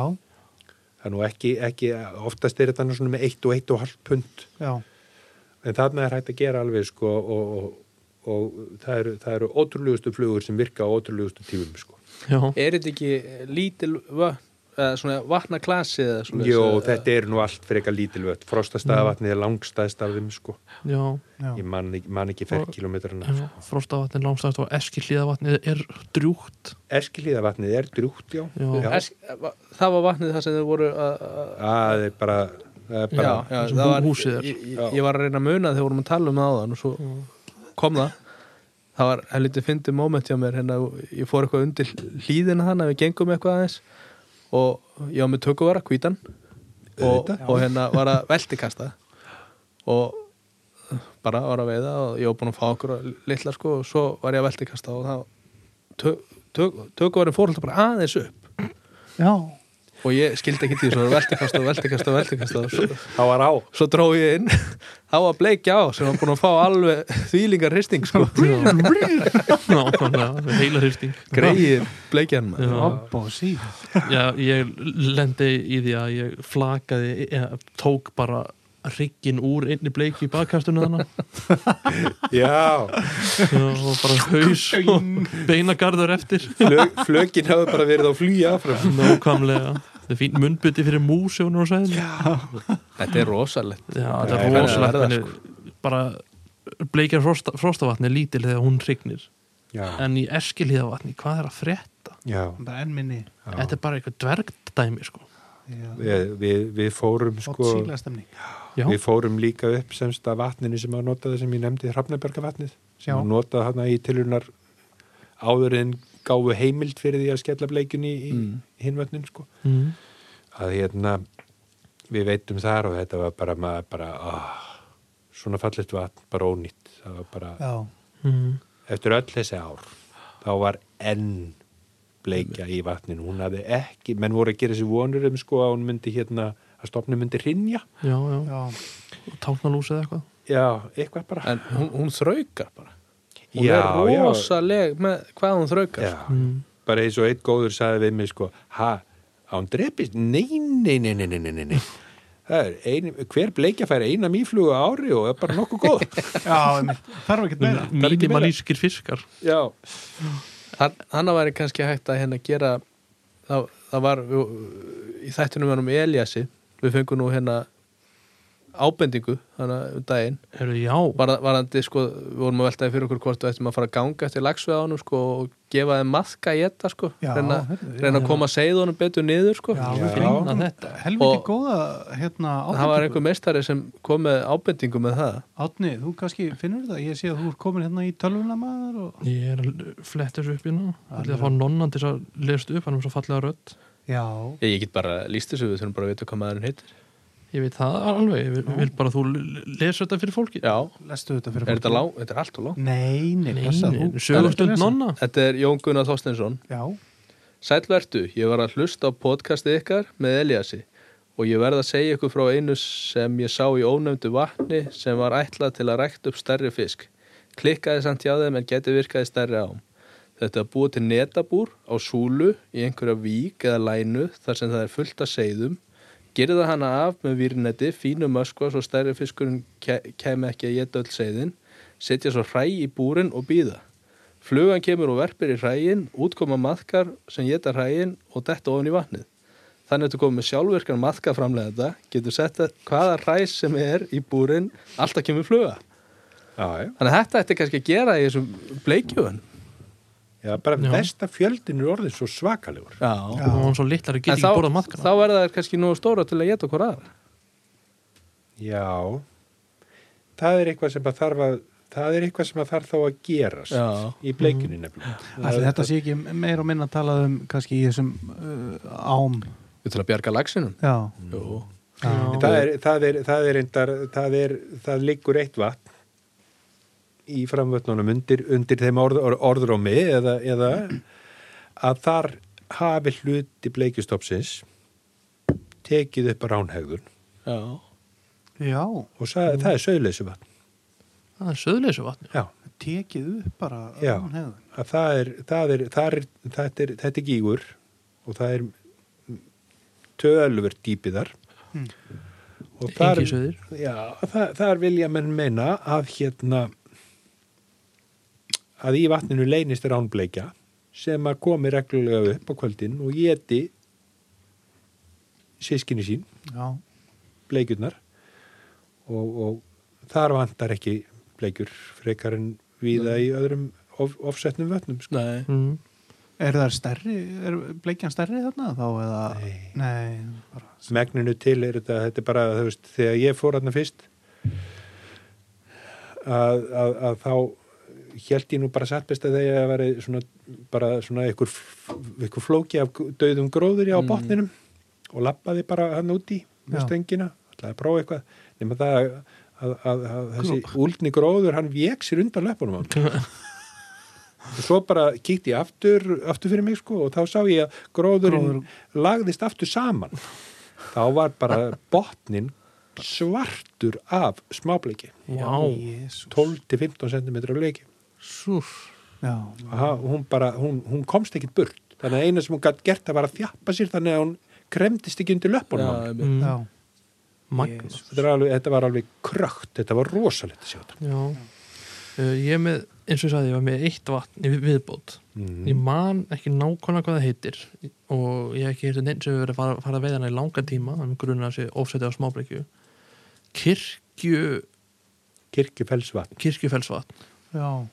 það er nú ekki, ekki, oftast er þetta nú svona með eitt og eitt og halvt pund, já, en þarna er hægt að gera alveg sko og, og, og það eru, það eru ótrúlegustu flugur sem virka á ótrúlegustu tífum sko. já, Er þetta ekki eh, lítil vötn, eða svona vatnaklasi eða svona? Jó, þetta er nú allt frekar lítilvöld, frostastaðavatnið er langstæðst af þeim sko. já, já. Ég man, ekki- man ekki ferkilometrana. já. frostavatni langstæðast og eskilíðavatni er drjúgt Eskilíðavatnið er drjúgt, já. Já. Esk, það var vatnið það sem þau voru að... að- Það er bara, það er Já, bara, eins já, og það var, húsið er. ég, ég- ég var að reyna að muna þegar vorum að tala um það áðan og svo kom það það var helviti fyndið moment hjá mér hérna, ég fór eitthvað undir hlýðina þannig að við gengum eitthvað aðeins og ég var með tökuvara, hvítan og, Auðvitað. og hérna var að veltikasta og bara var að veiða og ég var búin að fá okkur litla sko og svo var ég að veltikasta og það tök, tök, tökuvarinn fór alltaf bara aðeins upp já. og ég skildi ekki til þess að veltikasta og veltikasta og veltikasta og svo, það var á. svo dró ég inn þá var bleikja á sem var búin að fá alveg þvílingar hristing sko nákvæmlega, heila hristing greið bleikjan maður. Já. Hopp og síð. Já, ég lendi í því að ég flakaði, eða tók bara riggin úr einni bleiki í bakkastunni þannig Já, og bara haus og beinagarður eftir flög, flögin hafði bara verið á flýja áfram. nákvæmlega, þetta er fínt munnbytti fyrir mús ef hún er á sæðin já, þetta er rosalegt þetta Nei, er hvernig er rosalegt það, henni, bara bleikjar frosta, frostavatni er lítil þegar hún rignir Já, en í eskilíðavatni, hvað er að frétta? já. Það er enn minni. þetta er bara eitthvað dvergdæmi sko. Já. Við, við, við fórum Sko, sko, já, við fórum líka upp semst að vatninu sem að nota það sem ég nefndi, Hrafnabergavatnið, sem Já. að nota þarna í tilunar áður en gáfu heimild fyrir því að skella bleikjunni í, mm. í hinvötnin, sko. mm, að hérna við veitum þar og þetta var bara, maður, bara ah, svona fallist vatn bara ónýtt það var bara, Já, mm, eftir öll þessi ár þá var enn bleikja í vatninu, hún hafði ekki menn voru að gera þessi vonur um sko að hún myndi hérna, að stopnum myndi hrinja já, já, já. táknalús eða eitthvað já, eitthvað bara en hún, hún þraukar bara hún já, er já, rosaleg með hvað hún þraukar já, sko. Mm. bara eins og einn góður sagði við mig sko, ha, að hún drepist nei, nei, nei, nei, nei, nei, nei Það er ein, hver bleikja fær eina mýflugu á ári og er bara nokkuð góð já einmitt. þarf ekki meira. er ekki meira. minimalískir fiskar já, Hann- þannig væri kannski hægt að hérna gera það, það var við, í þættunum hann um Eliassi við fengum nú hérna ábendingu þannig um daginn Herru, já, var, varandi sko, við vorum að veltaði fyrir okkur hvort við ættum að fara að ganga eftir lagsveðanum sko, og gefa þeim maðka í þetta sko, Já, reyna, heyrðu, já, reyna já. að koma seiðunum betur niður sko. Já, Já. við fengum Þetta. helviti Og- góða hérna, það var ábendingu. einhver meistari sem kom með ábendingu með það Átni, þú kannski finnur þetta, ég sé að þú er komin hérna í tölvuna maður og... ég er að fletta þessu upp hérna Það er Alveg. að fá nonnan til þess að lesa upp hann er með svo fallega rödd Já, ég, ég get bara líst þessu, við þurfum bara að vita hvað maðurinn heitir Ég veit það alveg, ég vil, vil bara að þú lesa þetta fyrir fólki já, lestu þetta fyrir er þetta lá? Þetta er allt og lá Nei, nei, blessa þú Sögustund Lesa. nonna þetta er Jón Gunnar Þorstensson Já, Sælvertu, ég var að hlusta á podcastið ykkar með Eliassi og ég verð að segja ykkur frá einu sem ég sá í ónefndu vatni sem var ætlað til að rækta upp stærri fisk. Klikkaði samt hjá þeim en geti virkaði stærri ám. Þetta er búið til netabúr á súlu í einhverja vík eða lænu þar sem það er fullt að seiðum. Gerði það hana af með výrneti, fínu möskva svo stærri fiskurinn ke kemi ekki að geta öll seiðin. Setja svo hræ í búrin og býða. Flugan kemur og verpir í hræin, útkoma maðkar sem geta hræin og detta ofan í vatnið. Þannig að þú komið með sjálfvirkan maðka framlega þetta, getur sett að hvaða hræs sem er í búrin, alltaf kemur fluga. Já, já. Þannig að þetta ætti kannski að gera í þessum bleikjöfun. Já, bara Já. besta fjöldin er orðin svo svakalegur. Já. Já. og hún svo litlar að En geta þá, ekki borðað þá maðkana verða þær kannski nógu stóra til að geta okkur aðra. Já, það er eitthvað sem að þarf að, það er eitthvað sem að þarf þá að gerast Já. í bleikunni nefnilega. Mm-hmm. Ætli, þetta sé ekki meir og minna að tala um kannski í þessum uh, ám Við til að bjarga lagsinum. Já, Mm. Jú. já, það, er, það, er, það er endar, það er, það liggur eitt vatn í framvötnunum undir, undir þeim orð, orð, orðrómi eða, eða að þar hafi hluti bleikistopsins tekið upp ránhegðun Já. já og það, það er söðleysu vatn. Það er söðleysu vatni Já. tekið upp bara Já. um hegðun. að það er, það er, það er, þetta, er þetta er gígur og það er tölver dýpiðar Mm. og þar, Engi söðir já, það, þar vilja menn meina að hérna að í vatninu leynist ránbleikja sem að komi reglulega upp á kvöldin og geti sískinni sín, Já, bleikjurnar og, og þar vantar ekki bleikjur frekar en viða í öðrum of, offsetnum vötnum sko. Nei. mm. er það stærri, er bleikjan stærri þarna þá eða Nei. Nei, bara megninu til er þetta, þetta er bara þú veist, þegar ég fór hann fyrst að, að, að þá held ég nú bara satt best að þegar ég var svona, bara svona einhver, einhver flóki af döðum gróður á Mm. botninum og lappaði bara hann úti með Já. stöngina, ætlaði að prófa eitthvað nema það að, að, að, að þessi Grúp. úldni gróður, hann vek sér undan löpunum á hann og svo bara kíkti ég aftur, aftur fyrir mig sko og þá sá ég að gróðurinn Gróður- lagðist aftur saman þá var bara botnin svartur af smábleiki Já, Jesús. 12-15 cm af leiki súr Já, Mm. og ha- hún, bara, hún, hún komst ekkit burt þannig að eina sem hún gætt gert það var að þjappa sér þannig að hún kremdist ekki undir Já, löpunum á mér. einmitt. mm. já, Magnus Jesús. þetta, var alveg, þetta var alveg krökt þetta var rosalegt að sjá þetta Já Uh, Ég er með, eins og ég sagði, ég var með eitt vatn í viðbót Ég mm. man ekki nákvæmlega hvað það heitir og ég hef ekki heitir neins sem hefur verið að fara, fara að veiðana í langa tíma en grunna þessi ofsæti á smábrekju Kirkju, kirkjufellsvatn kirkjufellsvatn já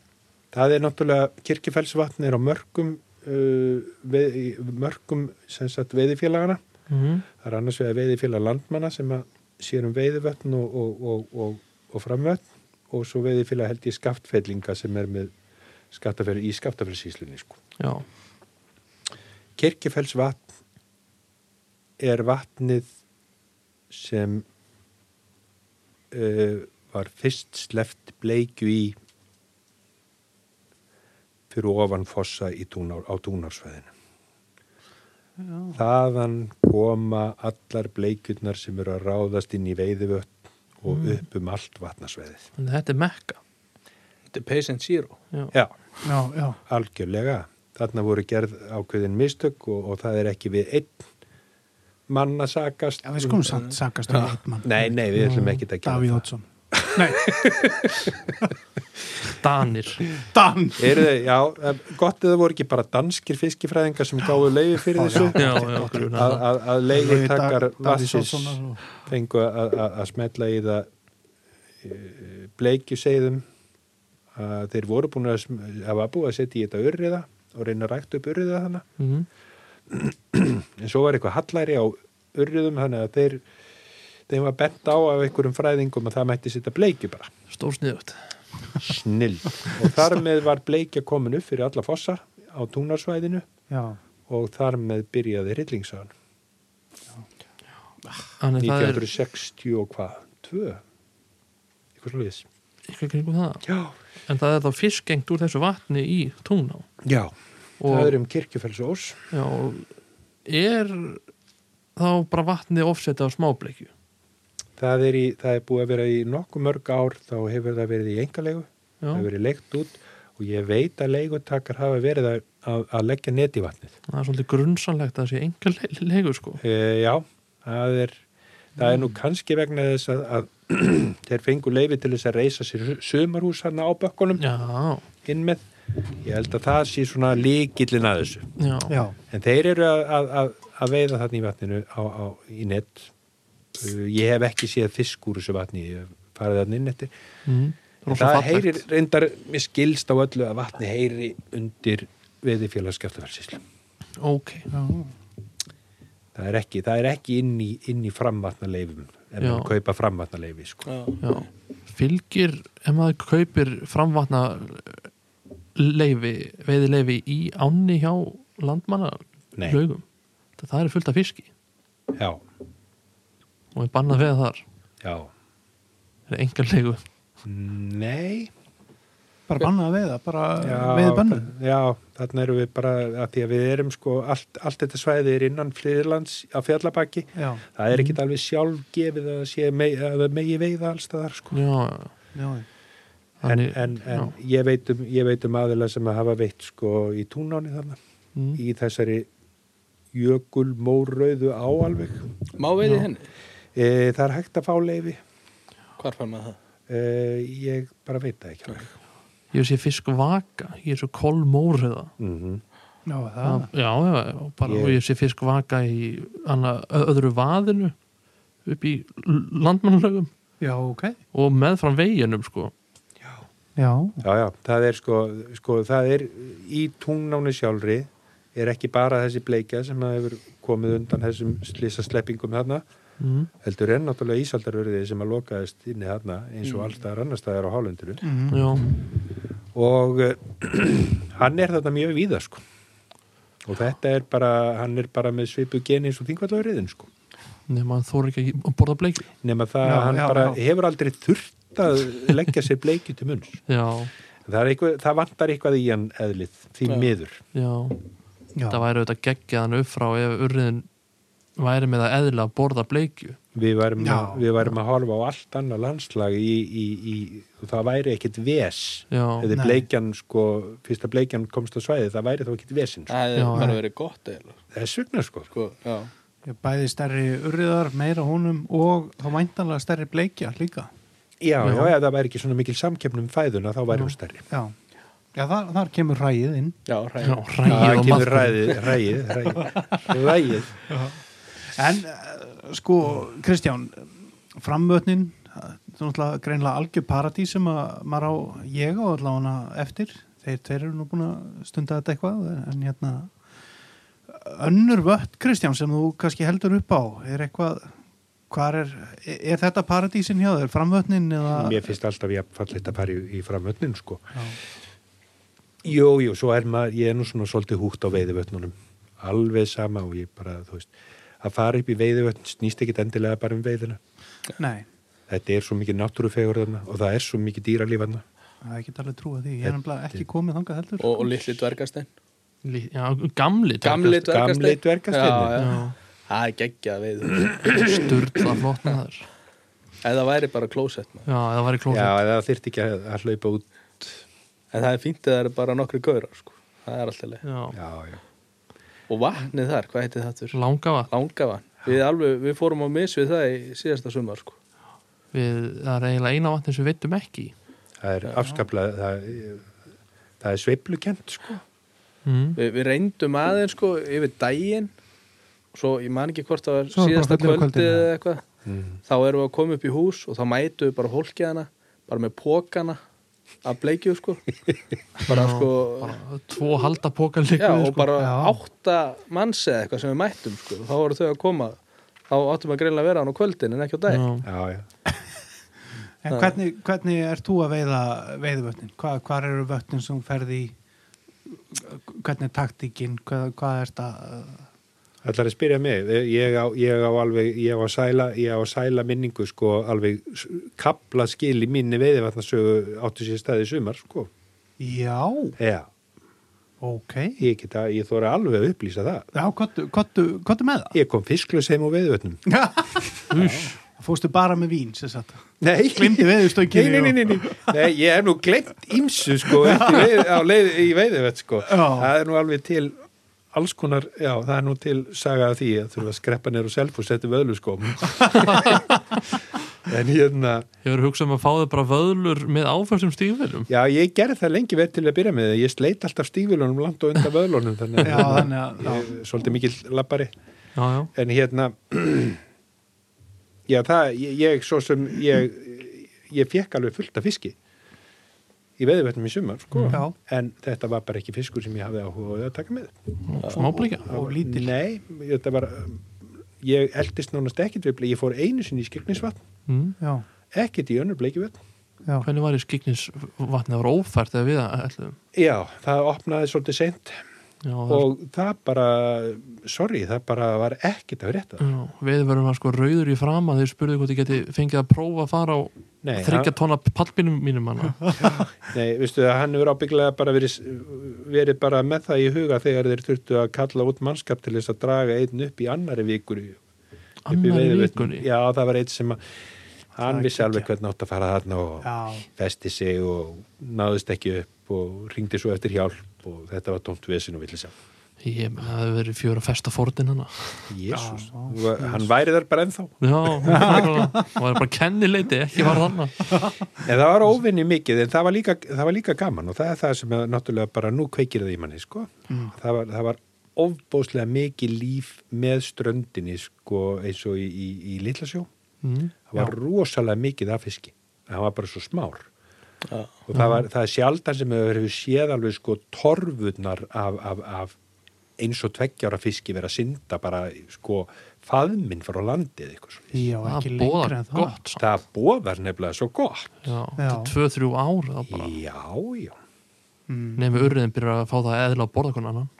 það er náttúrulega kirkjufellsvatn er á mörgum uh, veð, í mörgum sem sagt veiðifélagana mm. Það er annars vegar veiðifélag landmanna sem að sér um veiðivötn og, og, og, og, og framvötn og svo veiðifélag held ég skaftfellinga sem er með skaftafæri, í skaftafærisíslunni sko. Já, Kirkjufellsvatn er vatnið sem uh, var fyrst sleft bleikju í fyrir ofan fossa í túnar, á túnarsvæðinu. Já, Þaðan koma allar bleikjurnar sem eru að ráðast inn í veiðivötn og upp um allt vatnasveðið. en þetta er mekka Þetta er patient zero. Já, Já, já, já, algjörlega. Þarna voru gerð ákveðin mistök og, og það er ekki við einn mann að sakast. já við skulum samt sakast um eitt mann Nei, nei, við ætlum ekki að gera Davíð það. Oddsson Nei, Danir Dan Eru þau, já, eh, gott eða voru ekki bara danskir fiskifræðingar sem gáðu leiði fyrir þessu Já, já, að, grunar það að, að leiði takkar Dag- Davíð vatsis Oddssonar og- fengu að, að, að smetla í það eh, bleikjuseiðum að þeir voru búin að sm- hafa búið að setja í þetta urriða og reyna að rækta upp urriða þannig Mhm. en svo var eitthvað hallæri á urriðum þannig að þeir þeim var bent á af einhverjum fræðingum að það mætti setja bleikju bara Stórsniðut snill og þar með var bleikja komin upp fyrir alla fossa á túnarsvæðinu Já, og þar með byrjaði rillingssagan Þannig það er 1960 og hvað? 2? Eitthvað svo liðis ykkur kringum það Já, En það er þá fiskgengt úr þessu vatni í Tungná já Það og, er um kirkjufellsós já, og er þá bara vatnið offsetið á smábleikju það er, í, það er búið að vera í nokkuð mörg ár þá hefur það verið í engalegu Já, það hefur verið leikt út og ég veit að leigutakar hafa verið að, að, að leggja net í vatnið það er svolítið grunnsanlegt að það sé enga le leikur sko e, Já, það er það Mm. er nú kannski vegna þess að, að þeir fengu leifi til þess að reysa sér sumarhús hann á bökkunum Já, inn með ég held að það sé svona líkillin að þessu já, já. já, En þeir eru að, að, að, að veiða þarna í vatninu á, á, í nett. Uh, Ég hef ekki séð fisk úr þessu vatni, ég hef farið þarna inn eftir. Mm. En Rosa Það fallegt. heyrir, reyndar, mér skilst á öllu að vatni heyri undir veði félagskeftaverðsíslu. Ok, Það er ekki, það er ekki inn í, inn í framvatnaleifum, ef Já. maður kaupa framvatnaleifi, sko. já Fylgir, ef maður kaupir framvatna leifi, veiði leifi í ánni hjá landmanna Nei. laugum það, það er fullt af fiski Já, og er bannað veða þar já. það er enga leigu Nei. bara bannað að veiða, bara Já, veiði bönnu Já, þarna erum við bara, að því að við erum, sko, allt, allt þetta svæði er innan flyðlands á fjallabaki. Já, Það Mhm. er ekkit alveg sjálfgefið að sé megi, að það megi veiða allstaðar sko. já, já. já, En, Þannig- en, en já. ég, veit um, ég veit um aðila sem að hafa veitt sko í túnáni þarna Mm. í þessari jökulmórauðu á alveg. Má veiði Já. henni? E, það er hægt að fá leifi. Hvar fær maður það? E, ég bara veit það ekki alveg. ég sé fisk vaka ég er svo kolmóriða Mm -hmm. já, það já, já, já, og bara, Ég- og ég sé fisk vaka í anna, öðru vaðinu upp í landmannlaugum Já, ok og meðfram veginum sko Já, Já, já, það er sko, sko það er í túnáni sjálfri er ekki bara þessi bleikja sem að hefur komið undan þessum slissasleppingum þarna. mm. heldur er náttúrulega ísaldarörðið sem að lokaðist inni þarna eins og allstaðar annar staðar á hálenduru mm. já, og eh, hann er þarna mjög víða sko og þetta er bara, hann er bara með svipu geni eins og þingvallariðin sko nema hann þóra ekki að borða bleiki nema það Já, að hann já, bara já. hefur aldrei þurft að leggja sér bleikju til munns já, það, er eitthvað, það vantar eitthvað í hann eðlið því Já. miður já, já, það væri auðvitað geggjaðan upp frá ef urriðin væri með að eðla að borða bleikju við værum, að, Já. við værum að horfa á allt annað landslag í, í, í, og það væri ekkit ves já, eða Nei. bleikjan sko, fyrsta bleikjan komst á svæði það væri þá ekkit vesinn sko. Já, Það er- það já. er verið gott eða Þess vegna sko. sko, já Ég bæði stærri urriðar, meira honum og þá væntanlega stærri bleikja líka Já, Já. já, ef það væri ekki svona mikil samkeppnum fæðuna þá væri hún stærri. Já, já þar, þar kemur ræðið inn Já, já, hræðið Það ræðið og kemur maður ræðið, ræðið, ræðið, ræðið. En eh, sko, Kristján framvötnin það er náttúrulega greinlega algjör paradís sem að maður á ég og allavega eftir þeir tveir eru nú búin að stunda þetta eitthvað en hérna önnur vött, Kristján, sem þú kannski heldur upp á, er eitthvað hvar er, er þetta paradísin hjá þér framvötnin eða Mér finnst alltaf ég fallið að fara í, í framötnin sko. Já, Jú, jú, svo er maður, ég er nú svona svolítið húgt á veiðivötnunum. Alveg sama og ég bara, þú veist, að fara upp í veiðivötn snýst ekkit endilega bara um veiðina. nei, Þetta er svo mikið náttúrufegur þarna og það er svo mikið dýralíf þarna. það er ekki alveg trúa því ég er nefnilega ekki komið þangað heldur og, og litli dvergastein Lí- Já, gamli Gamli dvergastein Gamli Já, dvergasteinninn. já. Já. Það er geggjað við Sturla flott maður Eða væri bara klósett maður. Já, það var í Já, klófið það þyrfti ekki að, að hlaupa út. En það er fínt að það eru bara nokkri gaurar sko. Það er alltaf leið Já, Já, já. Og vatnið þar, hvað heitir það þurr? langa vatn Langavann við, alveg, við fórum á mis við það í síðasta sumar sko. við, það er eiginlega eina vatni sem við veitum ekki í. það er afskaplega það, það er sveiflukent sko mm. við, við reyndum aðeins sko yfir daginn svo ég man ekki hvort það var Svo bara síðasta fellur á kvöldin, kvöldið eða já. eitthvað þá erum við að koma upp í hús og þá mætum við bara hólkiðana bara með pókana að bleikju sko bara sko bara tvo halda póka líka já, og sko. bara Já. átta manns eða eitthvað sem við mættum sko þá voru þau að koma þá áttum við að greinlega vera hann á kvöldin en ekki á dag Já. já, já. En hvernig, hvernig er þú að veiða veiðvötnin? Hva, hvar eru vötnin sem þú ferð í? Hvernig er taktíkin? Hvað, hvað er þetta? Það er að spyrja mig, ég á, ég á alveg, ég á að sæla, ég á að sæla minningu sko alveg kapla skil í minni veiðivatnarsögu áttu sér staði í sumar sko. Já, Já, ok. ég geta, ég þóra alveg að upplýsa það. Já, hvort- hvort hvort er með það? Ég kom fisklaus heim á veiðivatnum. Fóstu bara með vín, sem sagt. Nei, Glimti veðurstönginni Nei, nei, nei, nei, nei. nei, ég hef nú glemt ímsu sko eftir veið, á leið í veiðivett sko. Já. Það er nú alveg til alls konar, já, það er nú til saga af því að þurfa að skreppa neyru self og setja vöðlu sko. en hérna, ég verður hugsað um að fá þau bara vöðlur með áfærsum stígvelum já, ég gerði það lengi verð til að byrja með það. Ég sleit alltaf stígvölunum langt og undan vöðlunum, þannig Já, að þannig að, ég já. er svolítið mikill lappari. já, já, en hérna já það, ég, ég svo sem ég, ég fekk alveg fullt af fiski í veðurvetnum í sumar sko. Mm. Já. en þetta var bara ekki fiskur sem ég hafði áhuga á að taka með smáblíka Og var- lítill. nei, þetta var um, ég eldist nánast ekkit við bleið, ég fór einu sinni í skegnisvatn mm. Já, ekkit í önnur bleikivötn já. hvernig var í skiknis vatnið var ófært eða við að ætlum já, það opnaði svolítið seint já, og... og það bara sorry, það bara var ekkit að rétta Mm. já, við verðum að sko rauður í fram að þeir spurðu hvort ég geti fengið að prófa að fara á Nei, þryggja tonna pallbinum mínum manna Nei, veistu það, hann hefur ábygglega bara verið, verið bara með það í huga þegar þeir þurftu að kalla út mannskap til þess að draga einn upp í annari vikur upp í annar í veiðivötnum. vikunni Já, það var einn sem að hann Það vissi gekkja. alveg hvernig átt að fara þarna og Já, festi sig og náðist ekki upp og ringdi svo eftir hjálp og þetta var tómt vesin og villi sá. ég meina það hefur verið fjóra festa fórtin hana Jésús, Já, hann væri þar bara ennþá. já, hún var bara kennileiti ekki var þarna En það var óvinni mikið, en það var líka, það var líka gaman og það er það sem er náttúrulega bara nú kveikir það í manni, sko. Það, var, það var ofbóðslega mikið líf með ströndinni, sko, eins og í, í, í Lillasjó. mm. Það var rosalega mikið af fiski. Það var bara svo smár. Og það, var, það er sjaldan sem hefur hefur séð alveg, sko, torfurnar af, af, af eins og tveggjára fiski vera að synda bara, sko, faðminn frá landið, eitthvað svo. já, það ekki lengri bóða en það. gott samt. Það bóðar nefnilega svo gott. já, Já. þetta er tvö, þrjú ár þá bara Já, já. Mm. nefnir urriðin byrjar að fá það eðla að borða konan annan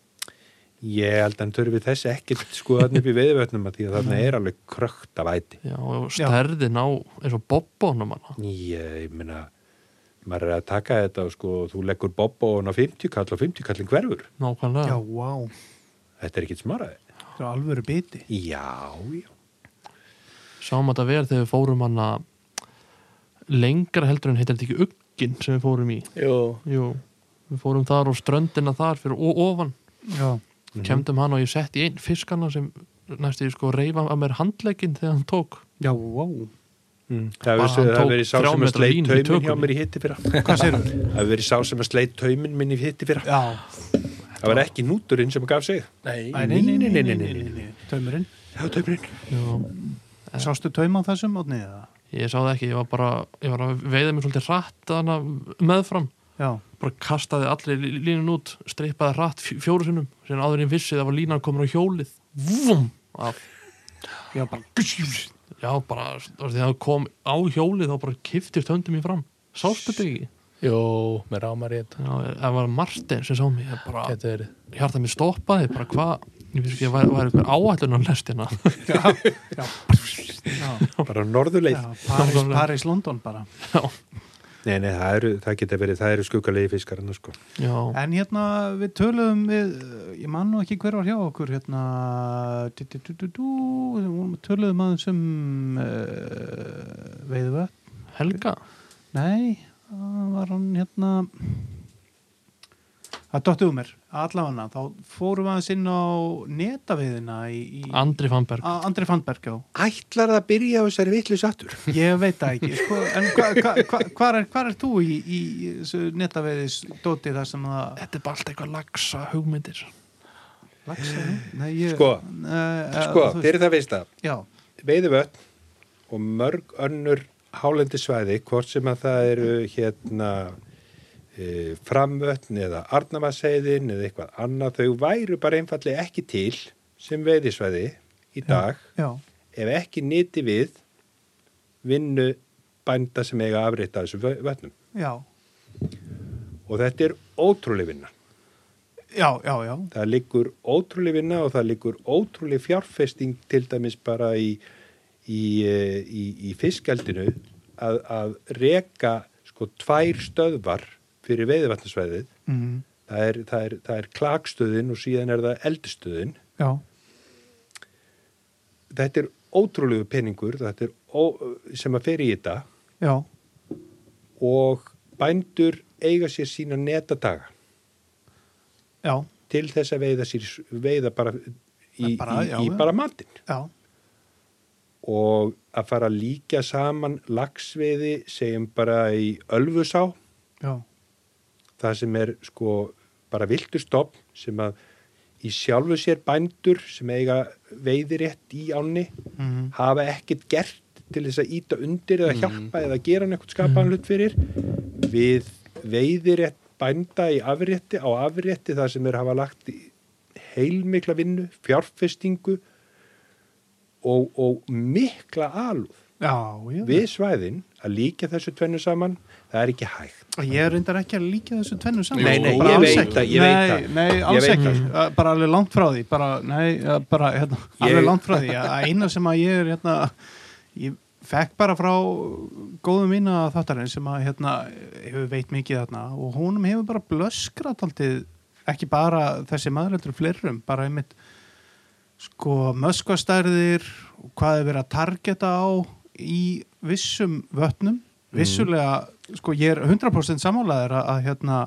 Ég held að hann törfi þess ekkert sko þarna upp í veiðvötnum að því að þarna er alveg krökt af æti. Já, og stærðin á eins og bobbónum hana Ég meina, maður er að taka þetta og sko þú leggur bobba og hann á 50 kall og 50 kallin hverfur. Já, nákvæmlega vá, Þetta er ekkert smaraði. það er alvöru biti. Já, já. sáum þetta vel þegar við fórum hana lengra heldur en heitir þetta ekki uggin sem við fórum í Jú, Jú, við fórum þar og ströndina þar fyrir og ofan, Já, kemdum hann og ég sett í einn fiskana sem næstu sko reyfa að mér handlegin þegar hann tók já, vá. Mm. Það Bara hefur hann tók verið- það hefur verið sá þrjá sem að metra sleit línu í taumin hjá tökunni. mér í hitti fyrra. Það Hvað segirðu? hefur verið sá sem að sleit taumin minn í hitti fyrra. Já, Það var ekki núturinn sem gaf sig. nei, Æ, nei, nei, nei, nei, nei, nei, nei, taumurinn. Já, taumurinn. Já, Sástu taum á þessum átnið eða? ég sá það ekki, ég var bara ég var að veiða mér svolítið rætt hana meðfram Já, bara kastaði allir línun út streipaði rætt fjóru sinnum sem áður en ég vissi það var línan komur á hjólið vum, af já, bara, Já, bara, þú veist, þegar það kom á hjólið þá bara kiftist höndum í fram Sástu þetta ekki? Jú, með rámar í þetta Já, það var Martin sem sá mig ég bara, Þetta er hjarta mér stoppaði, bara hvað Ég veist ekki, það var, var eitthvað áætlun á lestina Bara norðurleið. já, Paris, Nákvæmlega. Paris, London bara. Nei, nei, það, eru, það geta verið, það eru skuggalegi fiskarinn, sko. Já, En hérna við töluðum við, ég man nú ekki hver var hjá okkur, hérna, du, du, du, du, du, við vorum- töluðum aðeins um uh, veiðvöld. Helga Nei, það var hann hérna, það það dottuðu mér, allavega þá fórum við aðeins inn á netaveiðina í, í Andri Fannberg A- Andri Fannberg, já Ætlar það að byrja á þessari vitlu sattur? Ég veit það ekki, sko, en hva, hva, hva, hvar, er, hvar er þú í, í þessu netaveiðis dóti þar sem það Þetta er bara allt eitthvað lagsa hugmyndir lagsa? Nei, ég, Sko, uh, Sko, fyrir það veist það, Já, veiðivötn og mörg önnur hálendisvæði, hvort sem að það eru hérna e, framvötn eða arnamasseiðin eða eitthvað annað, þau væru bara einfalli ekki til sem veiðisvæði í dag já, ef ekki nýti við vinnu bænda sem eiga að afrita þessu vö- vötnum. já, Og þetta er ótrúlega vinna. já, já, já, það liggur ótrúlega vinna og það liggur ótrúlega fjárfesting til dæmis bara í, í, eh, í, í fiskjaldinu að, að reka sko tvær stöðvar fyrir veiðvatnarsvæðið. mm, Það er, það, er, það er klakstöðin og síðan er það eldstöðin. já, Þetta er ótrúlegu peningur þetta er ó, sem að fer í þetta já, og bændur eiga sér sína netadaga já, til þess að veiða, sér, veiða bara í, Bara, í, já, í já. bara matinn. já, og að fara að líka saman lagsveiði segjum bara í Ölfusá já, það sem er sko bara viltustofn sem að í sjálfu sér bændur sem eiga veiðirétt í ánni mm, hafa ekkert gert til þess að íta undir eða hjálpa eða gera hann eitthvað skapaðan hlut fyrir við veiðirétt bænda í afrétti á afrétti þar sem er hafa lagt í heilmikla vinnu, fjárfestingu og, og mikla alúð já, já. við svæðin að líka þessu tvennu saman, það er ekki hægt. Og Ég er reyndar ekki að líka þessu tvennu saman Nei, nei, Bara ég alls veit ekki. það, ég veit nei, það. Nei, Ég alls veit ekki, það. Uh, bara alveg langt frá því bara, Nei, uh, bara, hérna, Ég- alveg langt frá því að eina sem að ég er, hérna ég fekk bara frá góðum mína þáttarinn sem að, hérna hefur veit mikið þarna og húnum hefur bara blöskrat alltið ekki bara þessi maður heldur flerum bara einmitt sko möskvastærðir og hvað er verið að targeta á í vissum vötnum vissulega, sko ég er 100% sammálaðir að, að hérna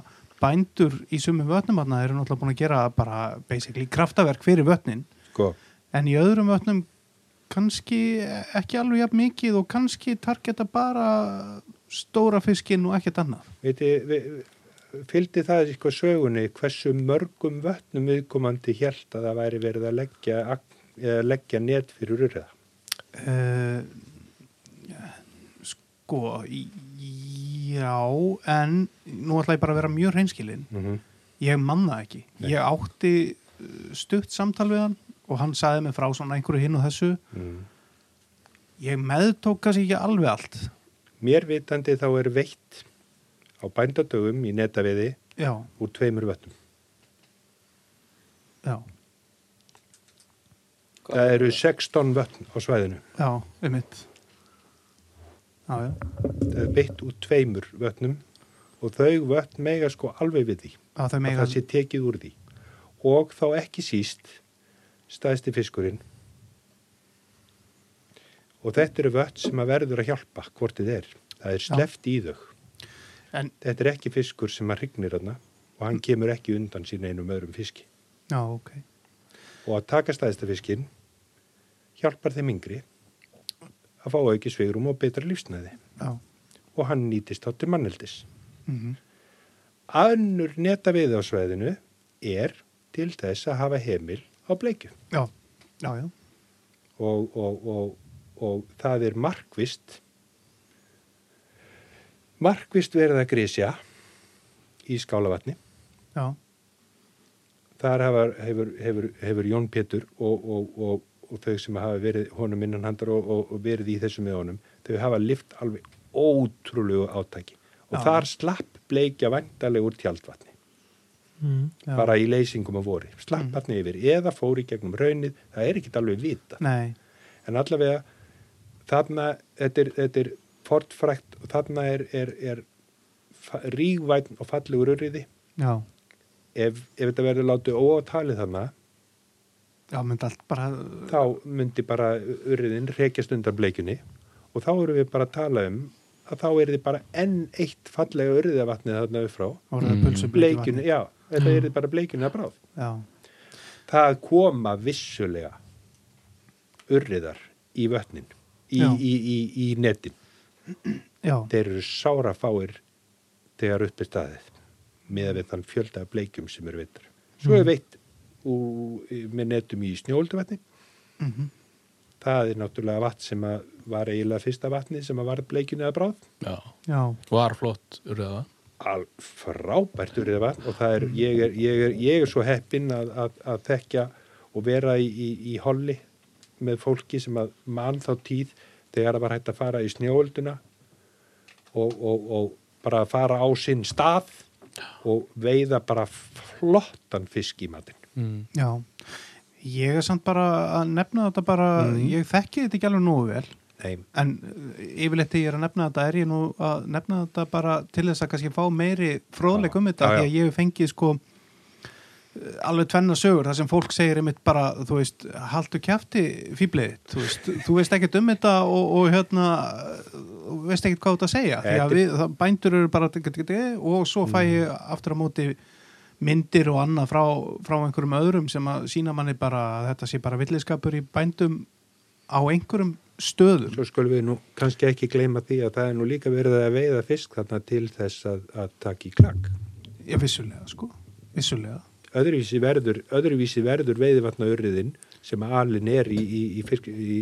bændur í sumum vötnum þarna eru náttúrulega búin að gera bara basically kraftaverk fyrir vötnin Sko, en í öðrum vötnum kannski ekki alveg jafn mikið og kannski targeta bara stóra fiskinn og ekkert annað veiti, vi- fylgdi það eitthvað sögunni hversu mörgum vötnum viðkomandi hjælt að það væri verið að leggja, agn- eða leggja net fyrir urða. uh, sko í- já, en nú ætla ég bara að vera mjög hreinskilinn Mm -hmm. Ég man það ekki. Ég átti uh, stutt samtal við hann og hann sagði mig frá svona einhverju hinn og þessu. Mm. Ég meðtók kannski ekki alveg allt. Mér vitandi þá er veitt á bændadögum í netaviði Já, úr tveimur vötnum. já, Það eru 16 vötn á svæðinu. já, um mitt. Já, já, Það er veitt úr tveimur vötnum og þau vötn mega sko alveg við því. já, þau að meira. það sé tekið úr því og þá ekki síst staðisti fiskurinn og þetta eru vött sem að verður að hjálpa hvort þið er, það er sleft í þau En- þetta er ekki fiskur sem að hrygnir hana og hann kemur ekki undan sín einum öðrum fiski Já, ok. og að taka staðista fiskinn hjálpar þeim yngri að fá auki svegrum og betra lífsnæði Já, og hann nýtist þá til manneldis mm Annur netaviði á svæðinu er til þess að hafa heimil á bleikju já, já, já, og, og, og, og það er markvist markvist verið að grísja í skálavatni já, þar hefur, hefur, hefur, hefur Jón Pétur og, og, og, og þau sem hafa verið honum innan handar og, og, og verið í þessu með honum þau hafa lift alveg ótrúlegu átaki og Já. þar slapp bleikja vandaleg úr tjaldvatni mm. já. bara í leysingum að voru, slapp hann yfir eða fór í gegnum raunnið, það er ekkit alveg vita Nei, en allavega þarna, þetta er, þetta er fortfrækt og þarna er, er, er fa- rígvæn og fallegur urriði já, ef, ef þetta verður látið óátalið þarna já, myndi allt bara, þá myndi bara urriðin rekjast undan bleikjunni og þá erum við bara að tala um að þá er þið bara enn eitt fallega urriðavatnið þarna upp frá voru það pulsu bleikjunni, já, þetta er bara bleikjunni að bráð já, það koma vissulega urriðar í vötnin í, Já. í, í, í netin já, þeir eru sára fáir þegar uppi staðið með við þann fjölda af bleikjum sem eru veitar svo er veitt úr, með netum í snjólduvatni það er náttúrulega vatn sem að var eiginlega fyrsta vatni sem að var bleikjunni að bráð Já, já, var flott urðaða. al frábært urriða vatn og það er, ég er, ég er, ég er svo heppinn að, að, að þekja og vera í, í, í holli með fólki sem að mann þá tíð þegar það var hægt að fara í snjóölduna og, og, og bara að fara á sinn stað og veiða bara flottan fisk í matinn. Mm. já ég er samt bara að nefna þetta bara ég þekki þetta ekki alveg nógu vel Nei, en eh, yfirleitt þegar ég er að nefna þetta er ég nú að nefna þetta bara til þess að kannski fá meiri fróðleik um þetta Já, já. því að ég hef fengið sko eh, alveg tvenna sögur þar sem fólk segir einmitt bara, þú veist, haldu kjafti fýblið, þú veist, þú veist ekkert um þetta og, og hérna þú veist ekkert hvað þú ert að segja því Þetta- Mm. að við, það, bændur eru bara og svo fæ ég aftur á móti myndir og annað frá, frá einhverjum öðrum sem að sína manni bara að þetta sé bara villiskapur í bændum á einhverjum stöðum svo skulum við nú kannski ekki gleyma því að það er nú líka verið að veiða fisk þarna til þess að, að taka í klakk. Já, vissulega, sko. Vissulega. öðruvísi verður, öðruvísi verður veiðivatnaurriðin sem alin er í, í, í, fisk, í,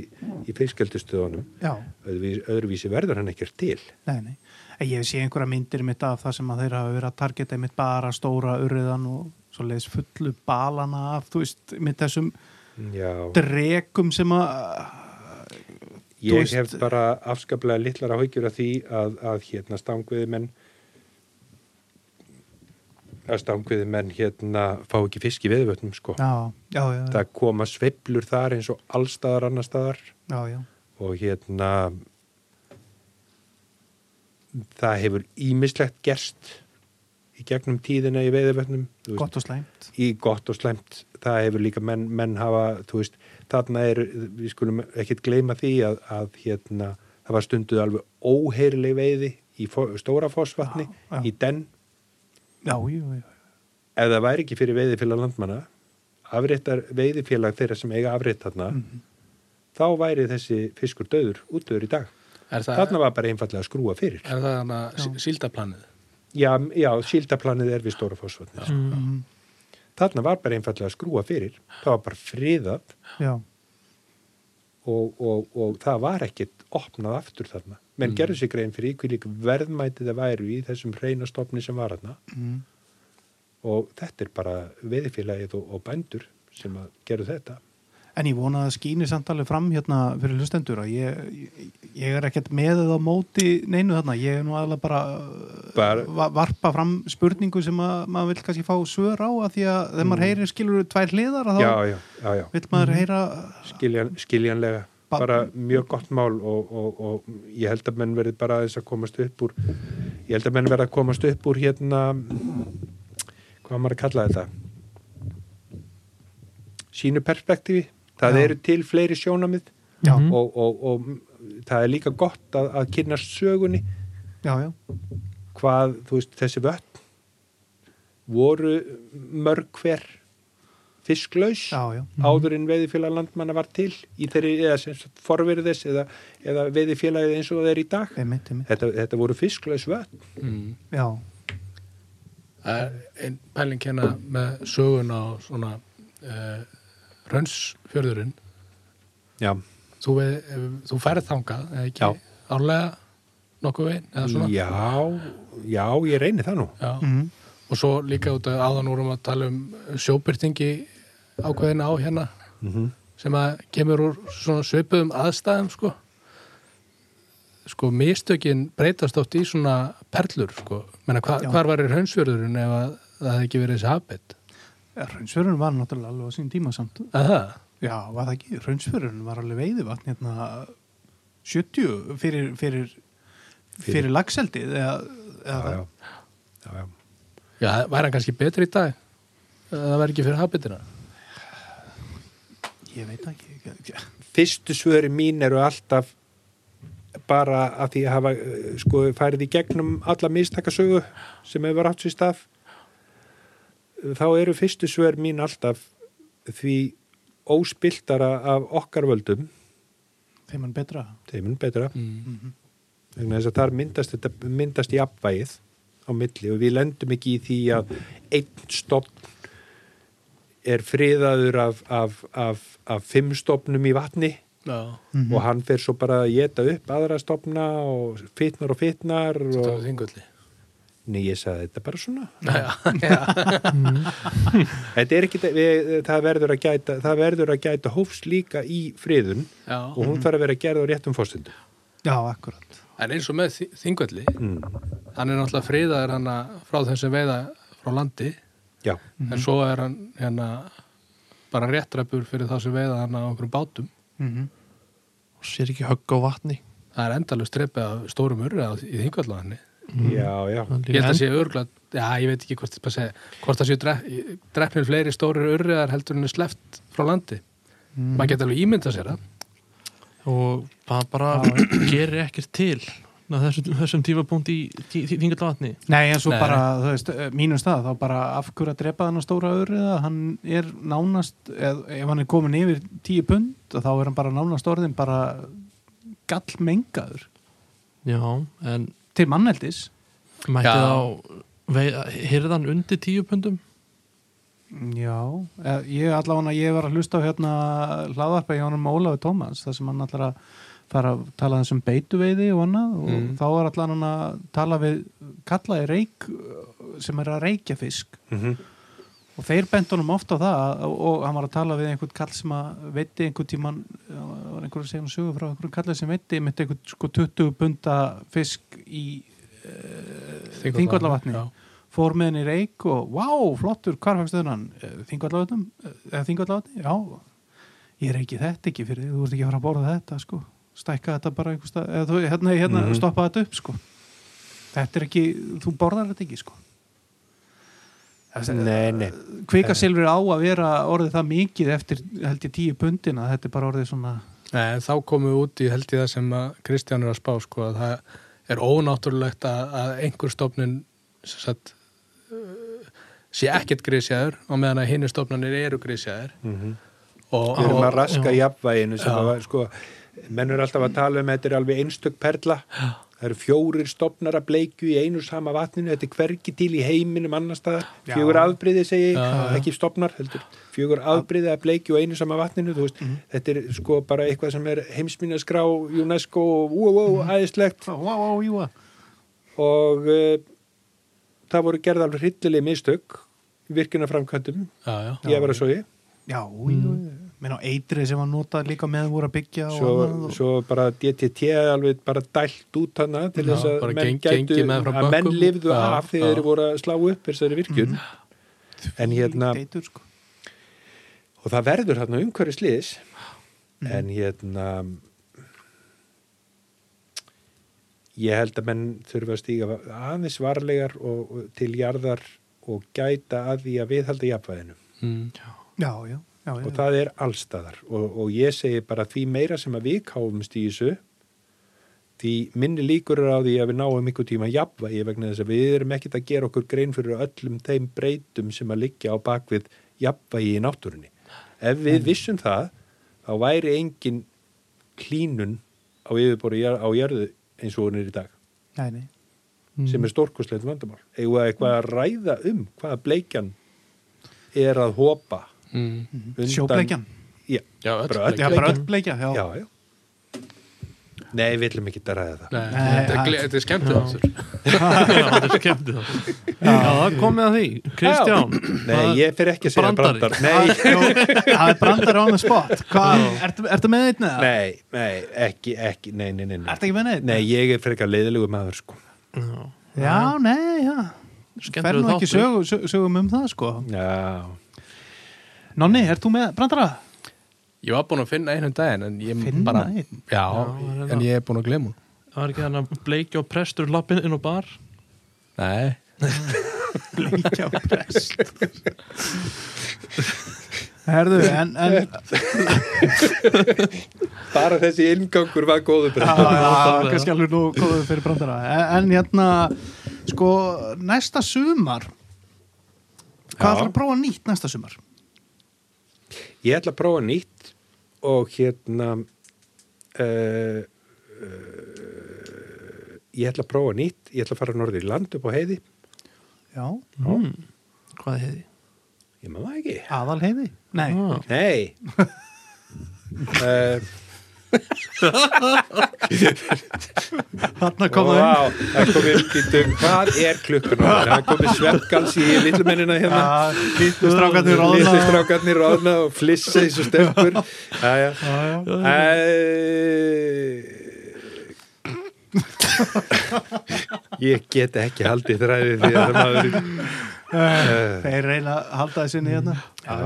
í fiskjaldustöðunum Já, öðruvísi, öðruvísi verður hann ekkert til nei, nei. En Ég sé einhverja myndir mitt af það sem að þeir hafa verið að targeta mitt bara stóra urriðan og svo leiðis fullu balana af, þú veist, mitt þessum já, drekum sem að, þú ég veist- hef bara afskaplega litlar áhyggjur af því að, að hérna stangveðimenn að stangveðimenn hérna fá ekki fisk í veiðvötnum sko já, já, já, já, það koma sveiflur þar eins og allstaðar annar staðar já, já, og hérna það hefur ímislegt gerst í gegnum tíðina í veiðivötnum þú veist, gott og slæmt. í gott og slæmt það hefur líka menn, menn hafa þú veist, þarna er, við skulum ekkit gleyma því að, að hérna það var stunduð alveg óheirileg veiði í fó, stóra fósvatni Já, já. í den, Já, já, já, ef það væri ekki fyrir veiðifélag landmanna afréttar veiðifélag þeirra sem eiga afrétt þarna Mhm. þá væri þessi fiskur döður útdöður í dag Er það, Þarna var bara einfallega að skrúa fyrir. er það hana síldaplanið? Já, já síldaplanið er við stóra fósvatnir. Mm. Mhm. Þarna var bara einfallega að skrúa fyrir. Það var bara friðað já, og, og, og það var ekkit opnað aftur þarna. Menn Mm. gerðu sér grein fyrir hví líka verðmætið að væru í þessum reynastofni sem var þarna mm, og þetta er bara veðifélagið og, og bændur sem að gerðu þetta. En ég vona að skýni samtalið fram hérna fyrir hlustendur að ég, ég, ég er ekkert með eða á móti neinu þarna. Ég er nú aðlega bara, uh, Bara- va- varpa fram spurningu sem að, maður vil kannski fá svör á að því að þegar maður heyrir skilur tvær hliðar að Mm. Já, þá já, já, já. vil maður heyra Skiljan, skiljanlega. Ba- Bara mjög gott mál og, og, og ég held að menn verið bara aðeins að komast upp úr ég held að menn verið að komast upp úr hérna hvað á maður að kalla þetta sínu perspektífi það Já. eru til fleiri sjónamið Já, Mhm. og, og, og það er líka gott að, að kynna sögunni já, já, hvað, þú veist, þessi vötn voru mörg hver fisklaus já, já. Mhm. áður en veiðifélag landmanna var til í þeirri, eða sem sagt forverið þess eða, eða veiðifélagið eins og það er í dag Einmitt, einmitt. þetta, þetta voru fisklaus vötn Mm. Já, Það er einn pæling hérna með sögun á svona uh, rönnsfjörðurinn. já, Þú, veið- ef- þú færð þangað, eða ekki? Já. Árlega nokkuð veginn, eða svona? já, já, ég reyni það nú Já. mm, Og svo líka út að áðan úr um að tala um sjóbyrtingi ákveðina á hérna Mhm. sem að kemur úr svona svipuðum aðstæðum sko. Sko, mistökin breytast átt í svona perlur sko. Menna, hva, Já. hvar var í raunsfjörðurinn ef að það hefði ekki verið þessi habit? raunsfjörun var náttúrulega alveg á sín tíma samt. Að það? Já, var það ekki? Raunsfjörun var alveg veiðivatn hérna 70 fyrir, fyrir, fyrir lagseldið eða, eða já, það- já, já, já. Já, væri hann kannski betri í dag? Ef Það væri ekki fyrir habitina? Ég veit ekki. fyrstu svöri mín eru alltaf bara að því að hafa eh, sko farið í gegnum alla mistakasögu sem hefur átt sér stað þá eru fyrstu svör mín alltaf því óspiltara af okkar völdum þeim hann betra þeim mun betra Mm. vegna þess að þar myndast, þetta, myndast í appvægið á milli og við lendum ekki í því að einn stofn er friðaður af, af, af, af fimm stofnum í vatni Já. og hann fer svo bara að geta upp aðra stofna og fitnar og fitnar Þetta var og... þingulli. Nei, ég sagði þetta bara svona Já, Þetta er ekki, við, það verður að gæta það verður að gæta hófs líka í friðun já. Mhm. og hún þarf að vera gerð á réttum fórstundum já, akkurat En eins og með þingulli, Mm. hann er náttúrulega friðaður hann frá þessi veiða frá landi, Já, en svo er hann hérna bara réttrapur fyrir þá sem veiða hann á okkur bátum. Mhm. og sér ekki högg á vatni Það er endalust dreipið af stórum urra í þingullanni. já, já Hann Ég held að líka sé örgla, já, ég veit ekki hvort, það sé, hvort það sé dref, drefnir fleiri stórir urriðar heldur en er sleppt frá landi. Maður geta alveg ímynda sér enn- það. og það bara gerir ekkert til á þessum, þessum tífapunkt í þingat á vatni Nei, en svo Nei. bara, þú veist, eh, mínum stað þá bara af hverju að drepa hann á stóra öryða hann er nánast eð, ef hann er komin yfir tíu pund þá er hann bara nánast orðin bara gallmengaður já, en til manneldis mætti Já. þá hirðan undir tíu pundum Já, eh, ég allavega ég var að hlusta á hérna hlaðarpa hjá honum Ólafi Tómas þar sem hann allar að fara að tala þessum beituveiði og annað og Mm. þá var allan hann að tala við kallaði reik eh, sem er að reykja fisk mm og þeir bent honum oft á það og, og hann var að tala við einhvern kall sem að veitti einhvern tíman var einhver að segja hann sögu frá einhvern kall sem veitti með einhvern sko 20 punta fisk í Þingvallavatni. Já. fór með henni reik og vá, flottur, hvar fækstu þennan? Þingvallavatnum? eh, Þingvallavatni? Já, ég er ekki þetta ekki fyrir þig, þú ert ekki að fara að borða þetta, sko. Stækka þetta bara einhver stað, eða þú, hérna, hérna, Mhm. stoppa þetta upp, sko. Þetta er ekki, þú borðar þetta ekki, sko. Nei, nei Eh. Kvikasilfur á að vera orðið það mikið eftir, held ég, tíu pundin að þetta er bara orðið svona, Nei, en Eh, þá komum við út í held ég það sem að Kristján er að spá sko að það er ónáttúrulegt að, að einhver stofnun sem sagt, uh, sé ekkert grísjaður og meðan að hinni stofnunir eru grísjaður og, Mhm. Við erum að og, raska já. jafnvæginu sem það var, sko, menn eru alltaf að tala um þetta er alveg einstök perla það eru fjórir stopnar að bleikju í einu sama vatninu, þetta er hvergi til í heiminum annars staðar, Já. fjögur afbriði segi ég, Já, já. ekki stopnar heldur fjögur afbriði að bleikju í einu sama vatninu þú veist, Mhm. þetta er sko bara eitthvað sem er heimsminaskrá UNESCO og ú, Mhm. ú, ú, æðislegt vá, vá, júa. og uh, það voru gerð alveg hryllilegi mistök virkina framkvæmdum, já, já, ég var að svo Já, jú, mm. menn á eitrið sem var notað líka meðan voru að byggja og annað svo, og- svo bara DTT er alveg bara dælt út hana til Já, þess að bara geng- menn gætu gengi með frá að menn bökkum. lifðu Já, já. af þegar Mhm. þeir voru að slá upp þessari virkjun en hérna Eitur, sko. og það verður hérna umhverju sliðis Mhm. en hérna ég held að menn þurfa að stíga aðeins varlegar og, og til jarðar og gæta að því að viðhalda jafnvæðinu Mm, Já, já, já, já. og það er allstaðar og, og ég segi bara því meira sem að við káfumst í þessu því minni líkur er á því að við náum ykkur tíma jafnvægi vegna þess að við erum ekkert að gera okkur grein fyrir öllum þeim breytum sem að liggja á bakvið jafnvægi í náttúrunni ef við Mm. vissum það þá væri engin klínun á yfirbóri á jörðu eins og hún er í dag Nei, nei. Mm. sem er stórkoslegt vandamál eða eitthvað að ræða um hvaða bleikjan er að hopa mm. undan- Sjóbleikjan. Já, Já, öll bara öll Já, bara öll bleikja, já. já, já. Nei, við viljum ekki að ræða það. Nei, Nei, þetta, er, hann- gle- þetta er skemmt já. það er skemmt þá já, það komið að því Kristján, Nei, ég fyrir ekki að segja Brandari. brandar. Nei, Jú, Það er brandar á með spott. Hvað, ertu, ertu með neitt neða? nei, nei, ekki, ekki, nei, nei, nei. Ertu ekki með neitt? Nei, ég er frekar leiðilegu maður, sko. Já, nei, já. Fer skemmtur nú ekki sögu, sögu, sögum um það, sko. Já, Nonni, ert þú með brandara? Ég var búin að finna einum daginn en ég Finna bara einn? Já, Já, það er en ég er búin að glema hún það var ekki þannig að bleikja og prestur lappin inn á bar Nei, Bleikja og prest. Herðu, en, en bara þessi inngangur var góður Já, brandar. já, nákvæmlega. kannski alveg nú góðu fyrir brandara en, en hérna, sko, næsta sumar Hvað Já. ætlar að prófa nýtt næsta sumar? Ég ætla að prófa nýtt og hérna uh, uh, ég ætla að prófa nýtt ég ætla að fara norður í land upp á heiði Já, mm. Hvað heiði? ég maður það ekki aðal heiði? Nei, Ah. Nei uh, þarna Ó, koma vá, Það komið býtum, hvað er klukkan á þér? Það komið sveppgals í lillumennina hérna Já, lítið strákarnir ráðna Litlu strákarnir ráðna og flissa eins og stelpur Jæja Eh, Ég get ekki haldið þræði því að maður Þeir reyna að halda þessu inn í hérna Já.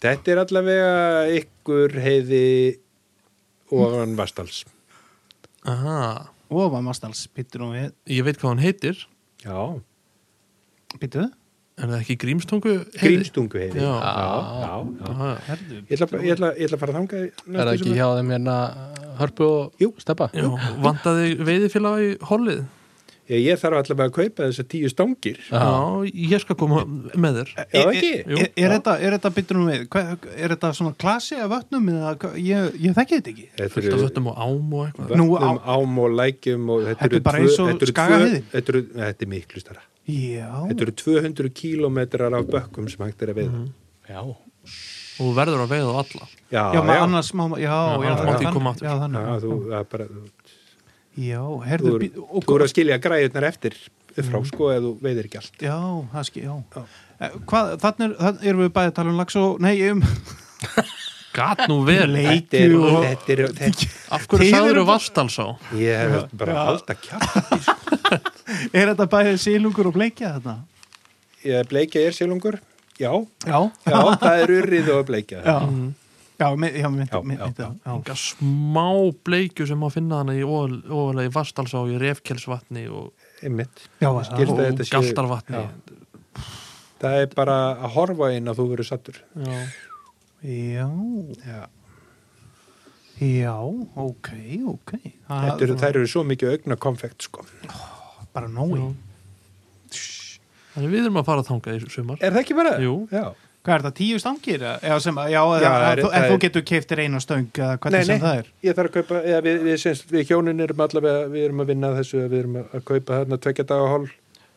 Þetta er allavega ykkur heiði ofan Vastals Aha. Og var mastals, býttu nú við Ég veit hvað hann heitir Já, Býttu? Er það ekki grímstungu heiði? grímstungu heiði Já. já, já. Aha. Herðu, Ég ætla, bara- ég, ætla, ég ætla að fara þangað í Er það næsta ekki sumar. hjá þeim hérna hörpu og Jú. steppa? Já, vandaði veiðifélag í hollið Ég, ég þarf allavega að kaupa þessar tíu stangir Já. Já, ég skal koma með þér Já, Er- ekki? Er, er, þetta, er þetta býttu nú við? Hva, er þetta svona klasi af vötnum? Eða, hva- ég, ég þekki þetta ekki Þetta Fullt af eru vöttum og ám og eitthvað Nú, vötnum, ám og lækjum og þetta Þetta er eru bara tvö- eins og þetta eru tvö- Skagaheiði. Þetta eru- nei, þetta er miklu stara Já, Þetta eru 200 kílómetrar af bökkum sem hægt er að veiða Mhm. Já. og þú verður að veiða á alla Já, já, já. annars má já, já, annars já, mátti ég þann- koma aftur. Já, þannig Já, þú, það er bara, þú, Já, þú, herðu er, býttu og- Mhm. þú er að skilja græðunar eftir upp frá sko eða þú veiðir ekki allt Já, það skil, já, Já. Eh, Hvað, þannig er, þannig erum við bæði að tala um lags og Nei, um Gat nú vel Þetta leiki er, og þetta er, þetta Af hverju Þið sagður eru þú Vastalsá? ég hef bara Já. að halda kjátt Er þetta bæði sílungur og bleikja þarna? Ég bleikja er sjálfungur, já, Já, já, það er urrið og bleikja já, Mhm. já, með, já, með, Já, með, já, með, já, já. Enga smá bleikju sem má finna hana í ofalega í Vastalsá í Refkjelsvatni og, einmitt já, já, Ég skil. Finnst og að þetta sé- Galtarvatni Já. Það er bara að horfa inn að þú verður sattur Já. já, Já. já, ok, ok Það Þetta eru, þær eru svo mikið augna konfekt sko. bara nói Já. Þannig við erum að fara þangað í sumar Er það ekki bara? Jú. Já. Hvað er það, tíu stangir? Já, sem, að- já, já það er- þú, en það þú er- getur keiftir einu stöng eða Nei, hvernig nei, sem það er ég þarf að kaupa eða, við, við, syns, við hjónin erum allavega við erum að vinna að þessu, við erum að kaupa þarna tvekja daga hól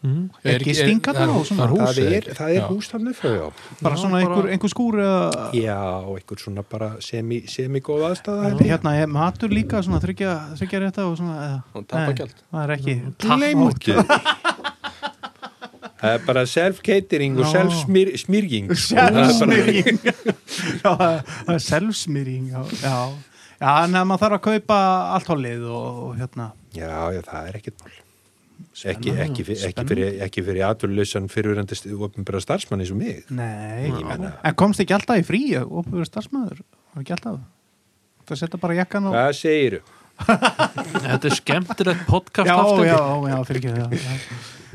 mm. Ekki stinga það þarna er og hús, svona. það er hús, það er, ekki? það Já. er hús þannig fyrir Bara Já, svona bara- einhver, einhver skúr eða, já, og einhver svona bara semi, semi góð aðstæða held ég. Hérna er matur líka svona þryggja, þryggja rétta og svona eða, Og tapagjald. Nei, það er ekki Gleymdu því. það er bara self-catering Já. og sko. self-smýrging Selfsmyrjing Já, það er selfsmyrjing Já, já, já en að maður þarf að kaupa allt hólið og, og hérna já, já, það er ekkert mál ekki, ekki, fyr- ekki Spennandi. fyrir, ekki fyrir atvinnlausan fyrirverandi ofnbæra starfsmann eins og mig Nei, Ég meina- en komst ekki alltaf í frí og opið starfsmöður, var ekki alltaf það setja bara jakkan og hvað segiru? Þetta er skemmtilegt podcast já, aftur. já, já, fyrir ekki það já.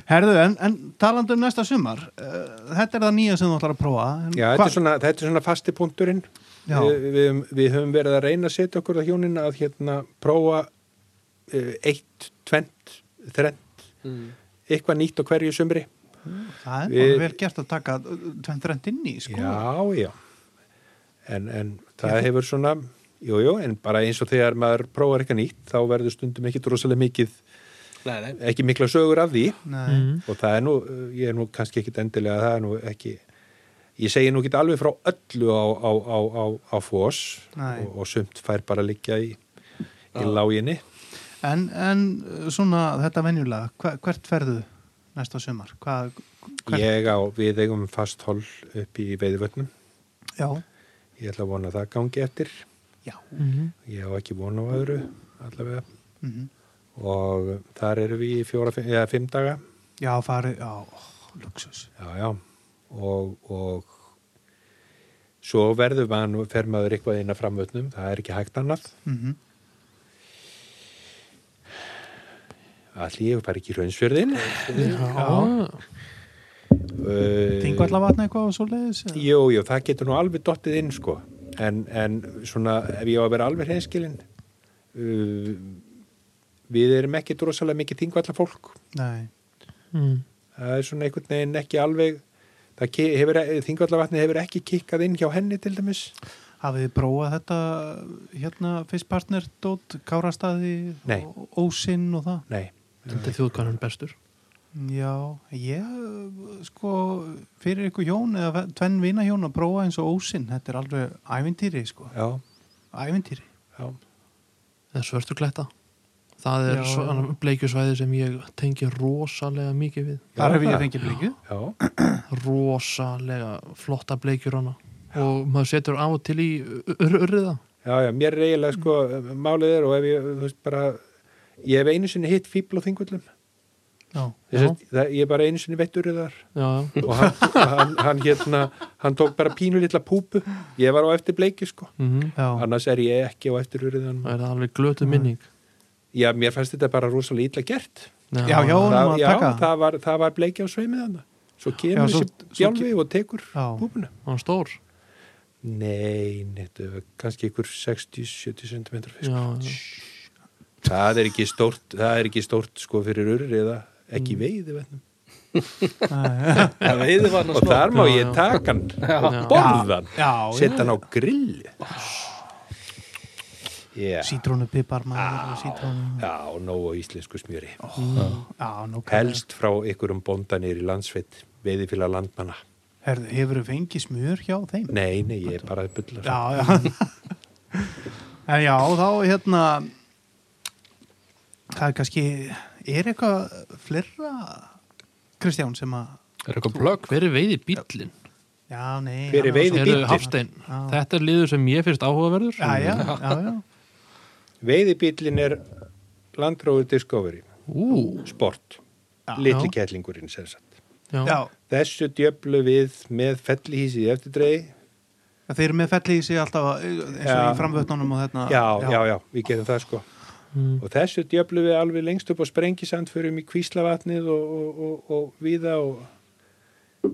Herðu, en, en talandi um næsta sumar uh, þetta er það nýja sem þú ætlar að prófa en Já, hva- þetta er, svona, þetta er svona fasti punkturinn Já. við, við, við höfum verið að reyna að setja okkur það hjónin að hérna prófa uh, eitt, tvent, þrent Mm. eitthvað nýtt á hverju sumri það er við- bara vel gert að taka tvenn þrend inn í, sko Já, já en, en það hefur svona jú, jú, en bara eins og þegar maður prófar eitthvað nýtt þá verður stundum ekki rosalega mikið Nei, nei. ekki mikla sögur af því Nei, Mm. og það er nú, eh, ég er nú kannski ekkit endilega það er nú ekki ég segi nú ekki alveg frá öllu á, á, á, á, á fós Nei. og, og sumt fær bara að liggja í, í láginni en, en uh, svona þetta venjulega, hva, hvert ferðu næsta sumar, hvað hvert, ég á, við eigum fast hol upp í veiðvötnum já, ég ætla að vona að það gangi eftir já Mhm. ég á ekki vona á öðru allavega mm og þar erum við í fjóra, fimm, eða fimm daga já, farið, já, ó, luxus já, já og, og svo verður maður, fer maður eitthvað inn að framvötnum, það er ekki hægt annað mm Allir ég bara ekki í raunsfjörðin já, þingu Þingvallar? allavega vatna eitthvað og svo leiðis Eh, Jú, jú, það getur nú alveg dottið inn sko en, en svona ef ég á að vera alveg hreinskilin uh, við erum ekki drosalega mikið þingvallar fólk nei, Mm. það er svona einhvern veginn ekki alveg það ke- hefur, þingvallavatni hefur ekki kikkað inn hjá henni til dæmis Hafið þið prófað þetta hérna fyrstpartnerdót, Kárastaði, Nei. Ó- Ósinn og það? nei, Þetta er þjóðkvæðan bestur Já, ég sko fyrir ykkur hjón eða ve- tvenn vinahjón að prófa eins og Ósinn, þetta er alveg ævintýri sko, já, ævintýri. já, eða svörtu kletta það er Já, svona já. bleikjusvæði sem ég tengi rosalega mikið við Þar hef ég það. fengið blikið. já, rosalega flotta bleikjur hana og maður setur af og til í ur- urriða já, já mér er eiginlega sko málið er og ef ég, þú veist, bara ég hef einu sinni hitt fíbl á þingvallum já, já, Þess, það, ég er bara einu sinni vettur þar já, já. og hann, hann, hann hérna hann tók bara pínu litla púpu ég var á eftir bleiki sko Mhm. Já, annars er ég ekki á eftir urðan það er alveg glötu minning já, mér fannst þetta bara rosalega illa gert já, já, það, honum að já, taka það. það, var, það var bleiki á sveimið hann svo Já, kemur svo- þessi svo bjálfi og tekur Já. púpuna hann var stór nei, þetta var kannski ykkur 60-70 cm fisk já, já. það er ekki stórt, það er ekki stórt sko fyrir urriða ekki mm. veiði veitum. Það veiði var og þar má Já, ég já. taka hann og Já. borða hann Já, já, setja hann á grill yeah. sítrónu pipar maður, sítrónu, Já, nóg á íslensku smjöri. já, nóg. Helst frá ykkurum bóndanir í landsveit, veiðifíla landmanna. Herðu, hefur þið fengið smjör hjá þeim? Nei, nei, ég er bara að bylla. Já, já. en já, þá hérna það er kannski er eitthvað fleira Kristján sem að Er eitthvað plögg? hver er veiði bíllinn? já, nei. Hver er hann var veiði- svo- Eru bíllinn? Hafstein, Já. þetta er liður sem ég finnst áhugaverður Já, já, já, já. Veiðibílin er landróður Discovery, Ú, sport, Já. litli kettlingurinn sem sagt. já, já. Þessu djöflu við með fellihísið eftirdrei. Þeir eru með felli í sig alltaf eins og Já. í framvötnunum og hérna, þarna. Já, já, já, við getum það sko. Mm. Og þessu djöflu við alveg lengst upp á sprengisand fyrir um í kvíslavatnið og, og, og, og viða og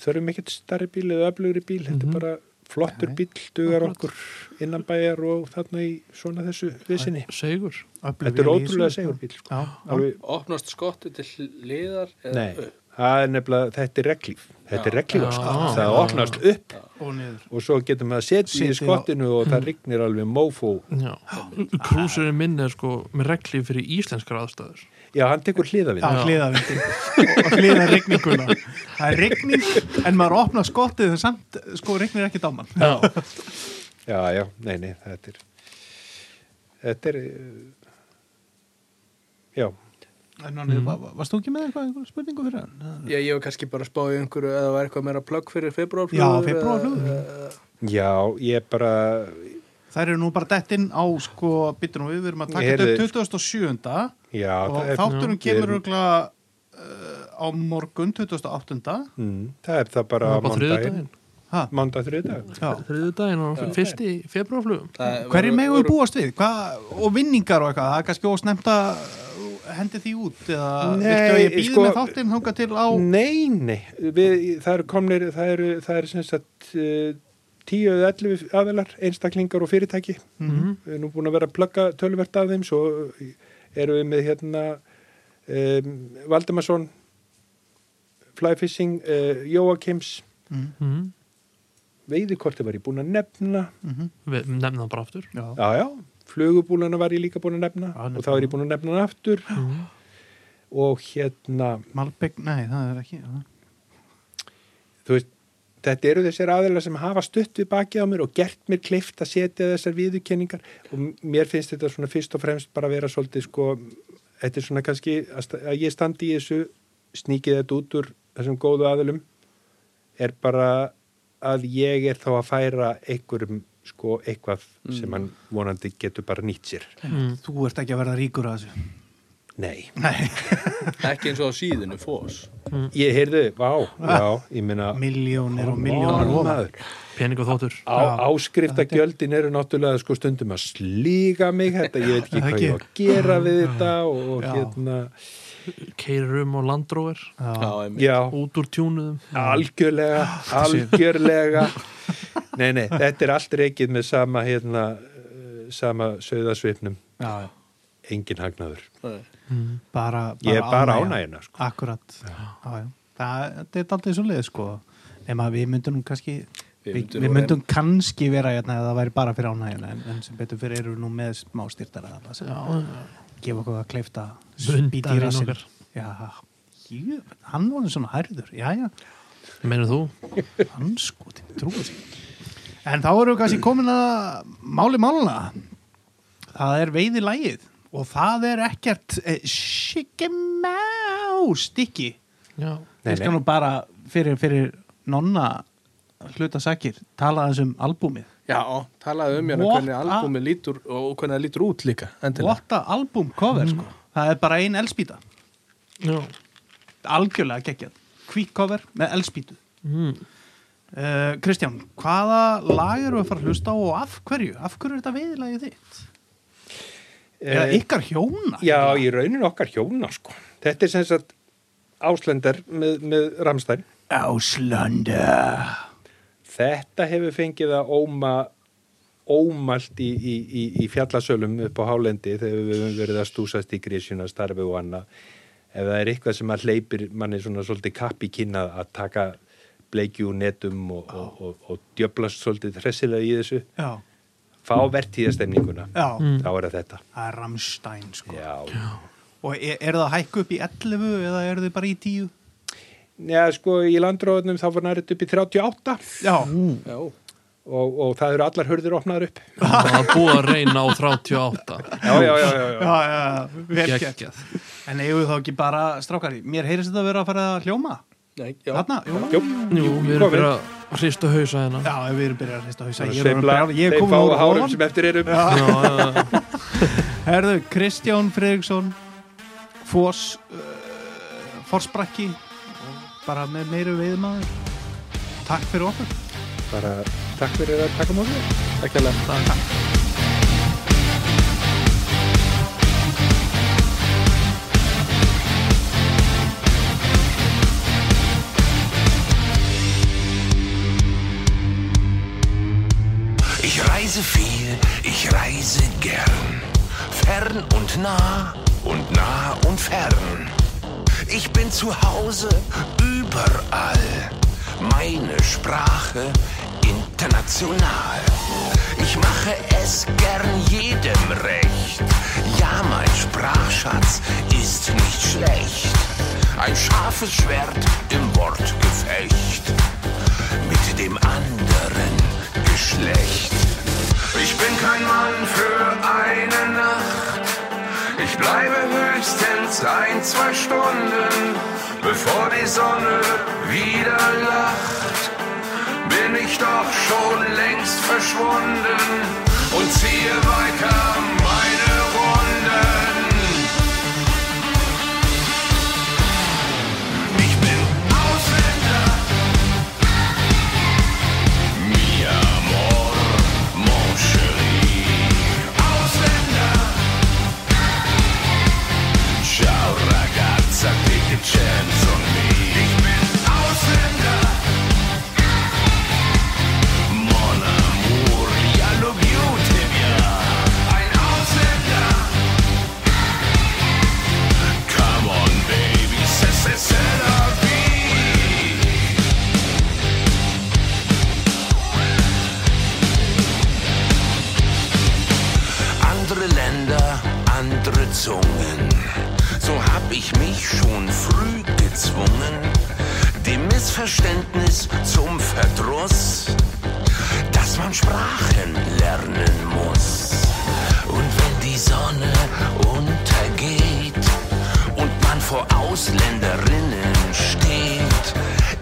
þurfum ekkert starri bíl eða öflugri bíl, þetta er bara flottur bíl dugar okkur innan bæjar og þarna í svona þessu vissinni. segur Öflug Þetta er vél í ótrúlega þessu. segur bíl. Sko. Já, Alveg, Opnast skotti til liðar? eða nei, upp? það er nefnilega, þetta er reglíf. Þetta er Eh, Já. reglíf, Já. sko. það opnast upp og niður. og svo getum við að setja í Setja í- skottinu og það rignir alveg mófó. já. krúsurinn minn er sko með reglíf fyrir íslenskar aðstæður Já, hann tekur hliðavinn. Já, hliðavindin og hliða rigninguna. Það er rigning en maður opnar skottið en samt sko rignir ekki dáman. já, Já, já, nei, nei, þetta er þetta er eh, já, En hann, mm. varst þú ekki með eitthvað, eitthvað spurningu fyrir hann? Já, ég var kannski bara að spá í einhverju eða það var eitthvað meira plögg fyrir februarflugur. Já, febrúarflugur. já, ég bara Þær eru nú bara dett inn á sko, bitur nú við, við erum að taka Heyrðu. þetta upp 2007. já, og það, er, þátturinn Já. Við kemur erum- örgla uh, á morgun 2008. mm, það er það bara bara mándaginn, þriðudaginn Ha, mándag þriðdag já. þriðudaginn og fyrsti februarflugum Hverju megum við búast við? Hva, og vinningar og eitthvað, það er kannski ósnemt að uh, hendi því út eða Nei, viltu að ég býði sko- með þáttinn þóka til á Nei, nei, við, það eru komnir það eru, það eru sem sagt eh, 10 eða 11 aðelar, einstaklingar og fyrirtæki, Mhm. við erum nú búin að vera að plugga tölvert af þeim, svo erum við með hérna um, Valdemarsson Flyfishing, uh, Jóakims Mm, mm. veiðikorti var ég búin að nefna mhm, við nefnum það bara aftur já. já, já, flugubúlana var ég líka búin að nefna Já, nefna. og þá er ég búin að nefna hann aftur mm. og hérna, Malbygg, nei það er ekki já. þú veist þetta eru þessir aðeila sem hafa stutt við bakið á mér og gert mér kleift að setja þessar viðurkenningar og mér finnst þetta svona fyrst og fremst bara að vera svolítið sko, þetta er svona kannski að, sta- að ég standi í þessu sníkið þetta út úr þessum góðu aðeilum er bara að ég er þá að færa einhverjum sko eitthvað sem hann vonandi getur bara nýtt sér Mm. Þú ert ekki að verða ríkur að þessu Nei. Nei, Ekki eins og á síðinu, fós. Ég heyrðu, vá, já, ég minna miljónir og miljónir ofan. pening og þóttur Já. Áskriftagjöldin eru náttúrulega sko stundum að slíga mig þetta, ég veit ekki Það hvað ekki. ég á að gera við þetta og og Já. hérna, keirir um og landróver Já. Já, einmitt. já, út úr tjúnuðum algjörlega, algjörlega Nei, nei, þetta er allt reikið með sama hérna, eh, sama söðasvipnum Já, já. engin hagnaður. Nei. Bara, Ég er bara ánægjan. ánægina sko. Akkurat já. Já, já. það þetta er aldrei svo leið sko nema að við myndum nú kannski Við við, myndum við nú myndum kannski vera hérna ef það væri bara fyrir ánægjuna en, en sem betur fyrir eru við nú með smá styrtara þarna sem gefa okkur að kleifta Blunda spýti í vin rassin okkar. já, jú, hann var svona hærður já, já, Meinar þú? hann sko trúið sér en þá erum við kannski komin að máli máluna það er veiði lægið og það er ekkert eh, shikimá stikki Já. Nei, ég skal nei. nú bara fyrir, fyrir nonna hluta sakir tala aðeins um albúmið Já, talaði um hérna What hvernig a- albúmi lítur og hvernig það lítur út líka endilega. what a albúm cover Mm. sko það er bara ein elspýta Já. algjörlega geggjað hvít cover með elspýtu Mm. uh, Kristján, hvaða lag eru að fara að hlusta á og af hverju af hverju er þetta veiðilagið þitt? Eða Eh, ykkar hjóna? Já, í raunin okkar hjóna sko. Þetta er sem sagt Áslendar með, með Ramstein. Áslanda Þetta hefur fengið að óma ómalt í, í, í, í fjallasölum upp á hálendi þegar við höfum verið að stúsast í grísjuna starfi og annað. Ef það er eitthvað sem að hleypir manni svona svolítið kappi kynna að taka bleikju úr netum og, og, og, og djöblast svolítið hressilega í þessu, Já, fá vertíðastemninguna. já, Þá er það þetta. það er Rammstein sko. Já. og er, er það að hækka upp í 11 eða eru þið bara í 10? Já, sko, í landróðunum þá var nærið upp í 38. Já, Já, og, og það eru allar hurðir opnaðar upp Það var búið að reyna á 38. já, já, já, já, já, já, já, vel gert Gekkjað. En eigum við þá ekki bara strákari, mér heyrist þetta að vera að fara að hljóma nei, já. Þarna, jú Jú, Jú, við erum bara að hrista hausa hérna. Já, ef við erum byrjað að hrista hausa Ég er orðinn Sveifla, brjál- ég er þeim komin fáu úr hárum ofan. sem eftir eru já. Já, já, já. Herðu, Kristján Fredriksson Fós uh, Forsbrakki bara með meiru veiðmaður Takk fyrir okkur bara takk fyrir að taka mótið Takk fyrir Ich reise viel, ich reise gern. Fern und nah und nah und fern. Ich bin zu Hause überall. Meine Sprache international. Ich mache es gern jedem recht. Ja, mein Sprachschatz ist nicht schlecht. Ein scharfes Schwert im Wortgefecht mit dem anderen Geschlecht. Ich bin kein Mann für eine Nacht. Ich bleibe höchstens ein, zwei Stunden, bevor die Sonne wieder lacht. Bin ich doch schon längst verschwunden und ziehe weiter meine Runden. Ich bin Ausländer. Mi amor, mon chéri. Ausländer. Ciao ragazza, take a chance on me. Ich bin Ausländer. Mon amour, ja love you, Tibia. Ein Ausländer. Come on, baby, c'est c'est c'est la vie. andere Länder, andere Zungen. So hab ich mich schon früh gezwungen, dem Missverständnis zum Verdruss, dass man Sprachen lernen muss. Und wenn die Sonne untergeht und man vor Ausländerinnen steht,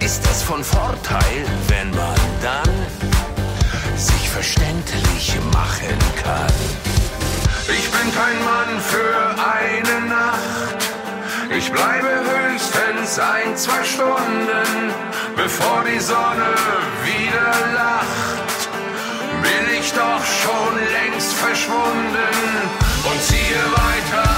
ist es von Vorteil, wenn man dann sich verständlich machen kann. Ich bin kein Mann für eine Nacht. Ich bleibe höchstens ein, zwei Stunden, bevor die Sonne wieder lacht. Bin ich doch schon längst verschwunden und ziehe weiter